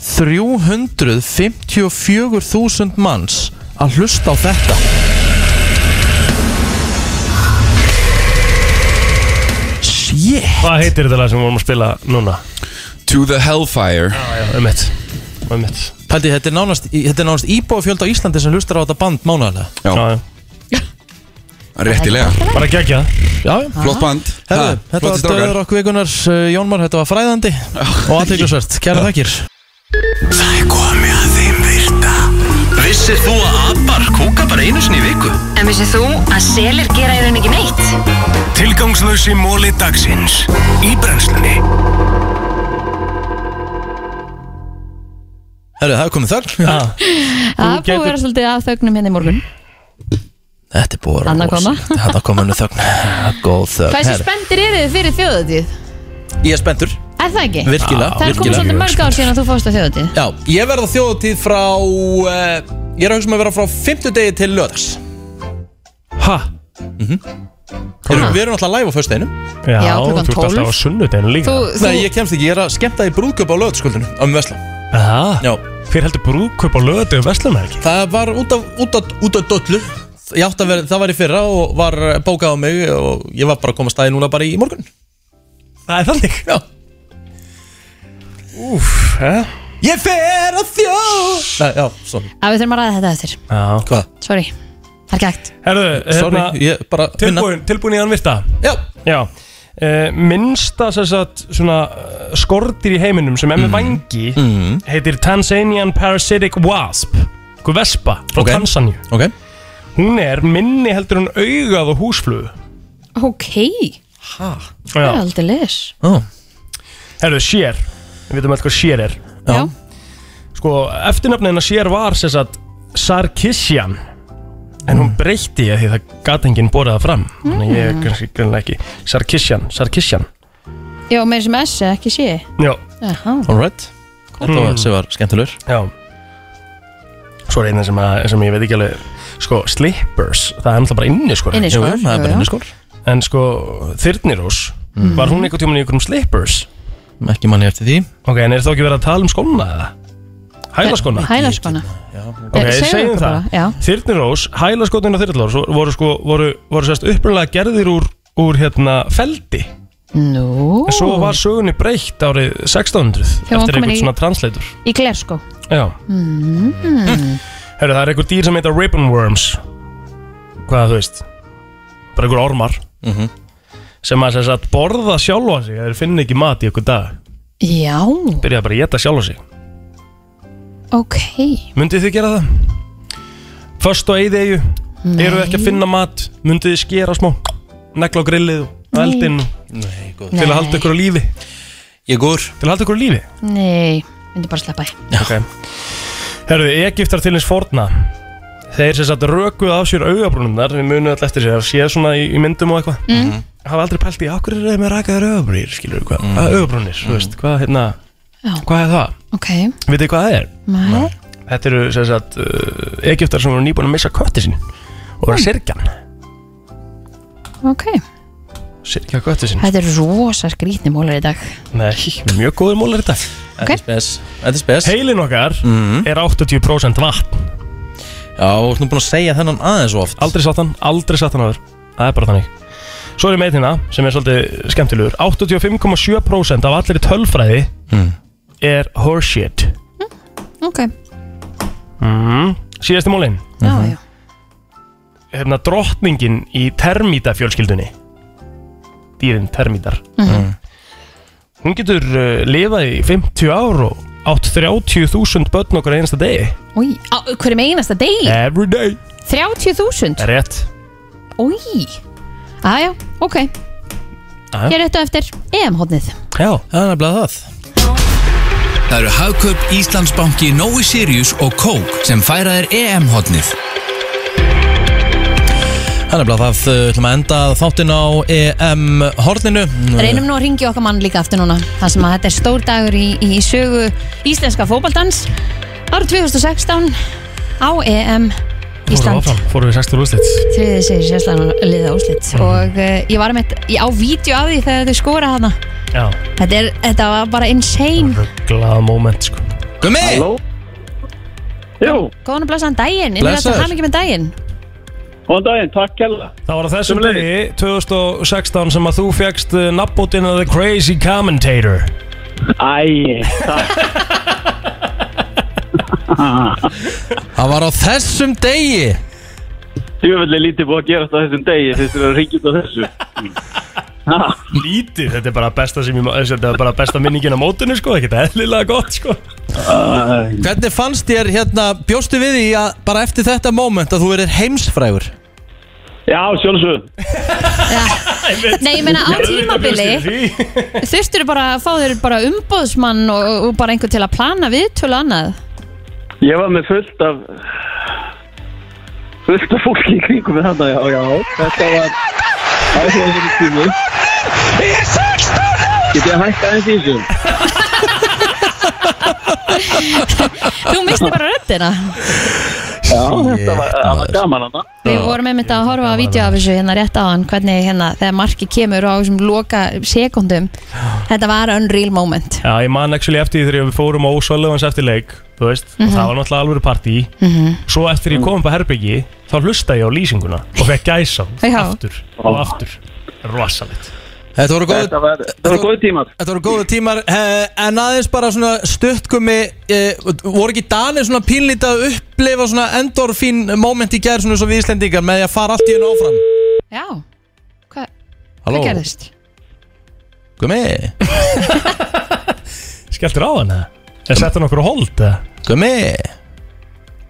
S1: 354.000 manns að hlusta á þetta Shit
S5: Hvað heitir þetta lag sem við vorum að spila núna?
S12: To the Hellfire
S5: Já, já, um eitt Um eitt
S1: Pældi, þetta er nánast, þetta er nánast íbúafjöld á Íslandi sem hlustar á þetta band mánaðlega
S12: Já,
S5: Já, já
S12: réttilega
S5: Bara gegja
S1: Já, já
S12: Flott band
S1: Herðu,
S12: Ha,
S1: þetta
S12: flottir
S1: var
S12: strákar.
S1: döður okkur vikunars Jónmar, þetta var fræðandi og aðteglisvert, kæra þakkir
S2: Það er komið að þeim virta Vissir þú að abar kúka bara einu sinni í viku?
S6: En vissið þú að selir gera í raun ekki neitt?
S2: Tilgangslösi móli dagsins Í brennslunni
S1: Herru, það er komið þögn
S4: Það er búið að vera svolítið að þögnum hérna í morgun
S1: Þetta er búið
S4: Annað koma.
S1: Þannig að koma henni þögn Góð þögn
S4: Hversu
S1: Herru,
S4: spenntir eru þið fyrir þjóðatíð?
S1: Ég er spenntur,
S4: Er það ekki? Það
S1: virkilega
S4: er komið
S1: virkilega.
S4: svolítið mörg ár síðan að þú fórst á þjóðatíð
S1: Já, ég verð á þjóðatíð frá uh, Ég er að hugsa um að vera frá 50 degi til löðars
S5: Ha?
S1: Mhm. Við erum alltaf live á föstudeginu
S5: Já,
S4: Já,
S5: þú
S4: klukkan
S5: ert alltaf
S4: 12.
S5: á sunnudeginu líka
S4: Þú, þú,
S1: Nei, ég kemst ekki, ég er að skemmta í brúðköp á löðarskuldinu á mjög vesla
S5: Já
S1: Já,
S5: Ah. Hver heldur brúðkaup á lögadegum veslunar ekki?
S1: það var út af, út af, út af dollu Ég átti að vera, það var í fyrra og var bókað á mig og ég var bara að koma staði núna bara í morgun
S5: Það er þannig
S1: Já
S5: Úf, eh?
S1: Ég fer á þjóð Nei, já, sorry
S4: að við þurfum að ræða þetta eftir
S5: Já
S1: Hvað?
S4: Sorry, það er gægt
S5: Herðu,
S1: Sorry,
S5: hérna
S1: ég bara vinna.
S5: Tilbúin, tilbúin í anvirta
S1: Já,
S5: Já, uh, minnsta sem sagt, svona eh, skortir í heiminum sem er
S1: Mhm.
S5: með vangi heitir Tanzanian Parasitic Wasp Hvað vespa frá
S1: Ok.
S5: okay. Tansaníu
S1: ok
S5: Hún er minni heldur en augað og húsflögu
S4: Ok, það er
S5: Já,
S4: aldrei lis
S1: oh.
S5: herru, sér Við veitum alltaf hvað sér er
S1: Já.
S4: Já,
S5: Sko, eftirnafnin að sér var sem sagt Sarkissian En hún breytti ég því það gat enginn borið það fram Þannig að ég er kannski grunlega ekki Sarkissian, Sarkissian
S4: Já, meira sem S, ekki sé
S5: Já,
S4: Jaha,
S1: Alright Þetta var, sem var skemmtilegur
S5: Hmm. Já Svo er eina sem, að, sem ég veit ekki alveg Sko, slippers, það er náttúrulega bara inni sko
S4: inni
S1: Jú,
S4: sko
S1: það er bara inniskór
S5: En sko, Þyrnirós Var hún einhvern tímann í einhverjum slippers?
S1: Ekki manni eftir því
S5: Ok, en er þá ekki verið að tala um skóna eða? Hælaskona
S4: Hælaskona
S5: Ok,
S4: Eh, segðu
S5: segjum
S4: okkur bara, já.
S5: það Þyrnirós, hælaskotin og þyrnirós voru sko, voru, voru sérst upprunlega gerðir úr, úr hérna feldi
S4: Nú
S5: En svo var sögunni breytt árið
S4: Þegar
S5: 1600
S4: hún
S5: Eftir
S4: komin
S5: einhvern
S4: í-
S5: svona translator
S4: Í glerskó
S5: Já,
S4: mm.
S5: herru, það er einhver dýr sem heita ribbon worms Hvað þú veist Bara einhver ormar
S9: Mhm.
S5: Sem að sem sagt, borða sjálfa sig Þeir finna ekki mat í einhver dag
S4: Já,
S5: Byrja bara að geta sjálfa sig
S4: ok
S5: Myndið þið gera það? Föst og eigið eigu
S4: Nei.
S5: Eru ekki að finna mat Myndið þið skera smá Negla á grillið og
S4: Nei.
S5: eldin
S9: Nei, góð.
S5: Til að
S4: Nei.
S5: halda ykkur á lífi
S9: Ég góður
S5: Til að halda ykkur á lífi
S4: Nei, myndi bara sleppa því
S5: okay. Herðu, Egiptar til eins forna Þeir sem satt rökuð af sér augabrúnunnar Við munum alltaf eftir sér Það sé svona í, í myndum og eitthvað
S4: Mhm.
S5: Hafa aldrei pælt í Akkur er þeir með rakaðar augabrúnir Skilur við hvað mm. Augabrúnir, þú veist Hvað, hérna,
S4: Já.
S5: hvað er það?
S4: Ok,
S5: Vitið þið hvað það er?
S4: maður
S5: Þetta eru sem sagt uh, Egiptar sem voru nýbúin að missa kötti sín Og vera sirkjan
S4: Ok,
S5: Sirkja kötti sín
S4: þetta er rosa skrítni mólar í dag
S5: Nei, mjög góður mólar þetta
S4: Ok. Þetta er
S5: spes Þetta er spes Heilin okkar er 80% vatn Mhm. Já, þú ert nú búin að segja þennan aðeins oft Aldrei satt hann, aldrei satt hann aður Það er bara þannig Svo er ég með hérna sem er svolítið skemmtilegur 85,7% af allir tölfræði
S3: Mm.
S5: er horseshit Hmm,
S4: Ok,
S5: mm. Síðasti mólin
S4: já,
S5: Mhm.
S4: já
S5: Hérna drottningin í termítafjölskyldunni Dýrin termítar
S4: Mhm.
S5: Hún getur uh, lifað í 50 ár og átt 30.000 börn okkur einasta degi
S4: Új, á, hverjum einasta degi?
S5: Every day
S4: 30.000?
S5: Eh. Rétt
S4: Új Æja, ok,
S5: Jæja.
S4: ég er réttu eftir EM-hóðnið
S5: Já,
S1: það er nefnilega það
S2: Það eru Hagkaup Íslandsbanki Nói Sirius og Kók sem færa þér E EM-hotnið.
S1: Það er nefnilega það, uh, ætlum að enda þáttinn á E EM-horninu
S4: Reynum nú að ringja okkar mann líka aftur núna Það sem að þetta er stór dagur í, í sögu íslenska fótbaldans Árið 2016 á EM E Ísland
S5: Fórum við 60 úrslit
S4: Þriðið segir sérslan liða úrslit
S5: Mhm.
S4: Og uh, ég var með, ég á vídeo af því þegar þau skora hana
S5: Já,
S4: Þetta, er, þetta var bara insane
S5: glada moment sko
S1: Gumi!
S14: Halló? Jú,
S4: Góðan og blessan daginn, ég vil alltaf
S5: Blessaður.
S4: hafa mikið með daginn
S14: góðan daginn, takk kella
S5: Það var á þessum
S14: Sömuleiðis.
S5: degi 2016 sem að þú fegst nabbótinn af The Crazy Commentator
S14: Æ, takk
S1: Það var á þessum degi
S14: Tjófellig lítið búið að gerast á þessum degi Fyrst við erum ringið á þessu
S5: Lítið, þetta er bara besta, sem ég, má- þetta er bara besta minningin á mótinu sko Ekkert eðlilega gott sko
S1: Hvernig fannst þér, hérna, bjóstu við því að bara eftir þetta moment að þú verður heimsfrægur?
S14: Já, sjálfsög
S4: Nei, ég meina á tímabili
S5: Því
S4: Þurftur bara að fá þér bara umbóðsmann og, og bara einhver til að plana viðtölu og annað
S14: Ég var með fullt af fullt af fólki í kringum með þarna, já, já Þetta var áhugaverður tími Get ég að hætta aðeins í þessu?
S4: Þú misti bara röddina
S14: Já, þetta var, það var gaman hana
S4: Við vorum einmitt að horfa á vídeo af þessu hérna rétt á hann hvernig hérna þegar marki kemur á þessum loka sekundum Þetta var unreal moment
S5: Já, ég man actually eftir því þegar við fórum á Sölvans eftir leik Þú veist, mm
S4: Mhm.
S5: það var náttúrulega alvöru partí
S4: Mhm.
S5: Svo eftir ég kom upp að herbyggi Þá hlusta ég á lýsinguna Og fekk gæsa
S4: Já.
S5: aftur og aftur Rosalegt
S1: Þetta voru góð
S14: Þetta var, þetta var góð tímar
S1: Þetta voru góðu tímar, eh, en aðeins bara svona stuttgummi, eh, voru ekki Danir svona pínlítið að upplifa svona endorfín moment í gær svona eins og við Íslendingar með því að fara allt í hennu áfram?
S4: Já, hvað
S1: Halló?
S4: hva gerðist?
S1: Gumi?
S5: Skelltur á hann eða? Eða sett hann okkur á hold eða?
S1: Gumi?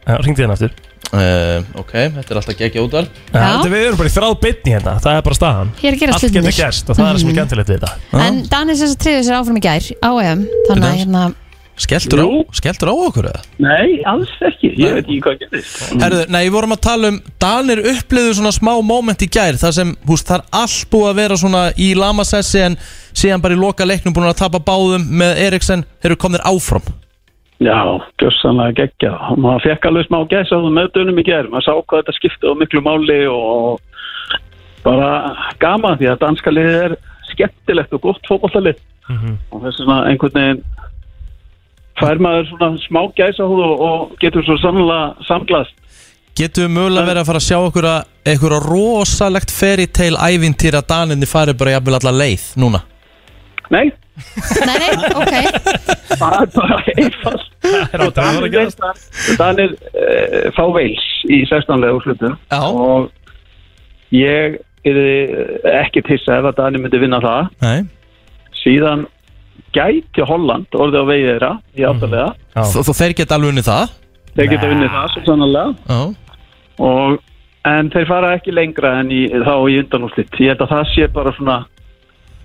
S5: Já, ringdi hann aftur
S1: Uh, ok, þetta er alltaf geggja útvarp
S5: Já. þetta- Við erum bara í þráð bytni hérna, það er bara staðan
S4: Hér gerast
S5: Allt
S4: hlutirnir.
S5: getur gerst og það er það sem er
S4: Mhm.
S5: gætilegt við þetta
S4: En Danis þess að triðu sér áfram í gær á EM Þannig að hérna
S1: Skelltur á, skelltur á okkur eða?
S14: Nei, alls ekki, ég veit ekki hvað gerist
S1: Herðu, nei, við vorum að tala um Danir upplifðu svona smá moment í gær þar sem, húst, það er allt búið að vera svona í lamasessi en síðan bara í loka leiknum búin að tapa báðum með Eriksen þeir eru komnir áfram
S14: Já, gjössanlega geggja. Maður fekk alveg smá gæs á það mötunum í gerð. Maður sá hvað þetta skipti á miklu máli og bara gaman því að danska liðið
S9: Mm-hmm.
S14: er skemmtilegt og gott fótballalið. Og þess vegna einhvern veginn fær maður svona smá gæsahúð og, og getur svo sannlega samglast
S1: Getum við mögulega verið að fara að sjá okkur að eitthvað rosalegt fairy tale ævintýr að daninni fari bara jafnvel alla leið núna?
S14: Nei
S4: Nei, nei, ok
S14: Það er bara einfalt
S5: Það
S14: er einfalt Þannig uh, fá veils í 16. úrslutum og ég er ekki tissa ef að Dani myndi vinna það
S1: Nei
S14: síðan gæti Holland orðið á vegi þeirra
S5: Mhm.
S14: í áttalega
S1: Þó þó þeir geta alveg unnið það?
S14: þeir geta unnið það svo sannlega
S1: Já.
S14: og, en þeir fara ekki lengra en í, þá í undanúrslit ég held að það sé bara svona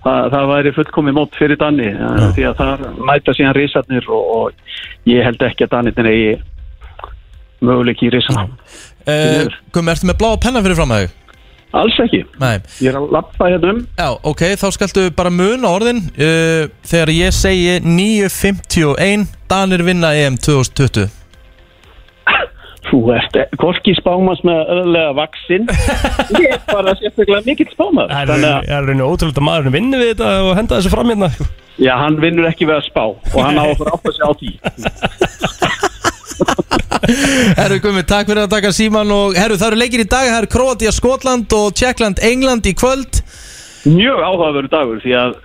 S14: það, það væri fullkomið mót fyrir Danni eh, því að það mæta síðan risarnir og, og ég held ekki að Dannitin eigi möguleik í risana
S1: Uh, Gumi, ertu með bláa penna fyrir fram að þau?
S14: Alls ekki
S1: Nei.
S14: Ég er að lappa hérna um
S1: Já, ok, þá skaltu bara muna orðin uh, Þegar ég segi 9.51 Danir vinna EM 2020
S14: Þú ert Korki spámas með öðlega vaksinn Ég er bara sérstaklega mikill spámað
S5: Það er- það er rauninni ótrúlega að maðurinn vinni við þetta og henda þessu fram hérna sko.
S14: Já, hann vinnur ekki við að spá og hann á að fara átt að segja á því
S1: Herru Gumi, takk fyrir að taka síman og Herru, það eru leikir í dag, það eru Kroatia, Skotland og Tjekkland, England í kvöld
S14: Mjög áhugaverður dagur því að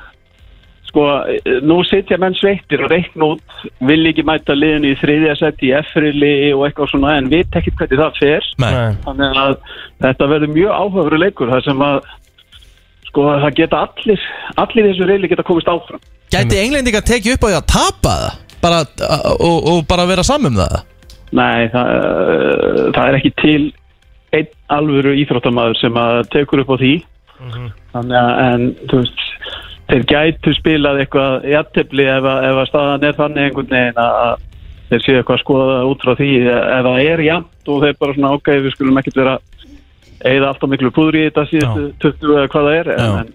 S14: sko, eh, nú sitja menn sveittir og reikn út vil ekki mæta liðinu í þriðja seti í F-rili og eitthvað svona en við tekjum hvernig það fer
S1: Nei.
S14: þannig að þetta verður mjög áhugaverður leikur þar sem að sko, það geta allir allir í þessu reyli geta komist áfram
S1: Gæti englendinga tekið upp á því að tapa það bara, uh, og, og bara vera saman um það
S14: Nei, það, uh, það er ekki til einn alvöru íþróttamaður sem að tekur upp á því þannig að en, þú veist, þeir gætu spilað eitthvað í aðtefli ef, að- ef að staðan er þannig einhvern veginn að að þeir séu eitthvað að skoða það út frá því ef það er jæmt og þeir bara svona ágæði við skulum ekkert vera eða alltaf miklu púður í þetta síðustu 20 eða hvað það er en, en,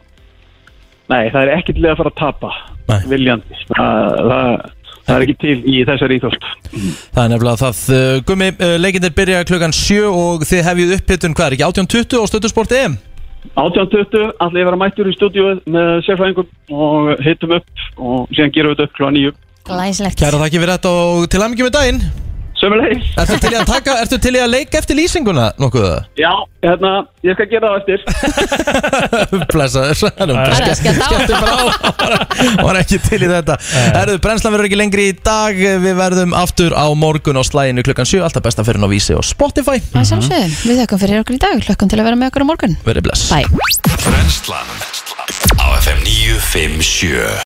S14: nei, það er ekkert lega að fara að tapa nei. viljandi það, það, það er ekki til í þessari íþrótt
S1: Það er nefnilega það Uh, Gumi, uh, leikindir byrja klukkan 7 og þið hefjið upphittun hvað er ekki 18.20 á E stöttusport EM
S14: 18.20, allir vera mættur í stúdíuð með sérfræðingum og hittum upp og síðan gerum við þetta upp klá nýju.
S4: Glæslegt
S1: Kæra þakki fyrir þetta og til aðmyggjum með daginn
S14: Sömmulegis.
S1: Ertu til í að, taka, ertu til í að leika eftir lýsinguna nokkuð?
S14: Já, hérna, ég skal gera það eftir.
S1: Blessa þess
S14: Bara
S1: skellti bara á um Var ekki til í þetta Herðu, brennslan verður ekki lengri í dag Við verðum aftur á morgun á slæginu klukkan 7 Alltaf besta fyrir ná vísi og Spotify
S4: Það er sjálfsögðum, við þökkum fyrir okkur í dag Hlökkum til að vera með okkur á morgun
S1: Verið bless
S4: Bye
S2: Brennslan á FM 957